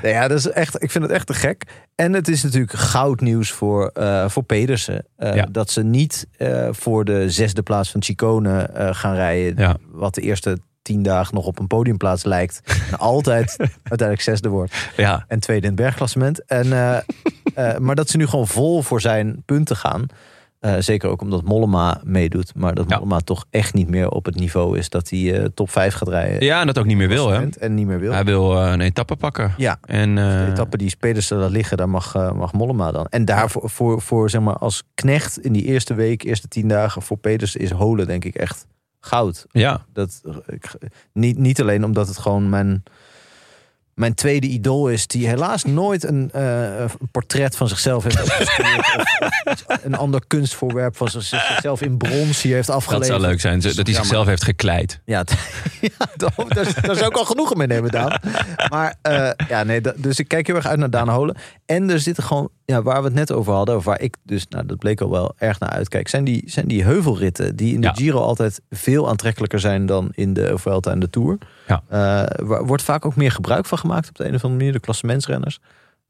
Speaker 2: Nou ja, dat is echt, ik vind het echt te gek. En het is natuurlijk goudnieuws voor, eh, voor Pedersen. Eh,
Speaker 1: Ja.
Speaker 2: Dat ze niet eh, voor de zesde plaats van Chicone eh, gaan rijden.
Speaker 1: Ja.
Speaker 2: Wat de eerste tien dagen nog op een podiumplaats lijkt. En altijd uiteindelijk zesde wordt.
Speaker 1: Ja,
Speaker 2: en tweede in het bergklassement. En, eh, eh, maar dat ze nu gewoon vol voor zijn punten gaan. Eh, zeker ook omdat Mollema meedoet. Maar dat
Speaker 1: Ja.
Speaker 2: Mollema toch echt niet meer op het niveau is dat hij eh, top 5 gaat rijden.
Speaker 1: ja en dat ook niet meer wil, hè?
Speaker 2: En niet meer wil.
Speaker 1: Hij wil eh, een etappe pakken.
Speaker 2: Ja.
Speaker 1: En,
Speaker 2: De
Speaker 1: eh,
Speaker 2: etappen die spelers er laat liggen, daar mag, eh, mag Mollema dan. En daarvoor voor, voor, zeg maar, als knecht in die eerste week, eerste tien dagen voor Peters is Holen denk ik echt goud.
Speaker 1: Ja,
Speaker 2: Dat, ik, niet, niet alleen omdat het gewoon mijn, mijn tweede idool is, die helaas nooit een, eh, een portret van zichzelf heeft afgestuurd. of, of een ander kunstvoorwerp van zich- zichzelf in brons hier heeft
Speaker 1: dat
Speaker 2: afgeleverd.
Speaker 1: zou leuk zijn. ze- Dat hij zichzelf heeft gekleid.
Speaker 2: Ja, t- ja daar, daar- daar zou ik al genoegen mee nemen, Daan. Maar eh, ja, nee, da- dus ik kijk heel erg uit naar Daan Holen. En er zitten gewoon, ja, waar we het net over hadden, of waar ik dus, nou, dat bleek al wel erg naar uitkijk, zijn die, zijn die heuvelritten die in de
Speaker 1: Ja.
Speaker 2: Giro altijd veel aantrekkelijker zijn dan in de Vuelta en de Tour.
Speaker 1: Ja.
Speaker 2: Eh, waar wordt vaak ook meer gebruik van gemaakt op de een of andere manier, de klassementsrenners.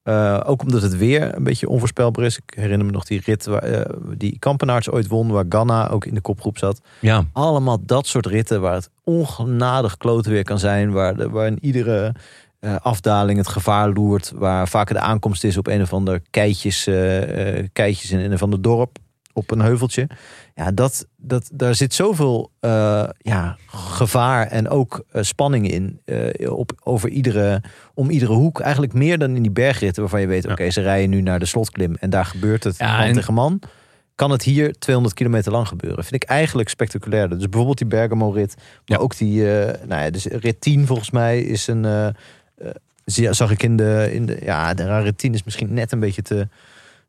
Speaker 2: Eh, ook omdat het weer een beetje onvoorspelbaar is. Ik herinner me nog die rit waar, eh, die Kampenaarts ooit won, waar Ganna ook in de kopgroep zat.
Speaker 1: Ja,
Speaker 2: Allemaal dat soort ritten waar het ongenadig kloten weer kan zijn. Waar de, waarin iedere eh, afdaling het gevaar loert. Waar vaker de aankomst is op een of ander keitjes, eh, eh, keitjes in een of ander dorp. Op een heuveltje. Ja, dat, dat, daar zit zoveel eh, ja, gevaar en ook eh, spanning in. eh, op, over iedere, om iedere hoek. Eigenlijk meer dan in die bergritten waarvan je weet... oké, ze rijden nu naar de slotklim en daar gebeurt het
Speaker 1: Ja,
Speaker 2: man
Speaker 1: en-
Speaker 2: tegen man kan het hier 200 kilometer lang gebeuren. Vind ik eigenlijk spectaculairder. Dus bijvoorbeeld die Bergamo-rit. Maar
Speaker 1: Ja.
Speaker 2: ook die, eh, nou ja, dus rit 10 volgens mij is een... eh, eh, zie- zag ik in de, in de... Ja, de rare 10 is misschien net een beetje te...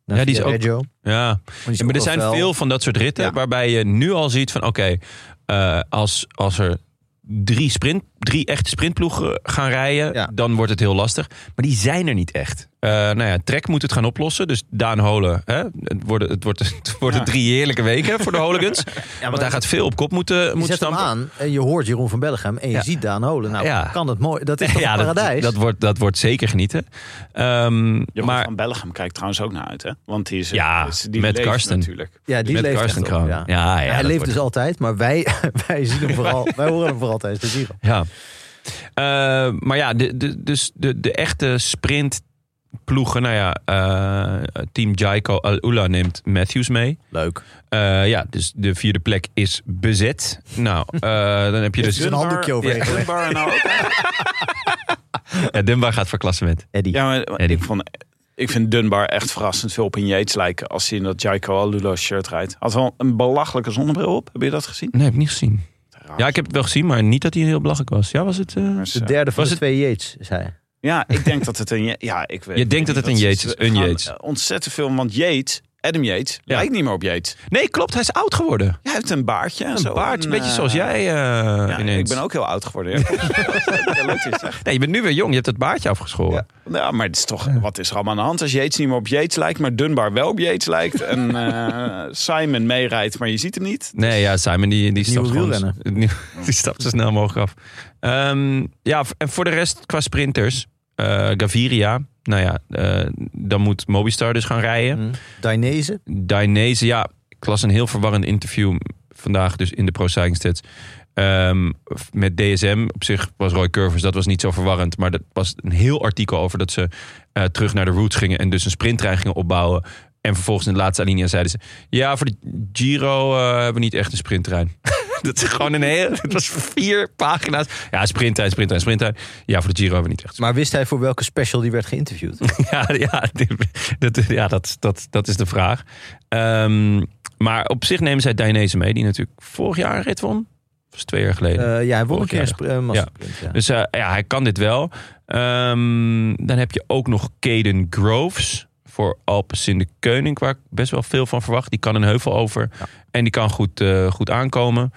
Speaker 2: naar
Speaker 1: Ja, die is
Speaker 2: Via
Speaker 1: ook-
Speaker 2: Reggio. Maar
Speaker 1: ja.
Speaker 2: die is
Speaker 1: Ja, maar er
Speaker 2: ook
Speaker 1: zijn
Speaker 2: wel-
Speaker 1: veel van dat soort ritten
Speaker 2: Ja.
Speaker 1: waarbij je nu al ziet van oké, eh, als, als er drie, sprint, drie echte sprintploegen gaan rijden,
Speaker 2: Ja.
Speaker 1: dan wordt het heel lastig. Maar die zijn er niet echt. Eh, nou ja, Trek moet het gaan oplossen. Dus Daan Holen, hè? Het, worden, het, wordt, het worden drie heerlijke weken voor de Hooligans. want hij gaat veel op kop moeten,
Speaker 2: Je
Speaker 1: moeten
Speaker 2: zet hem
Speaker 1: stampen.
Speaker 2: aan en je hoort Jeroen van Bellegem en je
Speaker 1: Ja.
Speaker 2: ziet Daan Holen. Nou,
Speaker 1: Ja.
Speaker 2: kan het mooi. Dat is toch
Speaker 1: ja,
Speaker 2: een
Speaker 1: dat,
Speaker 2: paradijs?
Speaker 1: dat, wordt, dat wordt zeker genieten. Ehm,
Speaker 4: Jeroen
Speaker 1: maar
Speaker 4: van Bellegem kijkt trouwens ook naar uit, hè? Want die is...
Speaker 1: Ja,
Speaker 4: is- die
Speaker 1: met
Speaker 4: leeft
Speaker 1: Karsten.
Speaker 4: Natuurlijk.
Speaker 2: ja, die
Speaker 1: met
Speaker 2: leeft
Speaker 1: Karsten
Speaker 2: echt op,
Speaker 1: Kroon.
Speaker 2: ja.
Speaker 1: Ja, ja,
Speaker 2: hij
Speaker 1: dat
Speaker 2: leeft
Speaker 1: wordt-
Speaker 2: dus altijd, maar wij, wij, zien hem vooral, wij horen hem vooral tijdens de Giro.
Speaker 1: Ja. Eh, maar ja, de, de, dus de, de echte sprint ploegen, nou ja, eh, team Jaiko Al-Ula neemt Matthews mee.
Speaker 2: Leuk.
Speaker 1: Eh, ja, dus de vierde plek is bezet. Nou, eh, dan heb je dus...
Speaker 2: Dus een handdoekje over.
Speaker 1: Ja.
Speaker 4: Dunbar nou ook.
Speaker 1: Ja, Dunbar Eh, gaat voor klassement.
Speaker 2: Eddie.
Speaker 4: Ja, maar
Speaker 1: Eddie.
Speaker 4: ik, vond, ik vind Dunbar echt verrassend veel op een Yates lijken als hij in dat Jaiko Alula shirt rijdt. Had wel een belachelijke zonnebril op. Heb je dat gezien?
Speaker 1: Nee, heb ik niet gezien. Ja, ik heb het wel gezien, maar niet dat hij heel belachelijk was. Ja, was het... eh,
Speaker 4: Maar ze-
Speaker 2: De derde van
Speaker 1: Was
Speaker 2: de
Speaker 1: het-
Speaker 2: twee Yates, zei hij.
Speaker 4: Dus, Ja, ik denk dat het een... Ja- Ja, ik weet,
Speaker 1: Je denkt dat het een Yates is, een Yates.
Speaker 4: Jeets. Ontzettend veel, want Yates, Adam Yates, lijkt niet meer op Yates.
Speaker 1: Nee, klopt, hij is oud geworden.
Speaker 4: Hij heeft een baardje. en
Speaker 1: Een
Speaker 4: zo.
Speaker 1: baard, een
Speaker 4: En,
Speaker 1: beetje
Speaker 4: eh,
Speaker 1: zoals jij eh
Speaker 4: ja, ik
Speaker 1: ineens.
Speaker 4: ben ook heel oud geworden. Ja, Ja, leuk is het.
Speaker 1: Nee, je bent nu weer jong, je hebt het baardje afgeschoren.
Speaker 4: Ja, maar het is toch, wat is er allemaal aan de hand als Yates niet meer op Yates lijkt, maar Dunbar wel op Yates lijkt en eh, Simon meerijdt, maar je ziet hem niet.
Speaker 1: Nee, ja, Simon die, die stapt
Speaker 2: nieuwe
Speaker 1: gewoon...
Speaker 2: wielrennen.
Speaker 1: het nieuwe- Die stapt zo snel mogelijk af. Ehm, ja, v- en voor de rest qua sprinters. eh, Gaviria, nou ja, eh, dan moet Mobistar dus gaan rijden.
Speaker 2: Hm. Dainese.
Speaker 1: Dainese, ja, ik las een heel verwarrend interview vandaag dus in de Pro Cycling Stats. Ehm, met DSM op zich was Roy Curvers, dat was niet zo verwarrend. Maar dat was een heel artikel over dat ze eh, terug naar de roots gingen. En dus een sprinttrein gingen opbouwen. En vervolgens in de laatste alinea zeiden ze... Ja, voor de Giro eh, hebben we niet echt een sprinttrein. dat is gewoon een hele... Het was vier pagina's. Ja, sprinttrein, sprinttrein, sprinttrein. Ja, voor de Giro hebben we niet echt
Speaker 2: Maar wist hij voor welke special die werd geïnterviewd?
Speaker 1: ja, ja, dat, ja dat, dat, dat is de vraag. Ehm, maar op zich nemen zij Dainese mee, die natuurlijk vorig jaar een rit won. Dat was twee jaar geleden.
Speaker 2: Eh, ja, hij won een keer een
Speaker 1: Vorig
Speaker 2: sp- eh, massasprint, ja.
Speaker 1: dus eh, ja, hij kan dit wel. Ehm, dan heb je ook nog Caden Groves voor Alpes in de Keuning, waar ik best wel veel van verwacht. Die kan een heuvel over en die kan goed, eh, goed aankomen.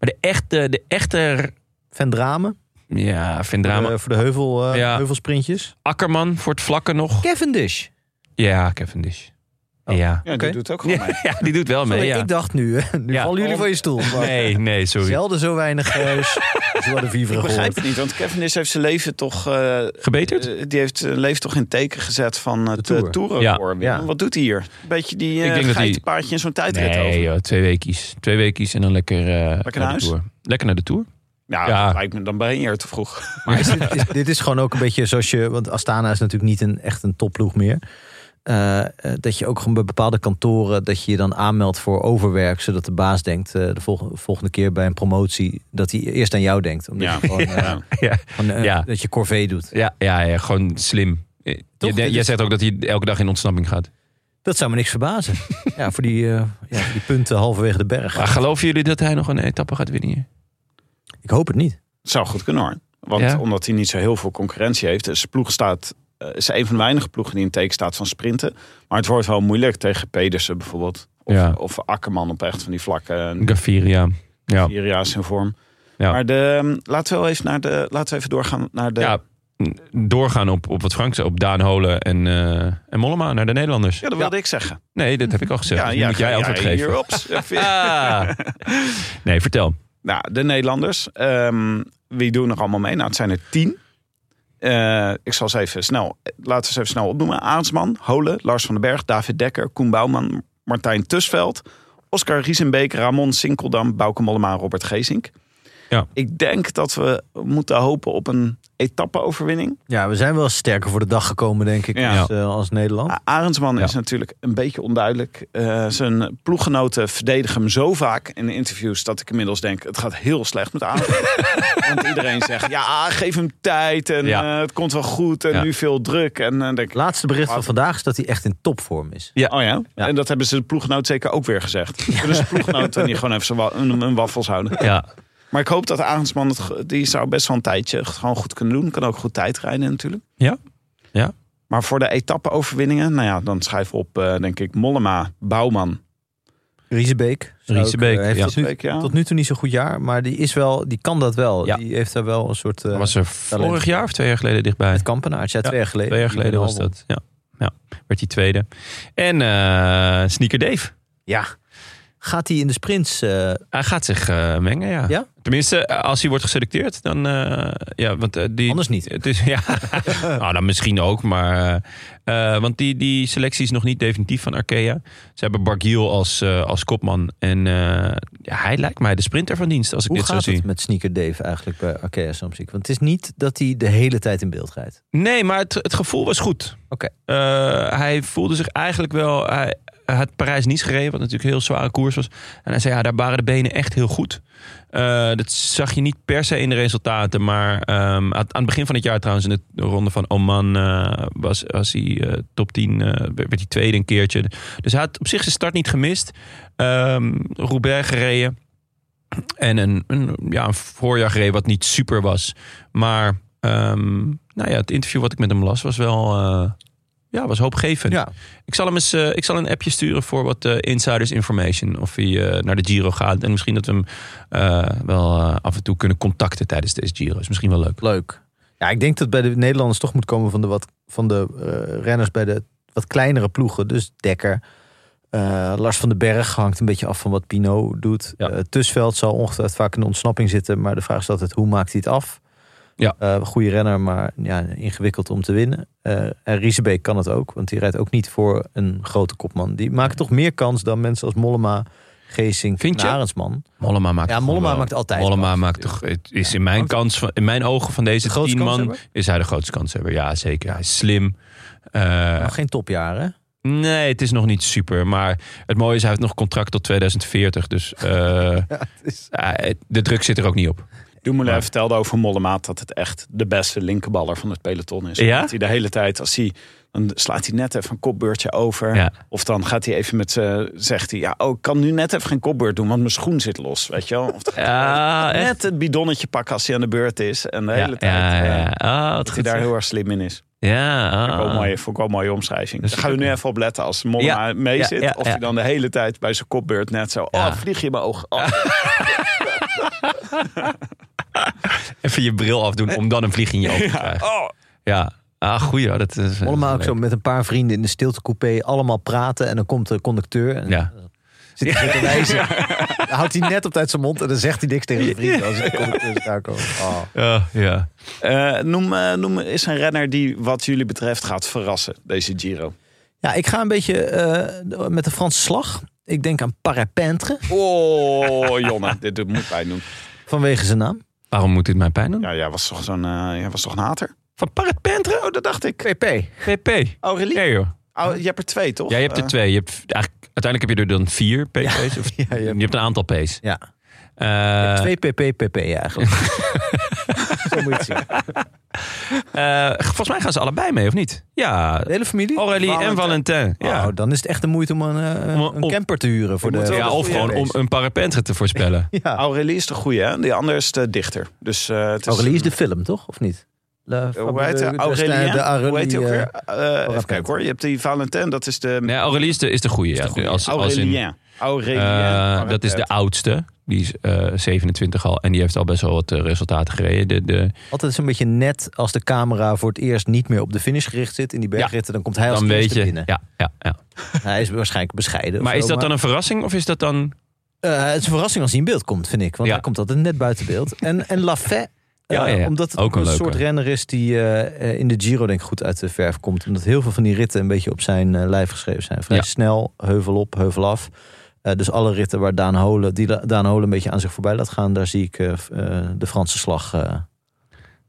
Speaker 1: Maar de echte, de echte
Speaker 2: Van Dramen.
Speaker 1: ja, Vendrama,
Speaker 2: eh, voor de heuvel, eh,
Speaker 1: Ja.
Speaker 2: heuvelsprintjes. dus.
Speaker 1: Akkerman voor het vlakken nog.
Speaker 2: Cavendish.
Speaker 1: Oh, Ja, Kevin Dish. Ja.
Speaker 4: Ja,
Speaker 2: Oké.
Speaker 4: die doet ook gewoon mee.
Speaker 1: Ja, ja, die doet wel mee.
Speaker 2: Oh. Sorry,
Speaker 1: ja.
Speaker 2: Ik dacht nu, eh, nu
Speaker 1: Ja.
Speaker 2: vallen jullie
Speaker 1: Om-
Speaker 2: van je stoel. Maar
Speaker 1: Nee, nee, sorry.
Speaker 2: Zelden zo weinig uh, Joie de Vivre
Speaker 4: Ik begrijp
Speaker 2: gehoord.
Speaker 4: het niet, want Kevin is heeft zijn leven toch... eh,
Speaker 1: Gebeterd?
Speaker 4: eh, die heeft zijn leven toch in het teken gezet van het
Speaker 2: Tour.
Speaker 4: eh, toeren.
Speaker 1: Ja.
Speaker 4: worden.
Speaker 2: Ja.
Speaker 4: Wat doet hij hier? Een beetje die
Speaker 1: Ik denk dat
Speaker 4: eh
Speaker 1: hij-
Speaker 4: geitenpaardje in zo'n tijdrit
Speaker 1: Nee,
Speaker 4: over.
Speaker 1: joh, twee weekjes. Twee weekjes en dan lekker, eh,
Speaker 4: naar huis?
Speaker 1: de tour. Lekker naar de tour.
Speaker 4: Ja,
Speaker 1: Ja.
Speaker 4: dat lijkt me dan ben je hier te vroeg.
Speaker 2: Maar is dit, is- dit is gewoon ook een beetje zoals je... Want Astana is natuurlijk niet een, echt een topploeg meer. Eh, eh, dat je ook gewoon bij bepaalde kantoren... dat je je dan aanmeldt voor overwerk... zodat de baas denkt eh, de volg- volgende keer bij een promotie... dat hij eerst aan jou denkt. Omdat
Speaker 4: Ja.
Speaker 2: je gewoon, eh,
Speaker 4: Ja.
Speaker 1: Ja,
Speaker 2: gewoon, eh,
Speaker 1: Ja.
Speaker 2: Dat je corvée doet.
Speaker 1: ja, ja, ja, gewoon slim. Eh,
Speaker 2: Toch?
Speaker 1: Je denkt- jij zegt ook dat hij elke dag in ontsnapping gaat.
Speaker 2: Dat zou me niks verbazen. ja, voor die, eh, ja, voor die punten halverwege de berg.
Speaker 1: Maar geloven jullie dat hij nog een etappe gaat winnen hier?
Speaker 2: Ik hoop het niet.
Speaker 4: Het zou goed kunnen hoor. Want
Speaker 1: Ja.
Speaker 4: omdat hij niet zo heel veel concurrentie heeft. Zijn ploeg staat, eh, is een van de weinige ploegen die in het teken staat van sprinten. Maar het wordt wel moeilijk tegen Pedersen bijvoorbeeld. Of,
Speaker 1: Ja.
Speaker 4: of Akkerman op echt van die vlakke. En
Speaker 1: Gaviria. Ja.
Speaker 4: Iria is in vorm.
Speaker 1: Ja.
Speaker 4: Maar de, ehm, laten, we wel even naar de, laten we even doorgaan naar de...
Speaker 1: Ja, mm, doorgaan op, op wat Frank zei, op Daan Holen en, eh, en Mollema naar de Nederlanders.
Speaker 4: Ja, dat wilde ik zeggen.
Speaker 1: Nee, dat heb ik al gezegd. Dus nu moet jij
Speaker 4: ga-
Speaker 1: antwoord
Speaker 4: ja,
Speaker 1: geven.
Speaker 4: hierop. Ja, vind-
Speaker 1: Ah. Nee, vertel.
Speaker 4: Nou, de Nederlanders. ehm, wie doen er allemaal mee? Nou, het zijn er tien. Eh, ik zal ze even snel, laten we ze even snel opnoemen. Aansman, Holen, Lars van den Berg, David Dekker, Koen Bouwman, Martijn Tusveld, Oscar Riesenbeek, Ramon Sinkeldam, Bouke Mollema, en Robert Geesink.
Speaker 1: Ja.
Speaker 4: Ik denk dat we moeten hopen op een etappe-overwinning.
Speaker 2: Ja, we zijn wel sterker voor de dag gekomen, denk ik,
Speaker 4: Ja.
Speaker 2: als, eh, als Nederland.
Speaker 4: Ah, Arendsman
Speaker 1: Ja.
Speaker 4: is natuurlijk een beetje onduidelijk. Eh, zijn ploeggenoten verdedigen hem zo vaak in de interviews dat ik inmiddels denk: het gaat heel slecht met Arendsman. Want iedereen zegt: ja, geef hem tijd en
Speaker 1: Ja.
Speaker 4: eh, het komt wel goed en
Speaker 1: Ja.
Speaker 4: nu veel druk. En dan denk ik:
Speaker 2: Laatste bericht van vandaag is dat hij echt in topvorm is.
Speaker 4: oh ja.
Speaker 2: Ja.
Speaker 4: En dat hebben ze de ploeggenoot zeker ook weer gezegd. Dus de ploeggenoten die gewoon even z'n wa- hun, hun waffels houden.
Speaker 1: Ja,
Speaker 4: Maar ik hoop dat Arendsman, het, ge- die zou best wel een tijdje gewoon goed kunnen doen. Kan ook goed tijd rijden natuurlijk.
Speaker 1: Ja. Ja.
Speaker 4: Maar voor de etappe-overwinningen, nou ja, dan schrijven we op, eh, denk ik, Mollema, Bouwman.
Speaker 2: Riesebeek. zou ik,
Speaker 1: Riesebeek,
Speaker 2: eh, heeft
Speaker 1: ja.
Speaker 2: tot, nu,
Speaker 4: Riesebeek, ja.
Speaker 2: tot nu toe niet zo'n goed jaar, maar die, is wel, die kan dat wel.
Speaker 1: Ja.
Speaker 2: Die heeft daar wel een soort... eh
Speaker 1: was er
Speaker 2: talent.
Speaker 1: vorig jaar of twee jaar geleden dichtbij?
Speaker 2: Het kampenaars, ja, twee jaar geleden.
Speaker 1: Twee jaar
Speaker 2: Die
Speaker 1: geleden
Speaker 2: met
Speaker 1: was
Speaker 2: een
Speaker 1: dat. Ja. ja, werd die tweede. En eh, Sneaker Dave.
Speaker 2: Ja. Gaat hij in de sprints? eh,
Speaker 1: Hij gaat zich eh, mengen, ja.
Speaker 2: Ja?
Speaker 1: Tenminste, eh, als hij wordt geselecteerd, dan... eh, ja, want, eh, die,
Speaker 2: Anders niet.
Speaker 1: Het is, ja, nou, dan misschien ook, maar... eh, eh, want die, die selectie is nog niet definitief van Arkea. Ze hebben Bargiel als, eh, als kopman. En eh, ja, hij lijkt mij de sprinter van dienst, als ik
Speaker 2: hoe
Speaker 1: dit zo
Speaker 2: gaat het
Speaker 1: zie.
Speaker 2: met Sneaker Dave eigenlijk bij Arkea Samsic? Want het is niet dat hij de hele tijd in beeld rijdt.
Speaker 1: Nee, maar het, het gevoel was goed.
Speaker 2: Oké.
Speaker 1: Eh, hij voelde zich eigenlijk wel... Hij, hij had Parijs-Nice gereden, wat natuurlijk een heel zware koers was. En hij zei, ja, daar waren de benen echt heel goed. Eh, dat zag je niet per se in de resultaten. Maar ehm, aan, aan het begin van het jaar trouwens, in de ronde van Oman... eh, was, was hij eh, top 10, eh, werd hij tweede een keertje. Dus hij had op zich zijn start niet gemist. Ehm Roubaix gereden. En een, een, ja, een voorjaar gereden wat niet super was. Maar ehm, nou ja, het interview wat ik met hem las was wel... eh, ja, was hoopgevend.
Speaker 2: Ja.
Speaker 1: Ik zal hem eens, eh, ik zal een appje sturen voor wat eh, insiders information. Of hij eh, naar de Giro gaat. En misschien dat we hem eh, wel eh, af en toe kunnen contacten tijdens deze Giro. Is misschien wel leuk.
Speaker 2: Leuk. Ja, ik denk dat bij de Nederlanders toch moet komen van de, wat, van de eh, renners bij de wat kleinere ploegen. Dus Dekker, eh, Lars van den Berg hangt een beetje af van wat Pinot doet.
Speaker 1: Ja.
Speaker 2: Eh Tusveld zal ongetwijfeld vaak in de ontsnapping zitten. Maar de vraag is altijd, hoe maakt hij het af?
Speaker 1: Ja.
Speaker 2: Eh, goede renner, maar ja, ingewikkeld om te winnen. Eh, en Riesebeek kan het ook, want die rijdt ook niet voor een grote kopman. Die maken toch meer kans dan mensen als Mollema, Geesink
Speaker 1: Vind
Speaker 2: en
Speaker 1: je?
Speaker 2: Arensman.
Speaker 1: Mollema maakt
Speaker 2: Ja,
Speaker 1: toch
Speaker 2: Mollema
Speaker 1: wel-
Speaker 2: maakt altijd
Speaker 1: Mollema
Speaker 2: kans,
Speaker 1: maakt toch. Het is in mijn, kans van, in mijn ogen van deze
Speaker 2: De grootste
Speaker 1: tien man.
Speaker 2: kanshebber?
Speaker 1: Is hij de grootste kanshebber? Ja, zeker. Hij is slim. Eh,
Speaker 2: Nog geen topjaar, hè?
Speaker 1: nee, het is nog niet super. Maar het mooie is, hij heeft nog contract tot 2040. Dus eh, eh, de druk zit er ook niet op.
Speaker 4: Dumoulin
Speaker 1: Maar-
Speaker 4: vertelde over Mollemaat dat het echt de beste linkerballer van het peloton is.
Speaker 1: Ja?
Speaker 4: Dat hij de hele tijd, als hij, dan slaat hij net even een kopbeurtje over.
Speaker 1: Ja.
Speaker 4: Of dan gaat hij even met zijn, zegt hij, ja, oh, ik kan nu net even geen kopbeurt doen, want mijn schoen zit los, weet je wel. Of dan gaat
Speaker 1: Ja,
Speaker 4: hij
Speaker 1: echt.
Speaker 4: net het bidonnetje pakken als hij aan de beurt is. En de hele tijd,
Speaker 1: Ja,
Speaker 4: eh,
Speaker 1: ja, ja. Ah, wat
Speaker 4: dat hij
Speaker 1: goed
Speaker 4: daar
Speaker 1: zeg.
Speaker 4: heel erg slim in is.
Speaker 1: Ja, ah.
Speaker 4: Ook wel een mooie, vond ik wel een mooie omschrijving.
Speaker 1: Dat
Speaker 4: Daar
Speaker 1: is
Speaker 4: gaan we nu
Speaker 1: leuk.
Speaker 4: even op letten als Mollema
Speaker 1: Ja,
Speaker 4: mee
Speaker 1: ja,
Speaker 4: zit.
Speaker 1: ja,
Speaker 4: of
Speaker 1: ja.
Speaker 4: hij dan de hele tijd bij zijn kopbeurt net zo,
Speaker 1: Ja.
Speaker 4: oh, vlieg je mijn oog af.
Speaker 1: Even je bril afdoen om dan een vlieg in je ogen te krijgen.
Speaker 4: Oh,
Speaker 1: Ja. Ah, goeie hoor. Dat is,
Speaker 2: Mollema ook
Speaker 1: leuk.
Speaker 2: zo met een paar vrienden in de stiltecoupé allemaal praten. En dan komt de conducteur en
Speaker 1: Ja.
Speaker 2: zit hij te wijzen. Dan houdt hij net op tijd zijn mond en dan zegt hij niks tegen zijn vrienden. Als de conducteur daar komt. Oh.
Speaker 1: Ja, ja.
Speaker 4: Eh, noem, eh, noem is een renner die wat jullie betreft gaat verrassen, deze Giro.
Speaker 2: Ja, ik ga een beetje eh, met de Franse slag. Ik denk aan Parapentre
Speaker 4: Oh, Jonne, dit, dit moet wij doen.
Speaker 2: vanwege zijn naam.
Speaker 1: Waarom moet dit mij pijn doen?
Speaker 4: Ja, jij was toch zo'n, eh, jij was toch een hater?
Speaker 1: Van Parrot Pentre?
Speaker 4: Oh, dat dacht ik.
Speaker 2: PP.
Speaker 1: PP.
Speaker 4: Aurelie,
Speaker 1: Ja, joh.
Speaker 4: Oh, je hebt er twee, toch?
Speaker 1: Ja, je hebt er
Speaker 4: Eh,
Speaker 1: twee. Je hebt, eigenlijk, uiteindelijk heb je er dan vier PP's. of, je,
Speaker 2: ja, je
Speaker 1: hebt,
Speaker 2: hebt-
Speaker 1: een aantal P's.
Speaker 2: Ja,
Speaker 1: Eh,
Speaker 2: twee PP, PP eigenlijk. Zo moet je het zien.
Speaker 1: eh, volgens mij gaan ze allebei mee, of niet? Ja,
Speaker 2: De hele familie?
Speaker 1: Aurélie en Valentin. Ja.
Speaker 2: Nou, dan is het echt de moeite om een, eh,
Speaker 1: Om-
Speaker 2: een
Speaker 1: om-
Speaker 2: camper te huren. Voor de,
Speaker 1: ja, of gewoon om een parapentre te voorspellen.
Speaker 2: Ja.
Speaker 4: Aurelie is de goede, hè? Die andere is de dichter. Dus, eh, het is,
Speaker 2: Aurelie is de film, toch? Of niet? La
Speaker 4: Eh, Hoe heet
Speaker 2: de-
Speaker 4: hij?
Speaker 2: de-
Speaker 4: Aurelie,
Speaker 2: de
Speaker 4: hè? Hoe heet hij ook
Speaker 2: eh,
Speaker 4: weer? Eh, even kijken hoor. Je hebt die Valentin, dat is de...
Speaker 1: Nee, Aurélie is de, is de goede. Ja. Als, als in,
Speaker 4: Aurelien. Aurelien.
Speaker 1: Eh,
Speaker 4: Oh,
Speaker 1: dat is de
Speaker 4: het.
Speaker 1: oudste. Die is eh, 27 al. En die heeft al best wel wat eh, resultaten gereden. De, de,
Speaker 2: Altijd zo'n beetje net als de camera voor het eerst niet meer op de finish gericht zit in die bergritten. Dan komt hij als
Speaker 1: dan weet
Speaker 2: eerste
Speaker 1: je.
Speaker 2: binnen.
Speaker 1: Ja, ja, ja.
Speaker 2: Hij is waarschijnlijk bescheiden. of
Speaker 1: Maar is
Speaker 2: zo,
Speaker 1: dat dan een verrassing? Of is dat dan...
Speaker 2: Eh, het is een verrassing als hij in beeld komt, vind ik. Want
Speaker 1: Ja.
Speaker 2: hij komt altijd net buiten beeld. En, en Lafay,
Speaker 1: Ja, ja, ja.
Speaker 2: omdat het
Speaker 1: Ook
Speaker 2: ook
Speaker 1: een
Speaker 2: een,
Speaker 1: leuke.
Speaker 2: soort renner is die eh, eh, in de Giro denk ik goed uit de verf komt. Omdat heel veel van die ritten een beetje op zijn eh, lijf geschreven zijn. Vrij
Speaker 1: Ja.
Speaker 2: snel, heuvel op, heuvel af. Eh, dus alle ritten waar Daan Holen, die La- Daan Holen een beetje aan zich voorbij laat gaan, daar zie ik eh, f- eh, de Franse slag. eh.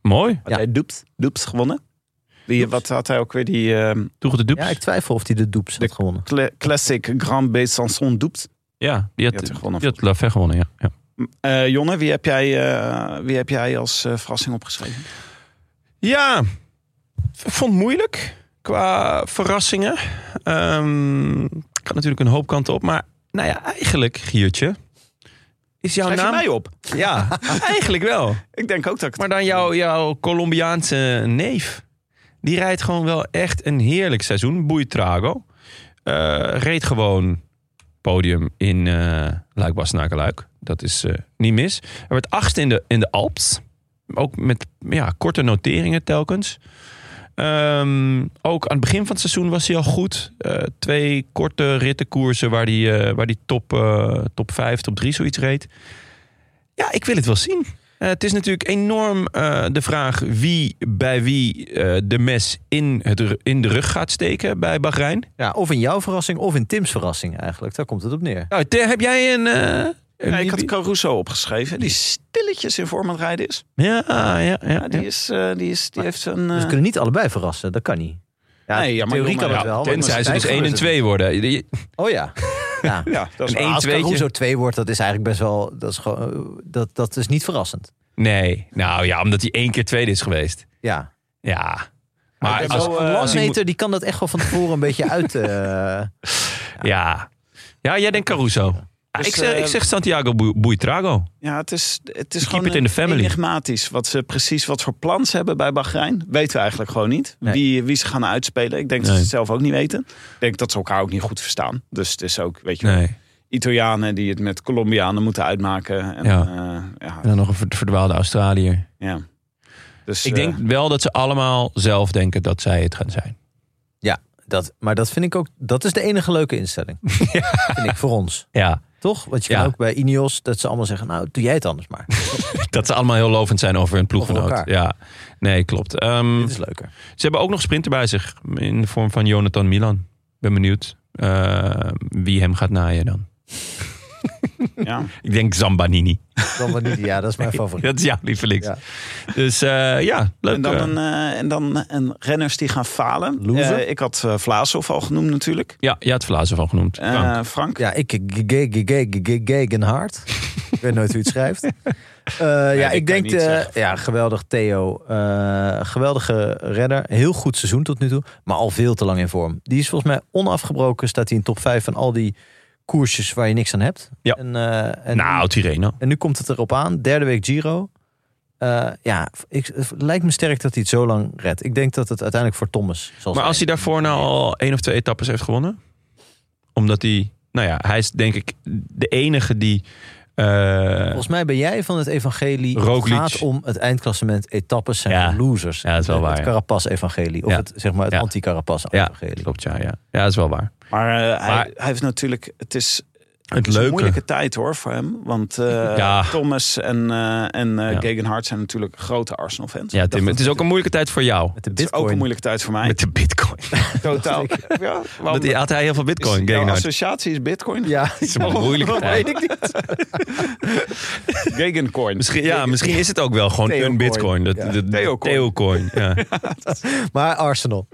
Speaker 1: Mooi.
Speaker 4: Had hij Doeps, Doeps gewonnen? Die, wat had hij ook weer? Die ehm,
Speaker 1: Toeg de
Speaker 2: Ja,
Speaker 1: Doeps.
Speaker 2: ik twijfel of hij de Doeps
Speaker 4: De-
Speaker 2: had gewonnen.
Speaker 4: cla- Classic Grand Besançon Doeps.
Speaker 1: Ja, die had,
Speaker 4: Die had
Speaker 1: die
Speaker 4: hij
Speaker 1: had,
Speaker 4: gewonnen.
Speaker 1: Lafay gewonnen, ja. ja.
Speaker 4: Eh, Jonne, wie heb jij, eh, wie heb jij als eh, verrassing opgeschreven?
Speaker 1: Ja, v- vond het moeilijk qua verrassingen. Ehm, kan natuurlijk een hoop kanten op. Maar nou ja, eigenlijk, Giertje, is jouw
Speaker 4: Schrijf je
Speaker 1: naam...
Speaker 4: mij op?
Speaker 1: Ja, eigenlijk wel.
Speaker 4: Ik denk ook dat ik het...
Speaker 1: Maar dan jouw, jouw Colombiaanse neef. Die rijdt gewoon wel echt een heerlijk seizoen. Boeitrago. Eh reed gewoon podium in eh luik Bastenaken, Luik. Dat is eh, niet mis. Er werd achtste in de, in de Alps. Ook met ja, korte noteringen telkens. Eh, Ehm, ook aan het begin van het seizoen was hij al goed. Eh, twee korte rittenkoersen waar hij, eh, waar hij top, eh, top 5, top 3 zoiets reed. Ja, ik wil het wel zien. Eh, het is natuurlijk enorm eh, de vraag wie bij wie eh, de mes in, het, ru- in de rug gaat steken bij Bahrein.
Speaker 2: Ja, of in jouw verrassing of in Tim's verrassing eigenlijk. Daar komt het op neer.
Speaker 1: Nou, Ter, heb jij een... eh, een
Speaker 4: Ja, ik had
Speaker 1: idee?
Speaker 4: Caruso opgeschreven, die stilletjes in vorm aan het rijden is.
Speaker 1: ja, ja, ja, ja.
Speaker 4: Ja, die, is, eh, die, is, die heeft een...
Speaker 2: Dus
Speaker 4: eh,
Speaker 2: we kunnen niet allebei verrassen. Dat kan niet. Ja,
Speaker 4: Nee, ja, maar
Speaker 2: theorie
Speaker 4: jongen,
Speaker 2: kan het
Speaker 4: ja,
Speaker 2: wel. maar
Speaker 1: Tenzij ze dus
Speaker 2: praktijk
Speaker 1: 1 en
Speaker 2: gebeurt het
Speaker 1: 2 worden. Je-
Speaker 2: niet. Oh ja. ja.
Speaker 4: ja, dat is
Speaker 1: Een
Speaker 4: waar.
Speaker 2: Als
Speaker 1: tweetje.
Speaker 2: Caruso 2 wordt, dat is eigenlijk best wel... Dat is, gewoon, dat, dat is niet verrassend.
Speaker 1: Nee, nou ja, omdat hij één keer tweede is geweest.
Speaker 2: Ja.
Speaker 1: Ja. Maar
Speaker 4: heb
Speaker 1: als,
Speaker 4: wel, eh,
Speaker 1: als, hij moet-
Speaker 2: Landmeter, die kan dat echt wel van tevoren een beetje uit... eh,
Speaker 1: ja. ja, jij denkt Caruso. Ja,
Speaker 4: Dus,
Speaker 1: ik, zeg,
Speaker 4: eh,
Speaker 1: ik zeg Santiago Bu- Buitrago.
Speaker 4: Ja, het is, het is
Speaker 1: keep
Speaker 4: gewoon
Speaker 1: it in the family.
Speaker 4: enigmatisch. Wat ze precies wat voor plans hebben bij Bahrein, weten we eigenlijk gewoon niet. Wie, wie ze gaan uitspelen. Ik denk dat ze
Speaker 1: Nee.
Speaker 4: het zelf ook niet weten. Ik denk dat ze elkaar ook niet goed verstaan. Dus het is ook, weet je, wel,
Speaker 1: Nee.
Speaker 4: Italianen die het met Colombianen moeten uitmaken. En,
Speaker 1: Ja.
Speaker 4: ja. ja,
Speaker 1: En dan nog een verd- verdwaalde Australiër.
Speaker 4: ja. Dus,
Speaker 1: Ik
Speaker 4: eh,
Speaker 1: denk wel dat ze allemaal zelf denken dat zij het gaan zijn.
Speaker 2: dat, maar dat vind ik ook... Dat is de enige leuke instelling. Vind ik voor ons.
Speaker 1: Ja,
Speaker 2: Toch? Want je
Speaker 1: Ja.
Speaker 2: kan ook bij Ineos dat ze allemaal zeggen... Nou, doe jij het anders maar.
Speaker 1: dat ze allemaal heel lovend zijn over hun ploeggenoot.
Speaker 2: Over elkaar.
Speaker 1: ja, nee, klopt. Ehm,
Speaker 2: Dit is leuker.
Speaker 1: Ze hebben ook nog sprinter bij zich in de vorm van Jonathan Milan. Ben benieuwd eh, wie hem gaat naaien dan.
Speaker 4: eh, ja.
Speaker 1: Ik denk Zambanini.
Speaker 2: Dan wel niet, ja, dat is mijn favoriet.
Speaker 1: Dat is jouw lievelings.
Speaker 2: Ja.
Speaker 1: Dus eh, ja, leuk.
Speaker 4: En dan,
Speaker 1: eh.
Speaker 4: een, eh, en dan en renners die gaan falen.
Speaker 2: Loser.
Speaker 4: Eh, ik had eh Vlaashoff al genoemd natuurlijk.
Speaker 1: Ja, je had Vlaassen van genoemd.
Speaker 4: Eh,
Speaker 1: Frank.
Speaker 4: Frank.
Speaker 2: Ja, ik Gegenhard. ik weet nooit hoe je het schrijft. Eh, ja,
Speaker 4: dit
Speaker 2: ik
Speaker 4: kan
Speaker 2: denk,
Speaker 4: je niet
Speaker 2: eh,
Speaker 4: zeggen.
Speaker 2: ja, geweldig Theo. Eh, geweldige redder. Heel goed seizoen tot nu toe, maar al veel te lang in vorm. Die is volgens mij onafgebroken, staat hij in top 5 van al die koersjes waar je niks aan hebt.
Speaker 1: Ja.
Speaker 2: En, eh, en,
Speaker 1: nou, Tireno.
Speaker 2: en nu komt het erop aan, derde week Giro. Eh, ja, ik, het lijkt me sterk dat hij het zo lang redt. Ik denk dat het uiteindelijk voor Thomas zal zijn.
Speaker 1: Maar als hij daarvoor nou al één of twee etappes heeft gewonnen. Omdat hij, nou ja, hij is denk ik de enige die... eh,
Speaker 2: Volgens mij ben jij van het evangelie.
Speaker 1: Roglic.
Speaker 2: Het gaat om het eindklassement. Etappes zijn
Speaker 1: Ja.
Speaker 2: voor losers.
Speaker 1: Ja, dat is wel waar,
Speaker 2: Het
Speaker 1: ja.
Speaker 2: Carapas-evangelie. Of
Speaker 1: Ja.
Speaker 2: het, zeg maar het
Speaker 1: Ja. ja,
Speaker 2: anti-Carapas-evangelie.
Speaker 1: klopt, ja, ja. Ja, dat is wel waar.
Speaker 4: Maar, eh, hij,
Speaker 1: Maar-
Speaker 4: hij heeft natuurlijk, het is,
Speaker 1: Het
Speaker 4: Het is een
Speaker 1: leuke...
Speaker 4: moeilijke tijd hoor voor hem. Want eh,
Speaker 1: Ja.
Speaker 4: Thomas en, eh en eh,
Speaker 1: Ja.
Speaker 4: Gegenhard zijn natuurlijk grote
Speaker 1: Ja,
Speaker 4: Arsenal-fans.
Speaker 1: Tim,
Speaker 4: Ik dacht,
Speaker 1: het is ook een moeilijke tijd voor jou.
Speaker 2: Met de
Speaker 4: het is ook een
Speaker 2: bitcoin.
Speaker 4: moeilijke tijd voor mij.
Speaker 1: Met de bitcoin.
Speaker 4: Totaal. ja,
Speaker 1: Want hij had hij heel veel bitcoin.
Speaker 4: Is, jouw
Speaker 1: Gegenhard.
Speaker 4: associatie is bitcoin?
Speaker 2: Ja,
Speaker 1: Het is een moeilijke tijd.
Speaker 4: Gegencoin.
Speaker 1: Misschien, ja, misschien is het ook wel gewoon
Speaker 2: Theocoin.
Speaker 1: een bitcoin. Dat,
Speaker 2: Ja.
Speaker 1: dat,
Speaker 4: Theocoin.
Speaker 1: Theocoin, Ja,
Speaker 2: maar Arsenal.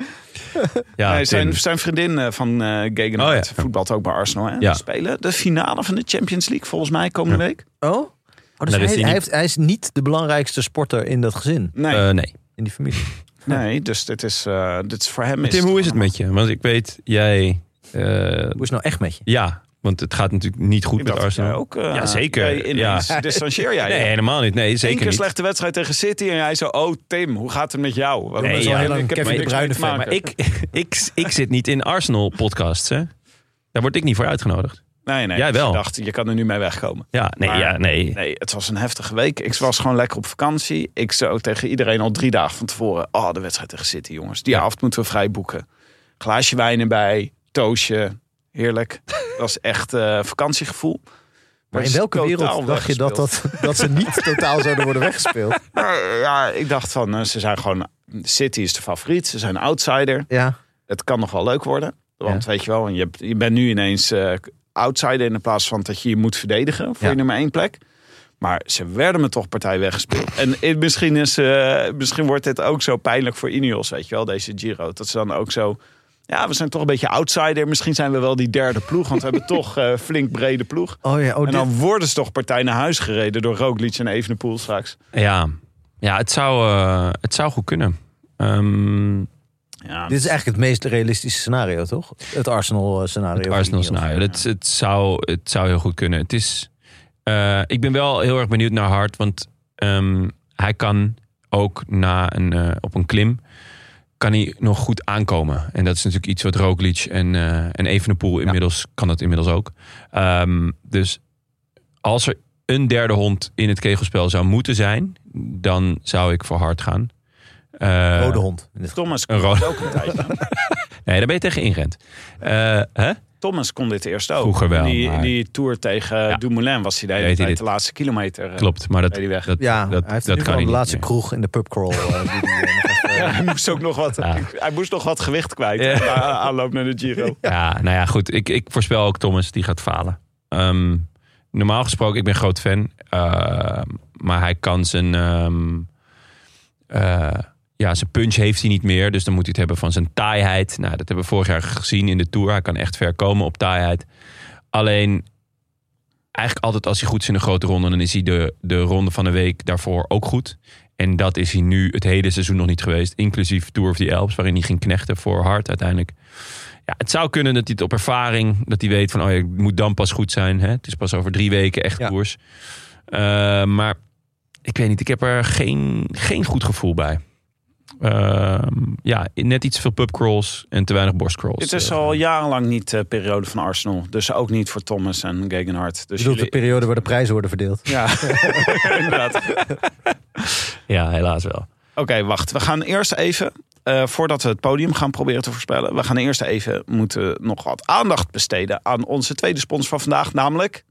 Speaker 1: ja
Speaker 4: Nee, zijn,
Speaker 1: Tim.
Speaker 4: zijn vriendin eh, van eh Gegenhard
Speaker 1: Oh, ja.
Speaker 4: voetbalt ook bij Arsenal. Hè?
Speaker 1: Ja.
Speaker 4: Ze Spelen de finale van de Champions League volgens mij komende week.
Speaker 2: Oh? oh dus
Speaker 1: Daar
Speaker 2: hij,
Speaker 1: is hij
Speaker 2: hij,
Speaker 1: niet.
Speaker 2: heeft, hij is niet de belangrijkste sporter in dat gezin.
Speaker 4: Nee,
Speaker 1: Eh, nee.
Speaker 2: In die familie.
Speaker 4: nee, dus dit is, eh, dit is voor hem.
Speaker 1: Tim, hoe is het met je? Want ik weet, jij... eh,
Speaker 2: Hoe is het nou echt met je?
Speaker 1: ja, want het gaat natuurlijk niet goed
Speaker 4: Ik
Speaker 1: met
Speaker 4: dacht dat jij
Speaker 1: Arsenal.
Speaker 4: ook. eh,
Speaker 1: Ja, zeker.
Speaker 4: jij ineens
Speaker 1: Ja.
Speaker 4: Distancieer jij
Speaker 1: Nee,
Speaker 4: je.
Speaker 1: helemaal niet. Nee,
Speaker 4: Eén
Speaker 1: zeker
Speaker 4: keer
Speaker 1: niet.
Speaker 4: slechte wedstrijd tegen City en jij zo, oh Tim, hoe gaat het met jou? Want
Speaker 1: Nee,
Speaker 4: dat is
Speaker 1: ja.
Speaker 4: wel heel-
Speaker 2: Lang
Speaker 4: heb
Speaker 2: Kevin
Speaker 4: er
Speaker 2: de
Speaker 4: niks
Speaker 2: Bruyne
Speaker 4: mee te
Speaker 2: fan,
Speaker 4: maken.
Speaker 1: Maar ik, ik, ik zit niet in Arsenal-podcasts, hè? Daar word ik niet voor uitgenodigd.
Speaker 4: nee, nee,
Speaker 1: Jij
Speaker 4: dus
Speaker 1: wel.
Speaker 4: Ik dacht, je kan er nu mee wegkomen.
Speaker 1: Ja, nee,
Speaker 4: Maar-
Speaker 1: ja, nee.
Speaker 4: Nee, het was een heftige week. Ik was gewoon lekker op vakantie. Ik zo tegen iedereen al drie dagen van tevoren, oh de wedstrijd tegen City jongens, die avond moeten we vrij boeken. Glaasje wijn erbij, toosje, heerlijk. Dat was echt eh, vakantiegevoel.
Speaker 2: Maar in
Speaker 4: is
Speaker 2: welke
Speaker 4: totaal
Speaker 2: wereld dacht je dat, dat, dat ze niet totaal zouden worden weggespeeld?
Speaker 4: Nou, ja, ik dacht van, eh, ze zijn gewoon, City is de favoriet, ze zijn outsider.
Speaker 2: Ja.
Speaker 4: het kan nog wel leuk worden. Want weet je wel, je, hebt- je bent nu ineens eh, outsider in plaats van dat je je moet verdedigen voor
Speaker 2: Ja.
Speaker 4: je nummer één plek. Maar ze werden me toch partij weggespeeld. En eh, misschien, is, eh, misschien wordt dit ook zo pijnlijk voor Ineos, weet je wel, deze Giro. Dat ze dan ook zo... Ja, we zijn toch een beetje outsider. Misschien zijn we wel die derde ploeg, want we hebben toch eh, flink brede ploeg.
Speaker 2: Oh ja, oh,
Speaker 4: en dan worden ze toch partij naar huis gereden door Roglic en Evenepoel straks.
Speaker 1: Ja, ja het, zou, eh, het zou goed kunnen. Ehm,
Speaker 4: Ja,
Speaker 2: dit is eigenlijk het meest realistische scenario, toch? Het eh, Arsenal-scenario.
Speaker 1: het Arsenal-scenario. Het, het, zou, het zou heel goed kunnen. Het is, eh, ik ben wel heel erg benieuwd naar Hart. Want ehm, hij kan ook na een, eh, op een klim... kan hij nog goed aankomen. En dat is natuurlijk iets wat Roglic en, eh en Evenepoel inmiddels... kan dat inmiddels ook. Ehm, dus als er een derde hond in het kegelspel zou moeten zijn... dan zou ik voor Hart gaan. Eh,
Speaker 2: Rode hond. In dit geval.
Speaker 4: Thomas
Speaker 1: Een
Speaker 4: kon
Speaker 1: rode-
Speaker 4: dit ook een tijdje.
Speaker 1: Nee, daar ben je tegen ingerend. Eh, hè?
Speaker 4: Thomas kon dit eerst ook.
Speaker 1: Vroeger wel,
Speaker 4: In die,
Speaker 1: maar-
Speaker 4: in die tour tegen
Speaker 1: Ja.
Speaker 4: Dumoulin was hij de, hele
Speaker 1: Deed hij
Speaker 4: tijd
Speaker 1: dit.
Speaker 4: de laatste kilometer. eh,
Speaker 1: Klopt, maar dat,
Speaker 4: Nee, die weg.
Speaker 1: dat,
Speaker 2: Ja,
Speaker 1: dat,
Speaker 2: hij heeft
Speaker 1: dat
Speaker 2: nu
Speaker 1: kan
Speaker 2: wel
Speaker 1: hij
Speaker 2: de
Speaker 1: niet
Speaker 2: laatste
Speaker 1: meer.
Speaker 2: kroeg in de pubcrawl. eh, die die, eh, nog even-
Speaker 4: Hij moest ook nog wat,
Speaker 1: Ja.
Speaker 4: hij moest nog wat gewicht kwijt.
Speaker 1: Ja.
Speaker 4: eh, Aanloop naar de Giro.
Speaker 1: Ja, nou ja, goed. Ik, ik voorspel ook Thomas, die gaat falen. Ehm, normaal gesproken, ik ben groot fan. ehm, maar hij kan zijn... ehm, eh, ja, zijn punch heeft hij niet meer. Dus dan moet hij het hebben van zijn taaiheid. Nou, dat hebben we vorig jaar gezien in de Tour. Hij kan echt ver komen op taaiheid. Alleen, eigenlijk altijd als hij goed is in de grote ronde... dan is hij de, de ronde van de week daarvoor ook goed. En dat is hij nu het hele seizoen nog niet geweest. Inclusief Tour of the Alps, waarin hij ging knechten voor hard uiteindelijk. Ja, het zou kunnen dat hij het op ervaring, dat hij weet van, oh ja, ik moet dan pas goed zijn. Hè? Het is pas over drie weken echt
Speaker 2: Ja.
Speaker 1: koers. Eh, maar ik weet niet, ik heb er geen, geen goed gevoel bij. Ehm, ja, net iets te veel pubcrawls en te weinig borstcrawls.
Speaker 4: Dit is
Speaker 1: Eh,
Speaker 4: al jarenlang niet de periode van Arsenal. Dus ook niet voor Thomas en Gegenhardt. Dus
Speaker 2: Ik bedoel, de
Speaker 4: jullie-
Speaker 2: periode waar de prijzen worden verdeeld.
Speaker 4: ja, inderdaad.
Speaker 1: Ja, helaas wel.
Speaker 4: Oké, wacht. We gaan eerst even, eh, voordat we het podium gaan proberen te voorspellen, we gaan eerst even moeten nog wat aandacht besteden aan onze tweede sponsor van vandaag, namelijk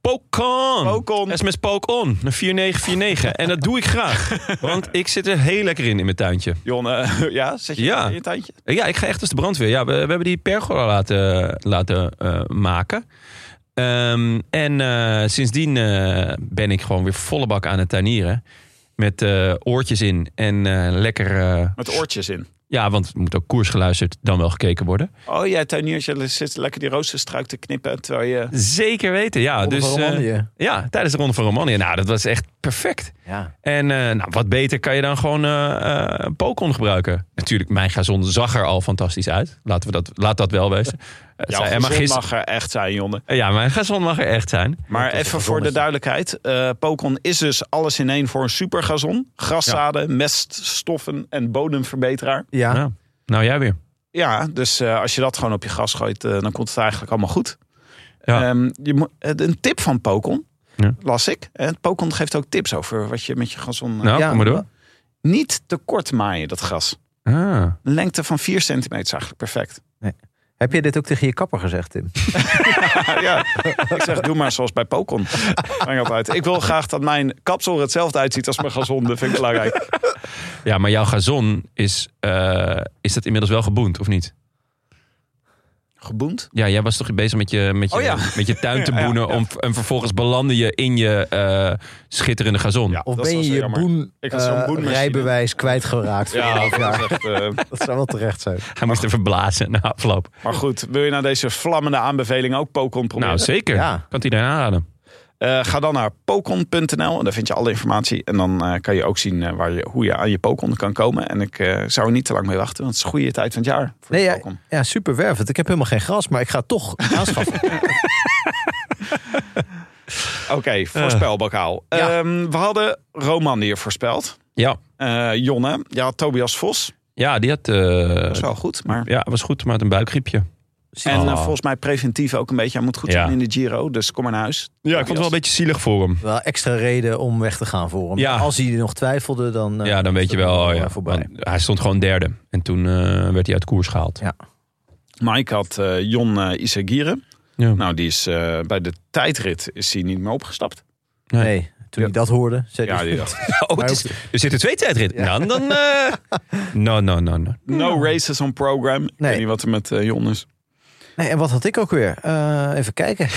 Speaker 1: Pokon!
Speaker 4: Pokon.
Speaker 1: SMS Pokon, naar 4949. En dat doe ik graag, want ik zit er heel lekker in in mijn tuintje.
Speaker 4: Jon. eh, ja, zet je
Speaker 1: Ja.
Speaker 4: in je tuintje?
Speaker 1: Eh, Ja, ik ga echt als de brandweer. Ja, we, we hebben die pergola laten, laten eh, maken. Ehm, en eh, sindsdien eh, ben ik gewoon weer volle bak aan het tuinieren. Met eh, oortjes in en eh, lekker... eh,
Speaker 4: Met oortjes in.
Speaker 1: ja, want er moet ook koers geluisterd dan wel gekeken worden.
Speaker 4: Oh, jij tuiniert, je zit lekker die roosterstruik te knippen terwijl je...
Speaker 1: Zeker weten, ja.
Speaker 2: Ronde
Speaker 1: dus,
Speaker 2: van
Speaker 1: eh,
Speaker 2: Romandie.
Speaker 1: ja, tijdens de Ronde van Romandie. Nou, dat was echt perfect.
Speaker 2: Ja.
Speaker 1: En eh, nou, wat beter kan je dan gewoon eh eh, Pokon gebruiken. Natuurlijk, mijn gazon zag er al fantastisch uit. Laten we dat, laat dat wel wezen. Eh, Het
Speaker 4: Ja,
Speaker 1: zei
Speaker 4: en
Speaker 1: Emma gister-
Speaker 4: mag er echt zijn, Jonne.
Speaker 1: Eh, Ja, mijn gazon mag er echt zijn.
Speaker 4: Maar even voor de duidelijkheid. eh, Pokon is dus alles in één voor een supergazon. Graszaden, meststoffen en bodemverbeteraar.
Speaker 2: Ja.
Speaker 1: Nou, nou, jij weer.
Speaker 4: Ja, dus eh, als je dat gewoon op je gas gooit, eh, dan komt het eigenlijk allemaal goed.
Speaker 1: Ja.
Speaker 4: Ehm, je moet- eh, een tip van Pokon,
Speaker 1: Ja.
Speaker 4: las ik. Eh, Pokon geeft ook tips over wat je met je gazon... eh,
Speaker 1: Nou,
Speaker 2: Ja,
Speaker 1: kom maar door.
Speaker 4: Niet te kort maaien, dat gas.
Speaker 1: Ah.
Speaker 4: Een lengte van 4 centimeter is eigenlijk perfect.
Speaker 2: Heb je dit ook tegen je kapper gezegd, Tim?
Speaker 4: ja, ik zeg, doe maar zoals bij Pokon. Breng dat uit. Ik wil graag dat mijn kapsel er hetzelfde uitziet als mijn gazon. Dat vind ik belangrijk.
Speaker 1: Ja, maar jouw gazon is, eh, is dat inmiddels wel geboend, of niet?
Speaker 4: Geboend?
Speaker 1: Ja, jij was toch bezig met je, met je,
Speaker 4: Oh ja.
Speaker 1: met je tuin te
Speaker 4: Ja, ja,
Speaker 1: boenen.
Speaker 4: ja.
Speaker 1: Om, en vervolgens belandde je in je eh, schitterende gazon.
Speaker 4: Ja,
Speaker 2: Of
Speaker 4: dat
Speaker 2: ben
Speaker 4: was
Speaker 2: je
Speaker 4: wel
Speaker 2: je
Speaker 4: jammer.
Speaker 2: boen,
Speaker 4: Ik had zo'n
Speaker 2: eh,
Speaker 4: boenmachine.
Speaker 2: rijbewijs kwijtgeraakt?
Speaker 4: Ja,
Speaker 2: Ja,
Speaker 4: dat is echt, eh,
Speaker 2: dat zou wel terecht zijn.
Speaker 1: Hij moest even blazen na afloop.
Speaker 4: maar goed, wil je naar deze vlammende aanbeveling ook Pokon proberen?
Speaker 1: Nou, zeker.
Speaker 2: Ja.
Speaker 1: Kan hij daar aanraden.
Speaker 4: Eh, ga dan naar pokon.nl en daar vind je alle informatie. En dan eh, kan je ook zien eh, waar je, hoe je aan je pokon kan komen. En ik eh, zou er niet te lang mee wachten, want het is een goede tijd van het jaar voor
Speaker 2: Nee,
Speaker 4: de
Speaker 2: ja,
Speaker 4: pokon.
Speaker 2: ja, super wervend. Ik heb helemaal geen gras, maar ik ga het toch aanschaffen.
Speaker 4: Oké, voorspelbokaal.
Speaker 2: Eh. Ja.
Speaker 4: Ehm, we hadden Roman hier voorspeld.
Speaker 1: Ja,
Speaker 4: Eh, Jonne, ja, Tobias Vos.
Speaker 1: ja die had... eh,
Speaker 4: Dat is wel goed, maar...
Speaker 1: ja, was goed, maar had een buikgriepje. Oh.
Speaker 4: En
Speaker 2: nou
Speaker 4: eh, volgens mij preventief ook een beetje. Hij moet goed
Speaker 1: Ja.
Speaker 4: zijn in de Giro, dus kom maar naar huis.
Speaker 1: Ja, ik vond het wel een beetje zielig voor hem.
Speaker 2: wel extra reden om weg te gaan voor hem.
Speaker 1: Ja.
Speaker 2: Als hij nog twijfelde, dan... eh,
Speaker 1: ja, dan weet
Speaker 2: is
Speaker 1: je
Speaker 2: dat
Speaker 1: wel.
Speaker 2: wel,
Speaker 1: oh
Speaker 2: eh,
Speaker 1: ja,
Speaker 2: Voorbij.
Speaker 1: want hij stond gewoon derde. En toen eh, werd hij uit koers gehaald.
Speaker 2: Ja.
Speaker 4: Mike had eh, Jon eh Isagire.
Speaker 1: Ja.
Speaker 4: Nou, die is eh, bij de tijdrit is hij niet meer opgestapt.
Speaker 2: Nee,
Speaker 1: Nee.
Speaker 2: toen hij dat hoorde, zei
Speaker 4: Ja,
Speaker 2: hij...
Speaker 4: die dacht,
Speaker 1: Oh, het is- er zitten twee tijdritten. Nou, dan... eh nou, no, no, no, no.
Speaker 4: no races on program. Ik
Speaker 2: Nee.
Speaker 4: weet niet wat er met eh, Jon is.
Speaker 2: Nee, en wat had ik ook weer? Eh, even kijken.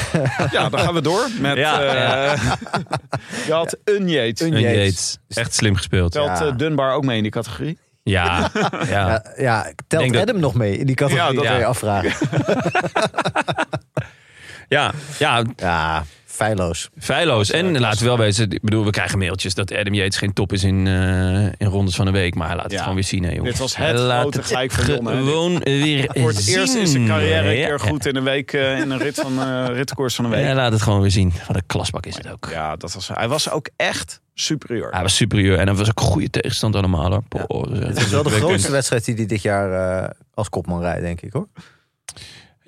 Speaker 4: Ja, dan gaan we door met...
Speaker 1: Ja,
Speaker 4: eh,
Speaker 1: ja.
Speaker 4: Je had een Yates.
Speaker 2: Een
Speaker 1: En
Speaker 2: Yates.
Speaker 1: Yates. Eh, Echt slim gespeeld. Ja,
Speaker 4: Telt
Speaker 2: Ja.
Speaker 4: eh, Dunbar ook mee in die categorie?
Speaker 1: ja.
Speaker 2: Ja, ja telt
Speaker 1: Denk dat-
Speaker 2: Adam nog mee in die categorie?
Speaker 4: Ja, dat-
Speaker 2: wil je
Speaker 1: ja.
Speaker 2: afvragen.
Speaker 1: Ja, ja,
Speaker 2: Ja, feilloos.
Speaker 1: feilloos. En laten we wel wezen, ik bedoel, we krijgen mailtjes dat Adam Yates geen top is in, eh, in rondes van de week. Maar hij laat het
Speaker 4: Ja.
Speaker 1: gewoon weer zien, hè, jongen.
Speaker 4: Dit was het
Speaker 1: laat
Speaker 4: grote gelijk van Jon, hè.
Speaker 1: gewoon weer
Speaker 4: Voor het eerst in zijn
Speaker 1: zien.
Speaker 4: carrière een
Speaker 1: Ja.
Speaker 4: keer goed in een week eh, in een rit van, eh, ritkoers van een
Speaker 1: Hij
Speaker 4: week.
Speaker 1: laat het gewoon weer zien. Wat een klasbak is het ook.
Speaker 4: Ja, dat was, hij was ook echt superieur.
Speaker 1: Hij was superieur en dat was ook een goede tegenstand allemaal. Hoor. Boah, eh,
Speaker 2: Het is wel de
Speaker 1: indrukwekkend.
Speaker 2: grootste wedstrijd die hij dit jaar eh, als kopman rijdt, denk ik hoor.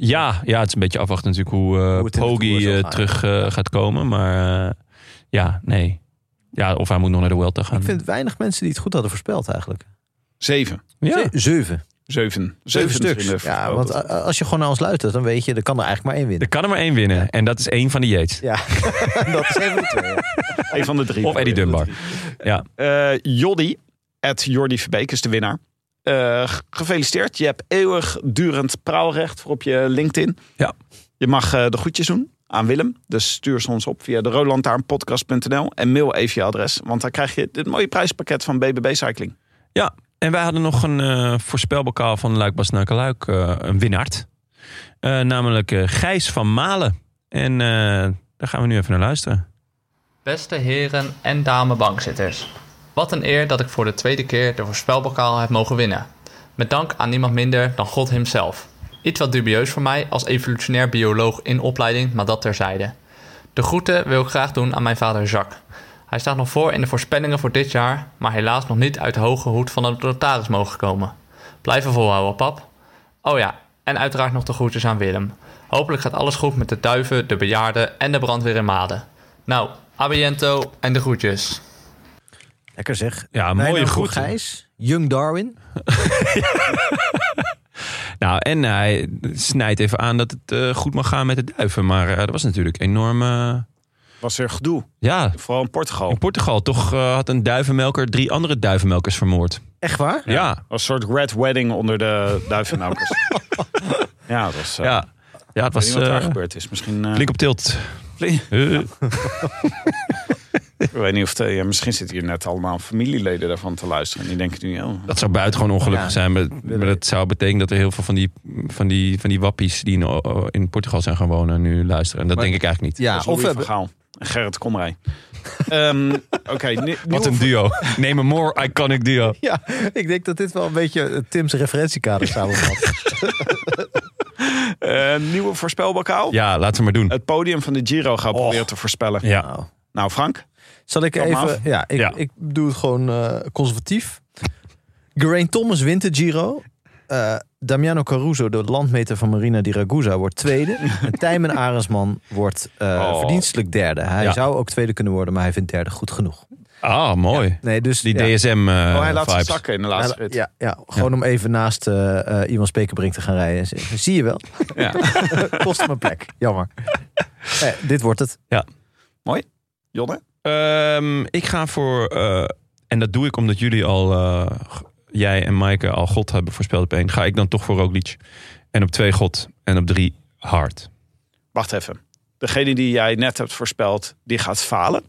Speaker 1: Ja, ja, het is een beetje afwachten natuurlijk hoe, eh
Speaker 2: Hoe het in de Tour
Speaker 1: Poggi
Speaker 2: zal
Speaker 1: eh,
Speaker 2: gaan.
Speaker 1: terug eh, gaat komen. Maar eh, ja, nee. Ja, of hij moet nog naar de Welter gaan. Hmm.
Speaker 2: Ik vind weinig mensen die het goed hadden voorspeld eigenlijk.
Speaker 4: Zeven.
Speaker 1: Ja.
Speaker 2: Ze- Zeven.
Speaker 4: Zeven.
Speaker 2: Zeven
Speaker 4: vrienden
Speaker 2: stuks. Ja,
Speaker 4: verkopen.
Speaker 2: want a- a- als je gewoon naar ons luistert, dan weet je, er kan er eigenlijk maar één
Speaker 1: Er
Speaker 2: winnen.
Speaker 1: kan er maar één winnen. En dat is één van de Yates.
Speaker 2: Ja, dat is even goed. hoor.
Speaker 4: Een van de drie.
Speaker 1: Of Eddie Dunbar. Ja.
Speaker 4: Eh Joddy, at Jordi Verbeek is de winnaar. Eh, g- gefeliciteerd. Je hebt eeuwigdurend praalrecht voor op je LinkedIn.
Speaker 1: Ja.
Speaker 4: Je mag eh, de groetjes doen aan Willem. Dus stuur ze ons op via de roodlantaarnpodcast.nl en mail even je adres. Want dan krijg je dit mooie prijspakket van BBB Cycling.
Speaker 1: Ja, en wij hadden nog een eh voorspelbokaal van Luik Bas Luik, een winnaard. Eh, namelijk eh, Gijs van Malen. En eh, daar gaan we nu even naar luisteren.
Speaker 5: Beste heren en dame bankzitters. Wat een eer dat ik voor de tweede keer de voorspelbokaal heb mogen winnen. Met dank aan niemand minder dan God himself. Iets wat dubieus voor mij als evolutionair bioloog in opleiding, maar dat terzijde. De groeten wil ik graag doen aan mijn vader Jacques. Hij staat nog voor in de voorspellingen voor dit jaar, maar helaas nog niet uit de hoge hoed van de notaris mogen komen. Blijven volhouden, pap. Oh ja, en uiteraard nog de groetjes aan Willem. Hopelijk gaat alles goed met de duiven, de bejaarden en de brandweer in Maden. Nou, abiento en de groetjes.
Speaker 2: Lekker zeg.
Speaker 1: Ja,
Speaker 2: Mijn
Speaker 1: mooie
Speaker 2: naam voor
Speaker 1: groeten.
Speaker 2: Gijs, Young Darwin.
Speaker 1: Nou, en hij snijdt even aan dat het eh, goed mag gaan met de duiven. Maar eh, dat was natuurlijk enorm... eh,
Speaker 4: Was er gedoe,
Speaker 1: ja,
Speaker 4: vooral in Portugal.
Speaker 1: in Portugal toch eh, had een duivenmelker drie andere duivenmelkers vermoord.
Speaker 2: Echt waar?
Speaker 1: Ja, ja.
Speaker 4: Als een soort red wedding onder de duivennaukers. ja, dat was... eh, ik
Speaker 1: ja. het
Speaker 4: weet
Speaker 1: was
Speaker 4: niet wat daar
Speaker 1: eh,
Speaker 4: gebeurd is. Misschien... eh,
Speaker 1: flink op tilt.
Speaker 4: Flink.
Speaker 1: Eh,
Speaker 4: Ik weet niet of... het, eh, ja, misschien zitten hier net allemaal familieleden daarvan te luisteren. En die denken nu... Oh,
Speaker 1: Dat zou buitengewoon ongelukkig
Speaker 2: Ja.
Speaker 1: zijn. Maar, maar dat zou betekenen dat er heel veel van die, van die, van die wappies die in, eh, in Portugal zijn gaan wonen nu luisteren. En dat
Speaker 2: Maar-
Speaker 1: denk ik eigenlijk niet.
Speaker 2: Ja,
Speaker 4: Dat is
Speaker 2: of we
Speaker 4: Louis
Speaker 2: hebben...
Speaker 4: van Gaal en Gerrit Komrij. Ehm, Oké, ni-
Speaker 1: Wat
Speaker 4: nieuwe-
Speaker 1: een duo. Neem een more iconic duo.
Speaker 2: Ja, ik denk dat dit wel een beetje Tim's referentiekader samenvat.
Speaker 4: eh, nieuwe voorspelbokaal.
Speaker 1: Ja, laten we maar doen.
Speaker 4: Het podium van de Giro gaan proberen te voorspellen.
Speaker 1: Ja.
Speaker 4: Nou, Frank,
Speaker 2: Zal ik
Speaker 4: Kom
Speaker 2: even...
Speaker 4: af.
Speaker 2: Ja ik,
Speaker 1: Ja.
Speaker 2: ik doe het gewoon eh, conservatief. Geraint Thomas wint de Giro. Eh, Damiano Caruso, de landmeter van Marina di Ragusa, wordt tweede. en Tijmen Arendsman wordt eh,
Speaker 4: Oh.
Speaker 2: verdienstelijk derde. Hij
Speaker 1: Ja.
Speaker 2: zou ook tweede kunnen worden, maar hij vindt derde goed genoeg.
Speaker 1: Ah, mooi.
Speaker 2: Nee, dus...
Speaker 1: Die
Speaker 2: ja.
Speaker 1: DSM eh
Speaker 4: oh, hij laat ze
Speaker 1: vibes.
Speaker 4: zakken in de
Speaker 2: Ja,
Speaker 4: laatste rit.
Speaker 2: ja, ja, gewoon om even naast eh, eh, iemand spekerbrink te gaan rijden. Z- Zie je wel.
Speaker 4: Ja.
Speaker 2: Kost me plek. Jammer. Eh, dit wordt het.
Speaker 4: Jonne?
Speaker 1: Ehm, ik ga voor, eh, en dat doe ik omdat jullie al, eh, g- jij en Maaike al God hebben voorspeld op één. Ga ik dan toch voor Roglic. En op twee God. En op drie Hart.
Speaker 4: Wacht even. Degene die jij net hebt voorspeld, die gaat falen.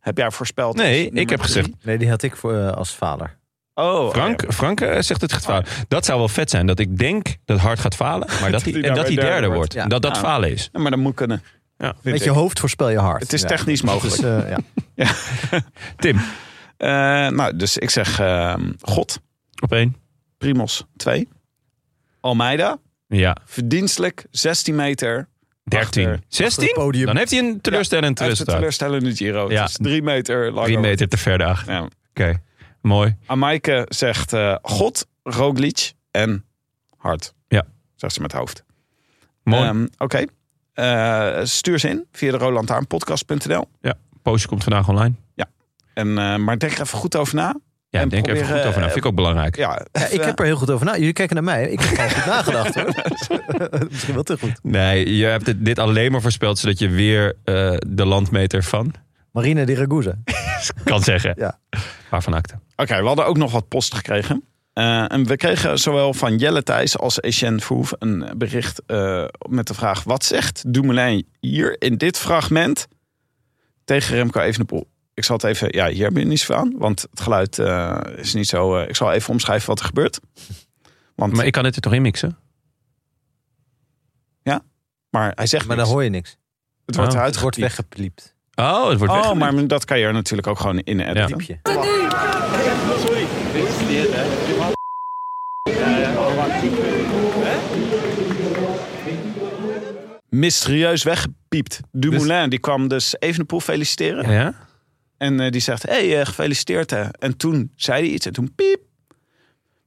Speaker 4: Heb jij voorspeld? als
Speaker 1: Nee,
Speaker 4: nummer
Speaker 1: ik heb
Speaker 4: drie?
Speaker 1: gezegd
Speaker 2: Nee, die had ik voor, eh, als vader.
Speaker 4: Oh,
Speaker 1: Frank,
Speaker 4: oké.
Speaker 1: Frank eh, zegt het gaat falen. Dat zou wel vet zijn. Dat ik denk dat Hart gaat falen. Maar dat hij, en
Speaker 4: hij daarbij
Speaker 1: dat hij
Speaker 4: derde
Speaker 1: derde
Speaker 4: wordt.
Speaker 1: wordt.
Speaker 2: Ja.
Speaker 1: Dat dat
Speaker 4: Ja.
Speaker 1: falen is.
Speaker 4: Ja, maar dat moet kunnen.
Speaker 1: Ja.
Speaker 4: Vind
Speaker 2: Met je
Speaker 4: ik.
Speaker 2: hoofd voorspel je hard.
Speaker 4: Het is
Speaker 2: Ja.
Speaker 4: technisch
Speaker 2: Het
Speaker 4: mogelijk.
Speaker 2: is, eh, ja.
Speaker 1: Tim,
Speaker 4: Eh, nou, dus ik zeg ehm, God,
Speaker 1: op één.
Speaker 4: Primos 2. Almeida,
Speaker 1: Ja,
Speaker 4: verdienstelijk 16 meter
Speaker 1: 13.
Speaker 4: Achter-
Speaker 2: het
Speaker 1: 16?
Speaker 2: podium.
Speaker 1: Dan heeft hij een teleurstellend
Speaker 4: Hij heeft een
Speaker 1: resultaat.
Speaker 4: teleurstellende Giro.
Speaker 1: Ja.
Speaker 4: Het is drie meter lang.
Speaker 1: Drie meter te ver daag. Oké,
Speaker 4: Ja.
Speaker 1: mooi.
Speaker 4: Aan Maaike zegt eh, God, Roglic en Hart.
Speaker 1: Ja.
Speaker 4: Zegt ze met het hoofd.
Speaker 1: Mooi.
Speaker 4: Ehm, Oké. Eh, stuur ze in via de rolantaarnpodcast.nl.
Speaker 1: Postje komt vandaag online.
Speaker 4: En, eh, maar denk er even goed over na.
Speaker 1: Ja,
Speaker 4: En
Speaker 1: denk er even
Speaker 4: probeer,
Speaker 1: goed over na.
Speaker 4: eh,
Speaker 1: Vind ik ook belangrijk.
Speaker 4: Ja, eh,
Speaker 2: Ja,
Speaker 4: even-
Speaker 2: ik heb er heel goed over na. Jullie kijken naar mij. Ik heb al goed nagedacht hoor. Misschien wel te goed.
Speaker 1: Nee, je hebt dit- dit alleen maar voorspeld zodat je weer eh, de landmeter van
Speaker 2: Marina di Ragusa.
Speaker 1: kan zeggen.
Speaker 2: Ja.
Speaker 1: Waarvan acte.
Speaker 4: Oké, we hadden ook nog wat post gekregen. Eh, en we kregen zowel van Jelle Thijs als Etienne Verhoef een bericht eh, met de vraag... Wat zegt Dumoulin hier in dit fragment tegen Remco Evenepoel? Ik zal het even... Ja, hier heb je niet zoveel aan, want het geluid eh, is niet zo... eh, ik zal even omschrijven wat er gebeurt. Want,
Speaker 1: Maar
Speaker 4: maar,
Speaker 1: ik kan het er toch in mixen?
Speaker 4: hij zegt
Speaker 2: Maar daar
Speaker 4: niks.
Speaker 2: hoor je niks.
Speaker 4: Het wordt
Speaker 1: Oh,
Speaker 4: eruit
Speaker 2: Het wordt
Speaker 4: geknipt.
Speaker 2: weggepiept.
Speaker 1: Oh, het wordt
Speaker 4: Oh,
Speaker 1: weggemixt.
Speaker 4: maar dat kan je er natuurlijk ook gewoon in editen.
Speaker 1: Ja.
Speaker 2: Piepje.
Speaker 4: Mysterieus weggepiept. Dumoulin, die kwam dus Evenepoel feliciteren.
Speaker 1: Ja?
Speaker 4: En eh, die zegt, hey, eh, gefeliciteerd hè. En toen zei hij iets en toen piep.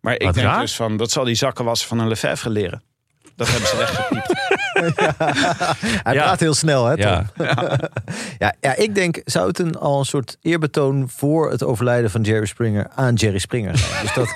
Speaker 4: Maar ik
Speaker 1: Wat
Speaker 4: denk
Speaker 1: raar.
Speaker 4: dus van, dat zal die zakkenwasser van een Lefebvre leren. Dat hebben ze weggepiept.
Speaker 2: Hij
Speaker 1: Ja.
Speaker 2: praat heel snel, hè? Tom?
Speaker 1: Ja.
Speaker 2: Ja, ja, ik denk, zou het een, al een soort eerbetoon voor het overlijden van Jerry Springer aan Jerry Springer zijn? Dus dat,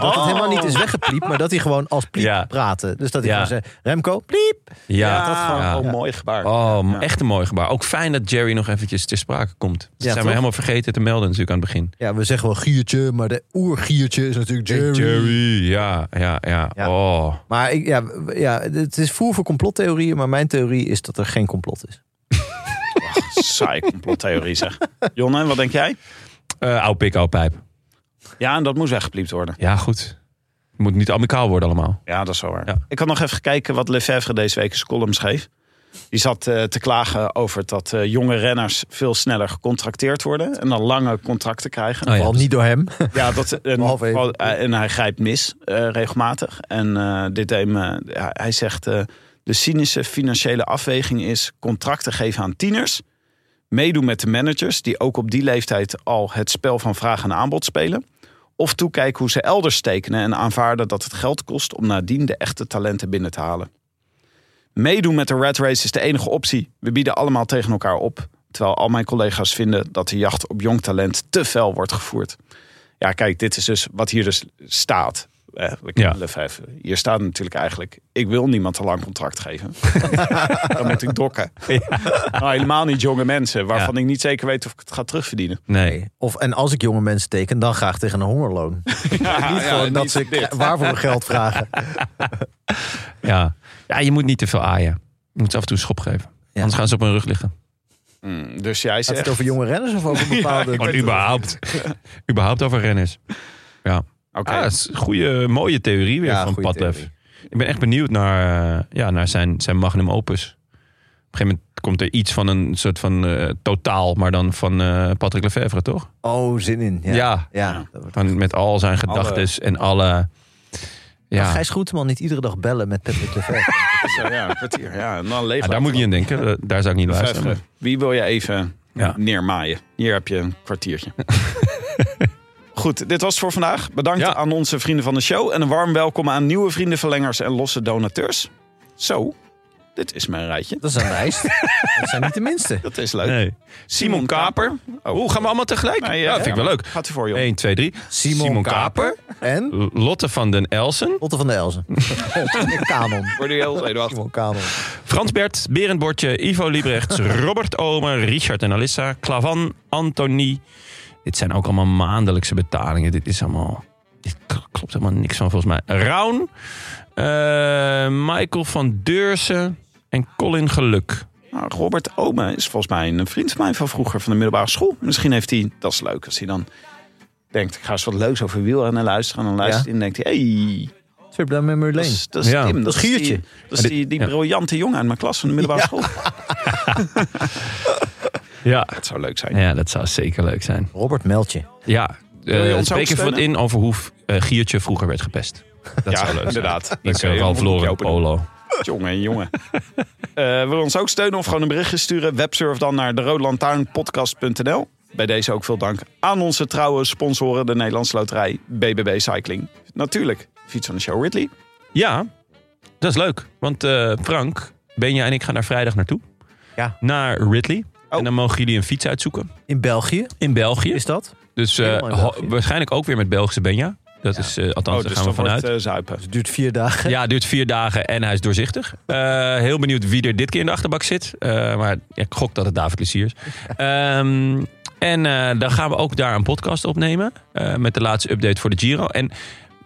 Speaker 2: dat het helemaal niet is weggepliept, maar dat hij gewoon als pliep
Speaker 1: Ja.
Speaker 2: praatte. Dus dat hij
Speaker 1: Ja.
Speaker 2: gewoon zei, Remco, pliep.
Speaker 1: Ja,
Speaker 4: dat gewoon
Speaker 1: ja.
Speaker 4: al mooi gebaar.
Speaker 1: Oh,
Speaker 4: Ja.
Speaker 1: echt een mooi gebaar. Ook fijn dat Jerry nog eventjes ter sprake komt. Dat zijn
Speaker 2: toch?
Speaker 1: we helemaal vergeten te melden natuurlijk aan het begin.
Speaker 2: Ja, we zeggen wel giertje, maar de oergiertje is natuurlijk Jerry.
Speaker 1: ja, ja, ja.
Speaker 2: Ja.
Speaker 1: Oh.
Speaker 2: Maar ik, ja, w- ja, het is voer voor complottheorieën, maar mijn theorie is dat er geen complot is.
Speaker 4: Saai complottheorie zeg. Jonne, wat denk jij?
Speaker 1: Eh oude pik, oude pijp.
Speaker 4: Ja, en dat moest weggepliept worden.
Speaker 1: Ja, goed. Het moet niet amicaal worden allemaal.
Speaker 4: Ja, dat is wel waar.
Speaker 1: Ja.
Speaker 4: Ik had nog even gekeken wat Lefebvre deze week in zijn column schreef. Die zat eh, te klagen over dat eh, jonge renners veel sneller gecontracteerd worden. En dan lange contracten krijgen.
Speaker 1: Oh, ja.
Speaker 2: Vooral niet door hem.
Speaker 4: Ja, dat, en,
Speaker 2: Behalve even.
Speaker 4: vooral- eh, en hij grijpt mis eh, regelmatig. En eh, dit deed me- ja, hij zegt: eh, De cynische financiële afweging is contracten geven aan tieners. Meedoen met de managers, die ook op die leeftijd al het spel van vraag en aanbod spelen. Of toekijken hoe ze elders tekenen en aanvaarden dat het geld kost om nadien de echte talenten binnen te halen. Meedoen met de rat race is de enige optie. We bieden allemaal tegen elkaar op. Terwijl al mijn collega's vinden dat de jacht op jong talent te fel wordt gevoerd. Ja, kijk, dit is dus wat hier dus staat. Eh, we kennen Lefebvre. Hier staat natuurlijk eigenlijk: ik wil niemand een lang contract geven. Dan moet ik dokken. Nou, helemaal niet jonge mensen, waarvan ik niet zeker weet of ik het ga terugverdienen.
Speaker 1: Nee.
Speaker 2: Of, en als ik jonge mensen teken, dan graag tegen een hongerloon. niet gewoon dat ze k- waarvoor geld vragen.
Speaker 1: Ja. ja, je moet niet te veel aaien. Je moet ze af en toe een schop geven. Anders gaan ze op hun rug liggen.
Speaker 4: Mm, dus jij
Speaker 2: Gaat
Speaker 4: zegt:
Speaker 2: het over jonge renners of over bepaalde...
Speaker 1: Gewoon überhaupt. überhaupt over renners. Ja.
Speaker 4: Oké.
Speaker 1: Ah, dat is een goede, mooie theorie weer
Speaker 2: Ja,
Speaker 1: van
Speaker 2: goede
Speaker 1: Padlef.
Speaker 2: theorie.
Speaker 1: Ik ben echt benieuwd naar, eh, ja, naar zijn, zijn magnum opus. Op een gegeven moment komt er iets van een soort van eh, totaal, maar dan van eh, Patrick Lefevre, toch?
Speaker 2: Oh, zin in. Ja.
Speaker 1: Ja.
Speaker 2: ja. dat wordt-
Speaker 1: Van, met al zijn
Speaker 4: Alle-
Speaker 1: gedachtes en alle...
Speaker 2: Mag
Speaker 1: Ja,
Speaker 2: Gijs Groenteman niet iedere dag bellen met Patrick Lefebvre.
Speaker 4: Zo, ja, een kwartier. Ja, en dan
Speaker 1: Ja,
Speaker 4: leven.
Speaker 1: daar moet ik niet aan denken. Eh, Daar zou ik niet luisteren.
Speaker 4: Lefebvre, Wie wil je even
Speaker 1: Ja.
Speaker 4: neermaaien? Hier heb je een kwartiertje. Goed, dit was het voor vandaag. Bedankt
Speaker 1: Ja.
Speaker 4: aan onze vrienden van de show. En een warm welkom aan nieuwe vriendenverlengers en losse donateurs. Zo, dit is mijn rijtje.
Speaker 2: Dat is een lijst. Dat zijn niet de minste.
Speaker 4: Dat is leuk.
Speaker 1: Nee.
Speaker 4: Simon Kaper. Oh.
Speaker 1: Hoe gaan we allemaal tegelijk?
Speaker 4: Nee,
Speaker 1: ja,
Speaker 4: ja,
Speaker 1: vind ik
Speaker 4: ja.
Speaker 1: wel leuk.
Speaker 4: Gaat u voor, joh.
Speaker 1: 1, 2, 3.
Speaker 2: Simon
Speaker 1: Kaper.
Speaker 2: En
Speaker 1: Lotte van den Elsen.
Speaker 2: Lotte van der Elzen. Kanon.
Speaker 4: Voor de heel Eduard.
Speaker 2: Simon Kanon.
Speaker 1: Frans Bert, Berend Bortje, Ivo Liebrechts, Robert Omer, Richard en Alissa, Clavan, Anthony. Dit zijn ook allemaal maandelijkse betalingen. Dit is allemaal... Dit k- klopt helemaal niks van volgens mij. Raun, eh, Michael van Deursen en Colin Geluk.
Speaker 4: Nou, Robert Ome is volgens mij een vriend van mij van vroeger van de middelbare school. Misschien heeft hij, dat is leuk, als hij dan denkt, ik ga eens wat leuks over wielrennen luisteren. En dan luistert hij en denkt hij, hey,
Speaker 2: Trip down memory
Speaker 4: dat
Speaker 2: lane.
Speaker 4: is, dat is
Speaker 1: Ja.
Speaker 4: Tim. Dat is
Speaker 2: Giertje.
Speaker 4: die, dat is die, die
Speaker 1: Ja.
Speaker 4: briljante jongen uit mijn klas van de middelbare school.
Speaker 1: Ja.
Speaker 4: Dat zou leuk zijn.
Speaker 1: ja, dat zou zeker leuk zijn.
Speaker 2: Robert Meltje.
Speaker 1: Ja,
Speaker 4: je ons
Speaker 1: eh
Speaker 4: ook
Speaker 1: spreek even wat
Speaker 4: steunen?
Speaker 1: in over hoe eh, Giertje vroeger werd gepest. Dat
Speaker 4: Ja,
Speaker 1: zou leuk zijn.
Speaker 4: inderdaad. Dan
Speaker 1: Iets
Speaker 4: kun je
Speaker 1: uh, Ralph
Speaker 4: een mondje
Speaker 1: Lauren
Speaker 4: openen.
Speaker 1: Polo.
Speaker 4: Jongen, jongen. Eh wil je ons ook steunen of gewoon een berichtje sturen? Websurf dan naar de roodlantaarnpodcast.nl. Bij deze ook veel dank aan onze trouwe sponsoren, de Nederlandse Loterij, BBB Cycling. Natuurlijk, fiets van de show Ridley.
Speaker 1: Ja, dat is leuk. Want eh, Frank, Benja en ik gaan daar vrijdag naartoe.
Speaker 2: Ja.
Speaker 1: Naar Ridley.
Speaker 4: Oh.
Speaker 1: En dan mogen jullie een fiets uitzoeken.
Speaker 2: In België
Speaker 1: In België.
Speaker 2: is dat.
Speaker 1: Dus eh,
Speaker 2: helemaal in
Speaker 1: ho-
Speaker 2: België.
Speaker 1: waarschijnlijk ook weer met Belgische Benja. Dat is, eh, althans, daar gaan we
Speaker 4: dat
Speaker 1: vanuit.
Speaker 4: wordt, eh, zuipen.
Speaker 2: Dus Het duurt vier dagen.
Speaker 1: Ja, duurt vier dagen en hij is doorzichtig. Eh, heel benieuwd wie er dit keer in de achterbak zit. Eh, maar ik gok dat het David Lucier is. Ehm, en eh, dan gaan we ook daar een podcast opnemen. eh, met de laatste update voor de Giro. En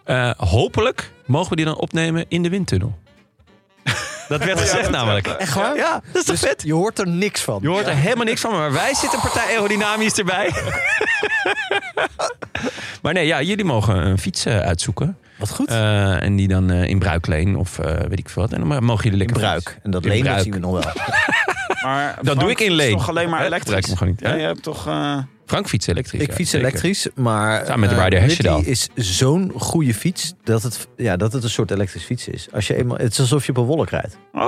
Speaker 1: eh, hopelijk mogen we die dan opnemen in de windtunnel. Dat werd gezegd namelijk. Echt
Speaker 2: waar?
Speaker 1: Ja, dat is toch vet?
Speaker 2: Je hoort er niks van.
Speaker 1: Je hoort er helemaal niks van, maar wij zitten partij aerodynamisch erbij. maar nee, ja, jullie mogen een fiets eh, uitzoeken.
Speaker 2: Wat goed.
Speaker 1: Eh, en die dan eh, in bruikleen of eh, weet ik veel wat. En dan mogen jullie
Speaker 2: in
Speaker 1: lekker
Speaker 2: bruik. En dat
Speaker 1: In
Speaker 2: leen dat
Speaker 1: bruik.
Speaker 2: zien we nog wel.
Speaker 4: Maar
Speaker 1: doe
Speaker 4: Frank,
Speaker 1: ik in
Speaker 4: Het is
Speaker 1: leen.
Speaker 4: toch alleen maar
Speaker 1: Hè? Gebruik
Speaker 4: elektrisch?
Speaker 1: hem gewoon niet, hè?
Speaker 4: Ja, je hebt toch... eh,
Speaker 1: Frank fietst elektrisch.
Speaker 2: Ik
Speaker 1: ja,
Speaker 2: fiets
Speaker 1: zeker.
Speaker 2: elektrisch, maar
Speaker 1: Samen met de
Speaker 2: eh,
Speaker 1: Ryder Hesjedal.
Speaker 2: Ridley is zo'n goede fiets dat het, ja, dat het een soort elektrisch fiets is. Als je eenmaal, het is alsof je op een wolk rijdt.
Speaker 4: Oh,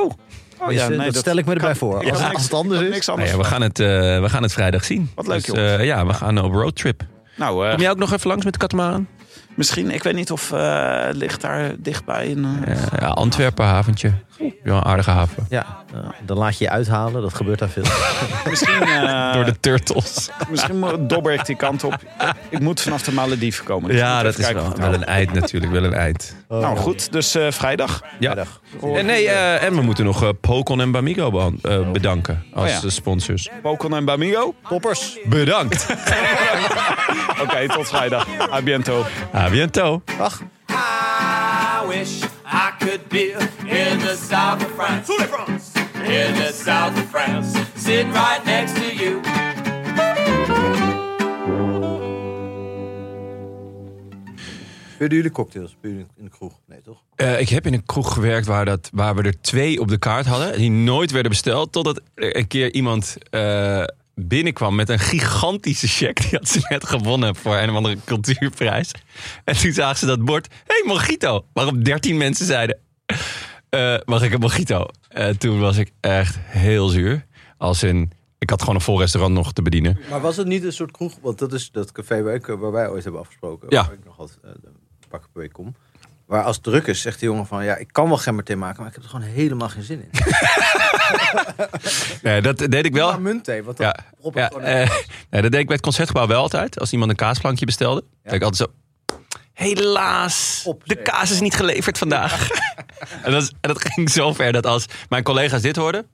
Speaker 4: oh
Speaker 2: Dus, eh, dat, stel ik me erbij voor.
Speaker 4: Ja,
Speaker 2: Als,
Speaker 4: niks-
Speaker 2: als het anders
Speaker 4: kan
Speaker 2: is.
Speaker 4: Niks
Speaker 1: Nou
Speaker 4: anders.
Speaker 1: ja, we, gaan het, eh, we gaan het vrijdag zien.
Speaker 4: Wat
Speaker 1: dus,
Speaker 4: leuk, jongens.
Speaker 1: eh, Ja, we gaan op roadtrip.
Speaker 4: Nou, eh,
Speaker 1: Kom jij ook nog even langs met de katamaran?
Speaker 4: misschien, ik weet niet of eh ligt daar dichtbij een... eh,
Speaker 1: Ja, Antwerpen haventje. Ja, een aardige haven.
Speaker 2: Ja, eh, dan laat je je uithalen. Dat gebeurt daar veel.
Speaker 4: Misschien, eh,
Speaker 1: Door de turtles.
Speaker 4: misschien mo- dobber ik die kant op. Ik moet vanaf de Malediven komen. dus
Speaker 1: Ja,
Speaker 4: ik moet
Speaker 1: dat
Speaker 4: even
Speaker 1: is
Speaker 4: kijken
Speaker 1: wel,
Speaker 4: of
Speaker 1: wel
Speaker 4: het
Speaker 1: een eind natuurlijk. Wel een eind.
Speaker 4: helpt. Nou goed, dus eh, vrijdag.
Speaker 1: Ja. En, nee, eh, en we moeten nog eh, Pokon en Bamigo behan- eh, bedanken als
Speaker 4: Oh ja.
Speaker 1: eh, sponsors.
Speaker 4: Pokon en Bamigo.
Speaker 2: Toppers.
Speaker 1: Bedankt.
Speaker 4: Oké, tot vrijdag. A biento.
Speaker 1: A biento.
Speaker 6: I wish I could be in the south of France. In the south of France. Sitting right next to you.
Speaker 2: Vullen jullie cocktails? Vullen jullie in de kroeg? Nee, toch?
Speaker 1: Eh, ik heb in een kroeg gewerkt waar, dat, waar we er twee op de kaart hadden. Die nooit werden besteld. Totdat er een keer iemand eh, binnenkwam met een gigantische check. Die had ze net gewonnen voor een of andere cultuurprijs. En toen zagen ze dat bord. Hé, hey, mojito. Waarop dertien mensen zeiden. eh, mag ik een mojito? Eh, toen was ik echt heel zuur. Als in, ik had gewoon een vol restaurant nog te bedienen.
Speaker 2: Maar was het niet een soort kroeg? Want dat is dat café waar, ik, waar wij ooit hebben afgesproken.
Speaker 1: Ja.
Speaker 2: Waar ik nog altijd eh, een pak per week kom. Waar als het druk is, zegt de jongen van... Ja, ik kan wel gemmerthee maken, maar ik heb er gewoon helemaal geen zin in.
Speaker 1: Nee, dat deed ik wel.
Speaker 2: Ja, muntthee. Want
Speaker 1: Ja,
Speaker 2: dat prop ik
Speaker 1: ja
Speaker 2: gewoon
Speaker 1: eh, nee, dat deed ik bij het concertgebouw wel altijd. Als iemand een kaasplankje bestelde. deed ik altijd zo... Helaas,
Speaker 2: Op,
Speaker 1: de
Speaker 2: zeker.
Speaker 1: kaas is niet geleverd vandaag. en, dat, is- en dat ging zo ver dat als mijn collega's dit hoorden...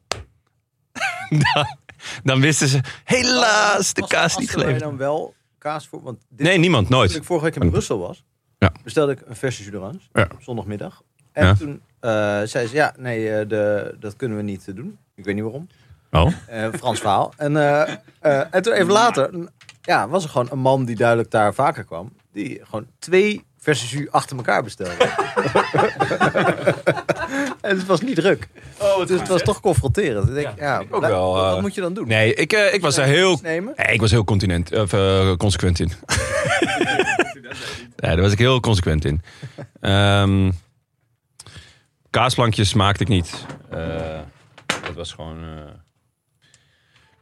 Speaker 1: dan, dan wisten ze... Helaas, de
Speaker 2: Als-
Speaker 1: kaas is
Speaker 2: als
Speaker 1: niet
Speaker 2: er mij
Speaker 1: geleverd.
Speaker 2: dan wel kaas voor... Want dit
Speaker 1: Nee, niemand,
Speaker 2: Toen
Speaker 1: nooit.
Speaker 2: ik vorige week in Brussel was,
Speaker 1: Ja.
Speaker 2: bestelde ik een verse jus d'orange
Speaker 1: Ja.
Speaker 2: op zondagmiddag. En
Speaker 1: Ja.
Speaker 2: toen eh, zei ze, ja, nee, eh, de, dat kunnen we niet eh, doen. Ik weet niet waarom.
Speaker 1: Oh,
Speaker 2: Eh, Frans verhaal. En, eh, eh, en toen even later, n- ja, was er gewoon een man die duidelijk daar vaker kwam. Die gewoon twee verse jus achter elkaar bestelde. en het was niet druk.
Speaker 1: Oh,
Speaker 2: dus het was toch confronterend. Ik denk, ja,
Speaker 1: ook wel,
Speaker 2: Wat
Speaker 1: eh,
Speaker 2: moet je dan doen?
Speaker 1: nee, ik, eh, ik was er heel...
Speaker 2: Nemen?
Speaker 1: Nee, ik was heel continent, of, eh, consequent in. nee, daar was ik heel consequent in. Ehm kaasplankjes maakte ik niet. Eh, dat was gewoon eh,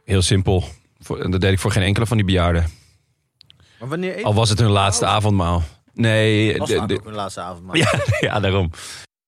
Speaker 1: heel simpel. Voor, en dat deed ik voor geen enkele van die bejaarden.
Speaker 2: Maar wanneer eet
Speaker 1: Al was het hun laatste avondmaal. Nee,
Speaker 2: was
Speaker 1: de-
Speaker 2: het nou?
Speaker 1: de-
Speaker 2: ook hun laatste avond? maar-
Speaker 1: ja, ja, daarom.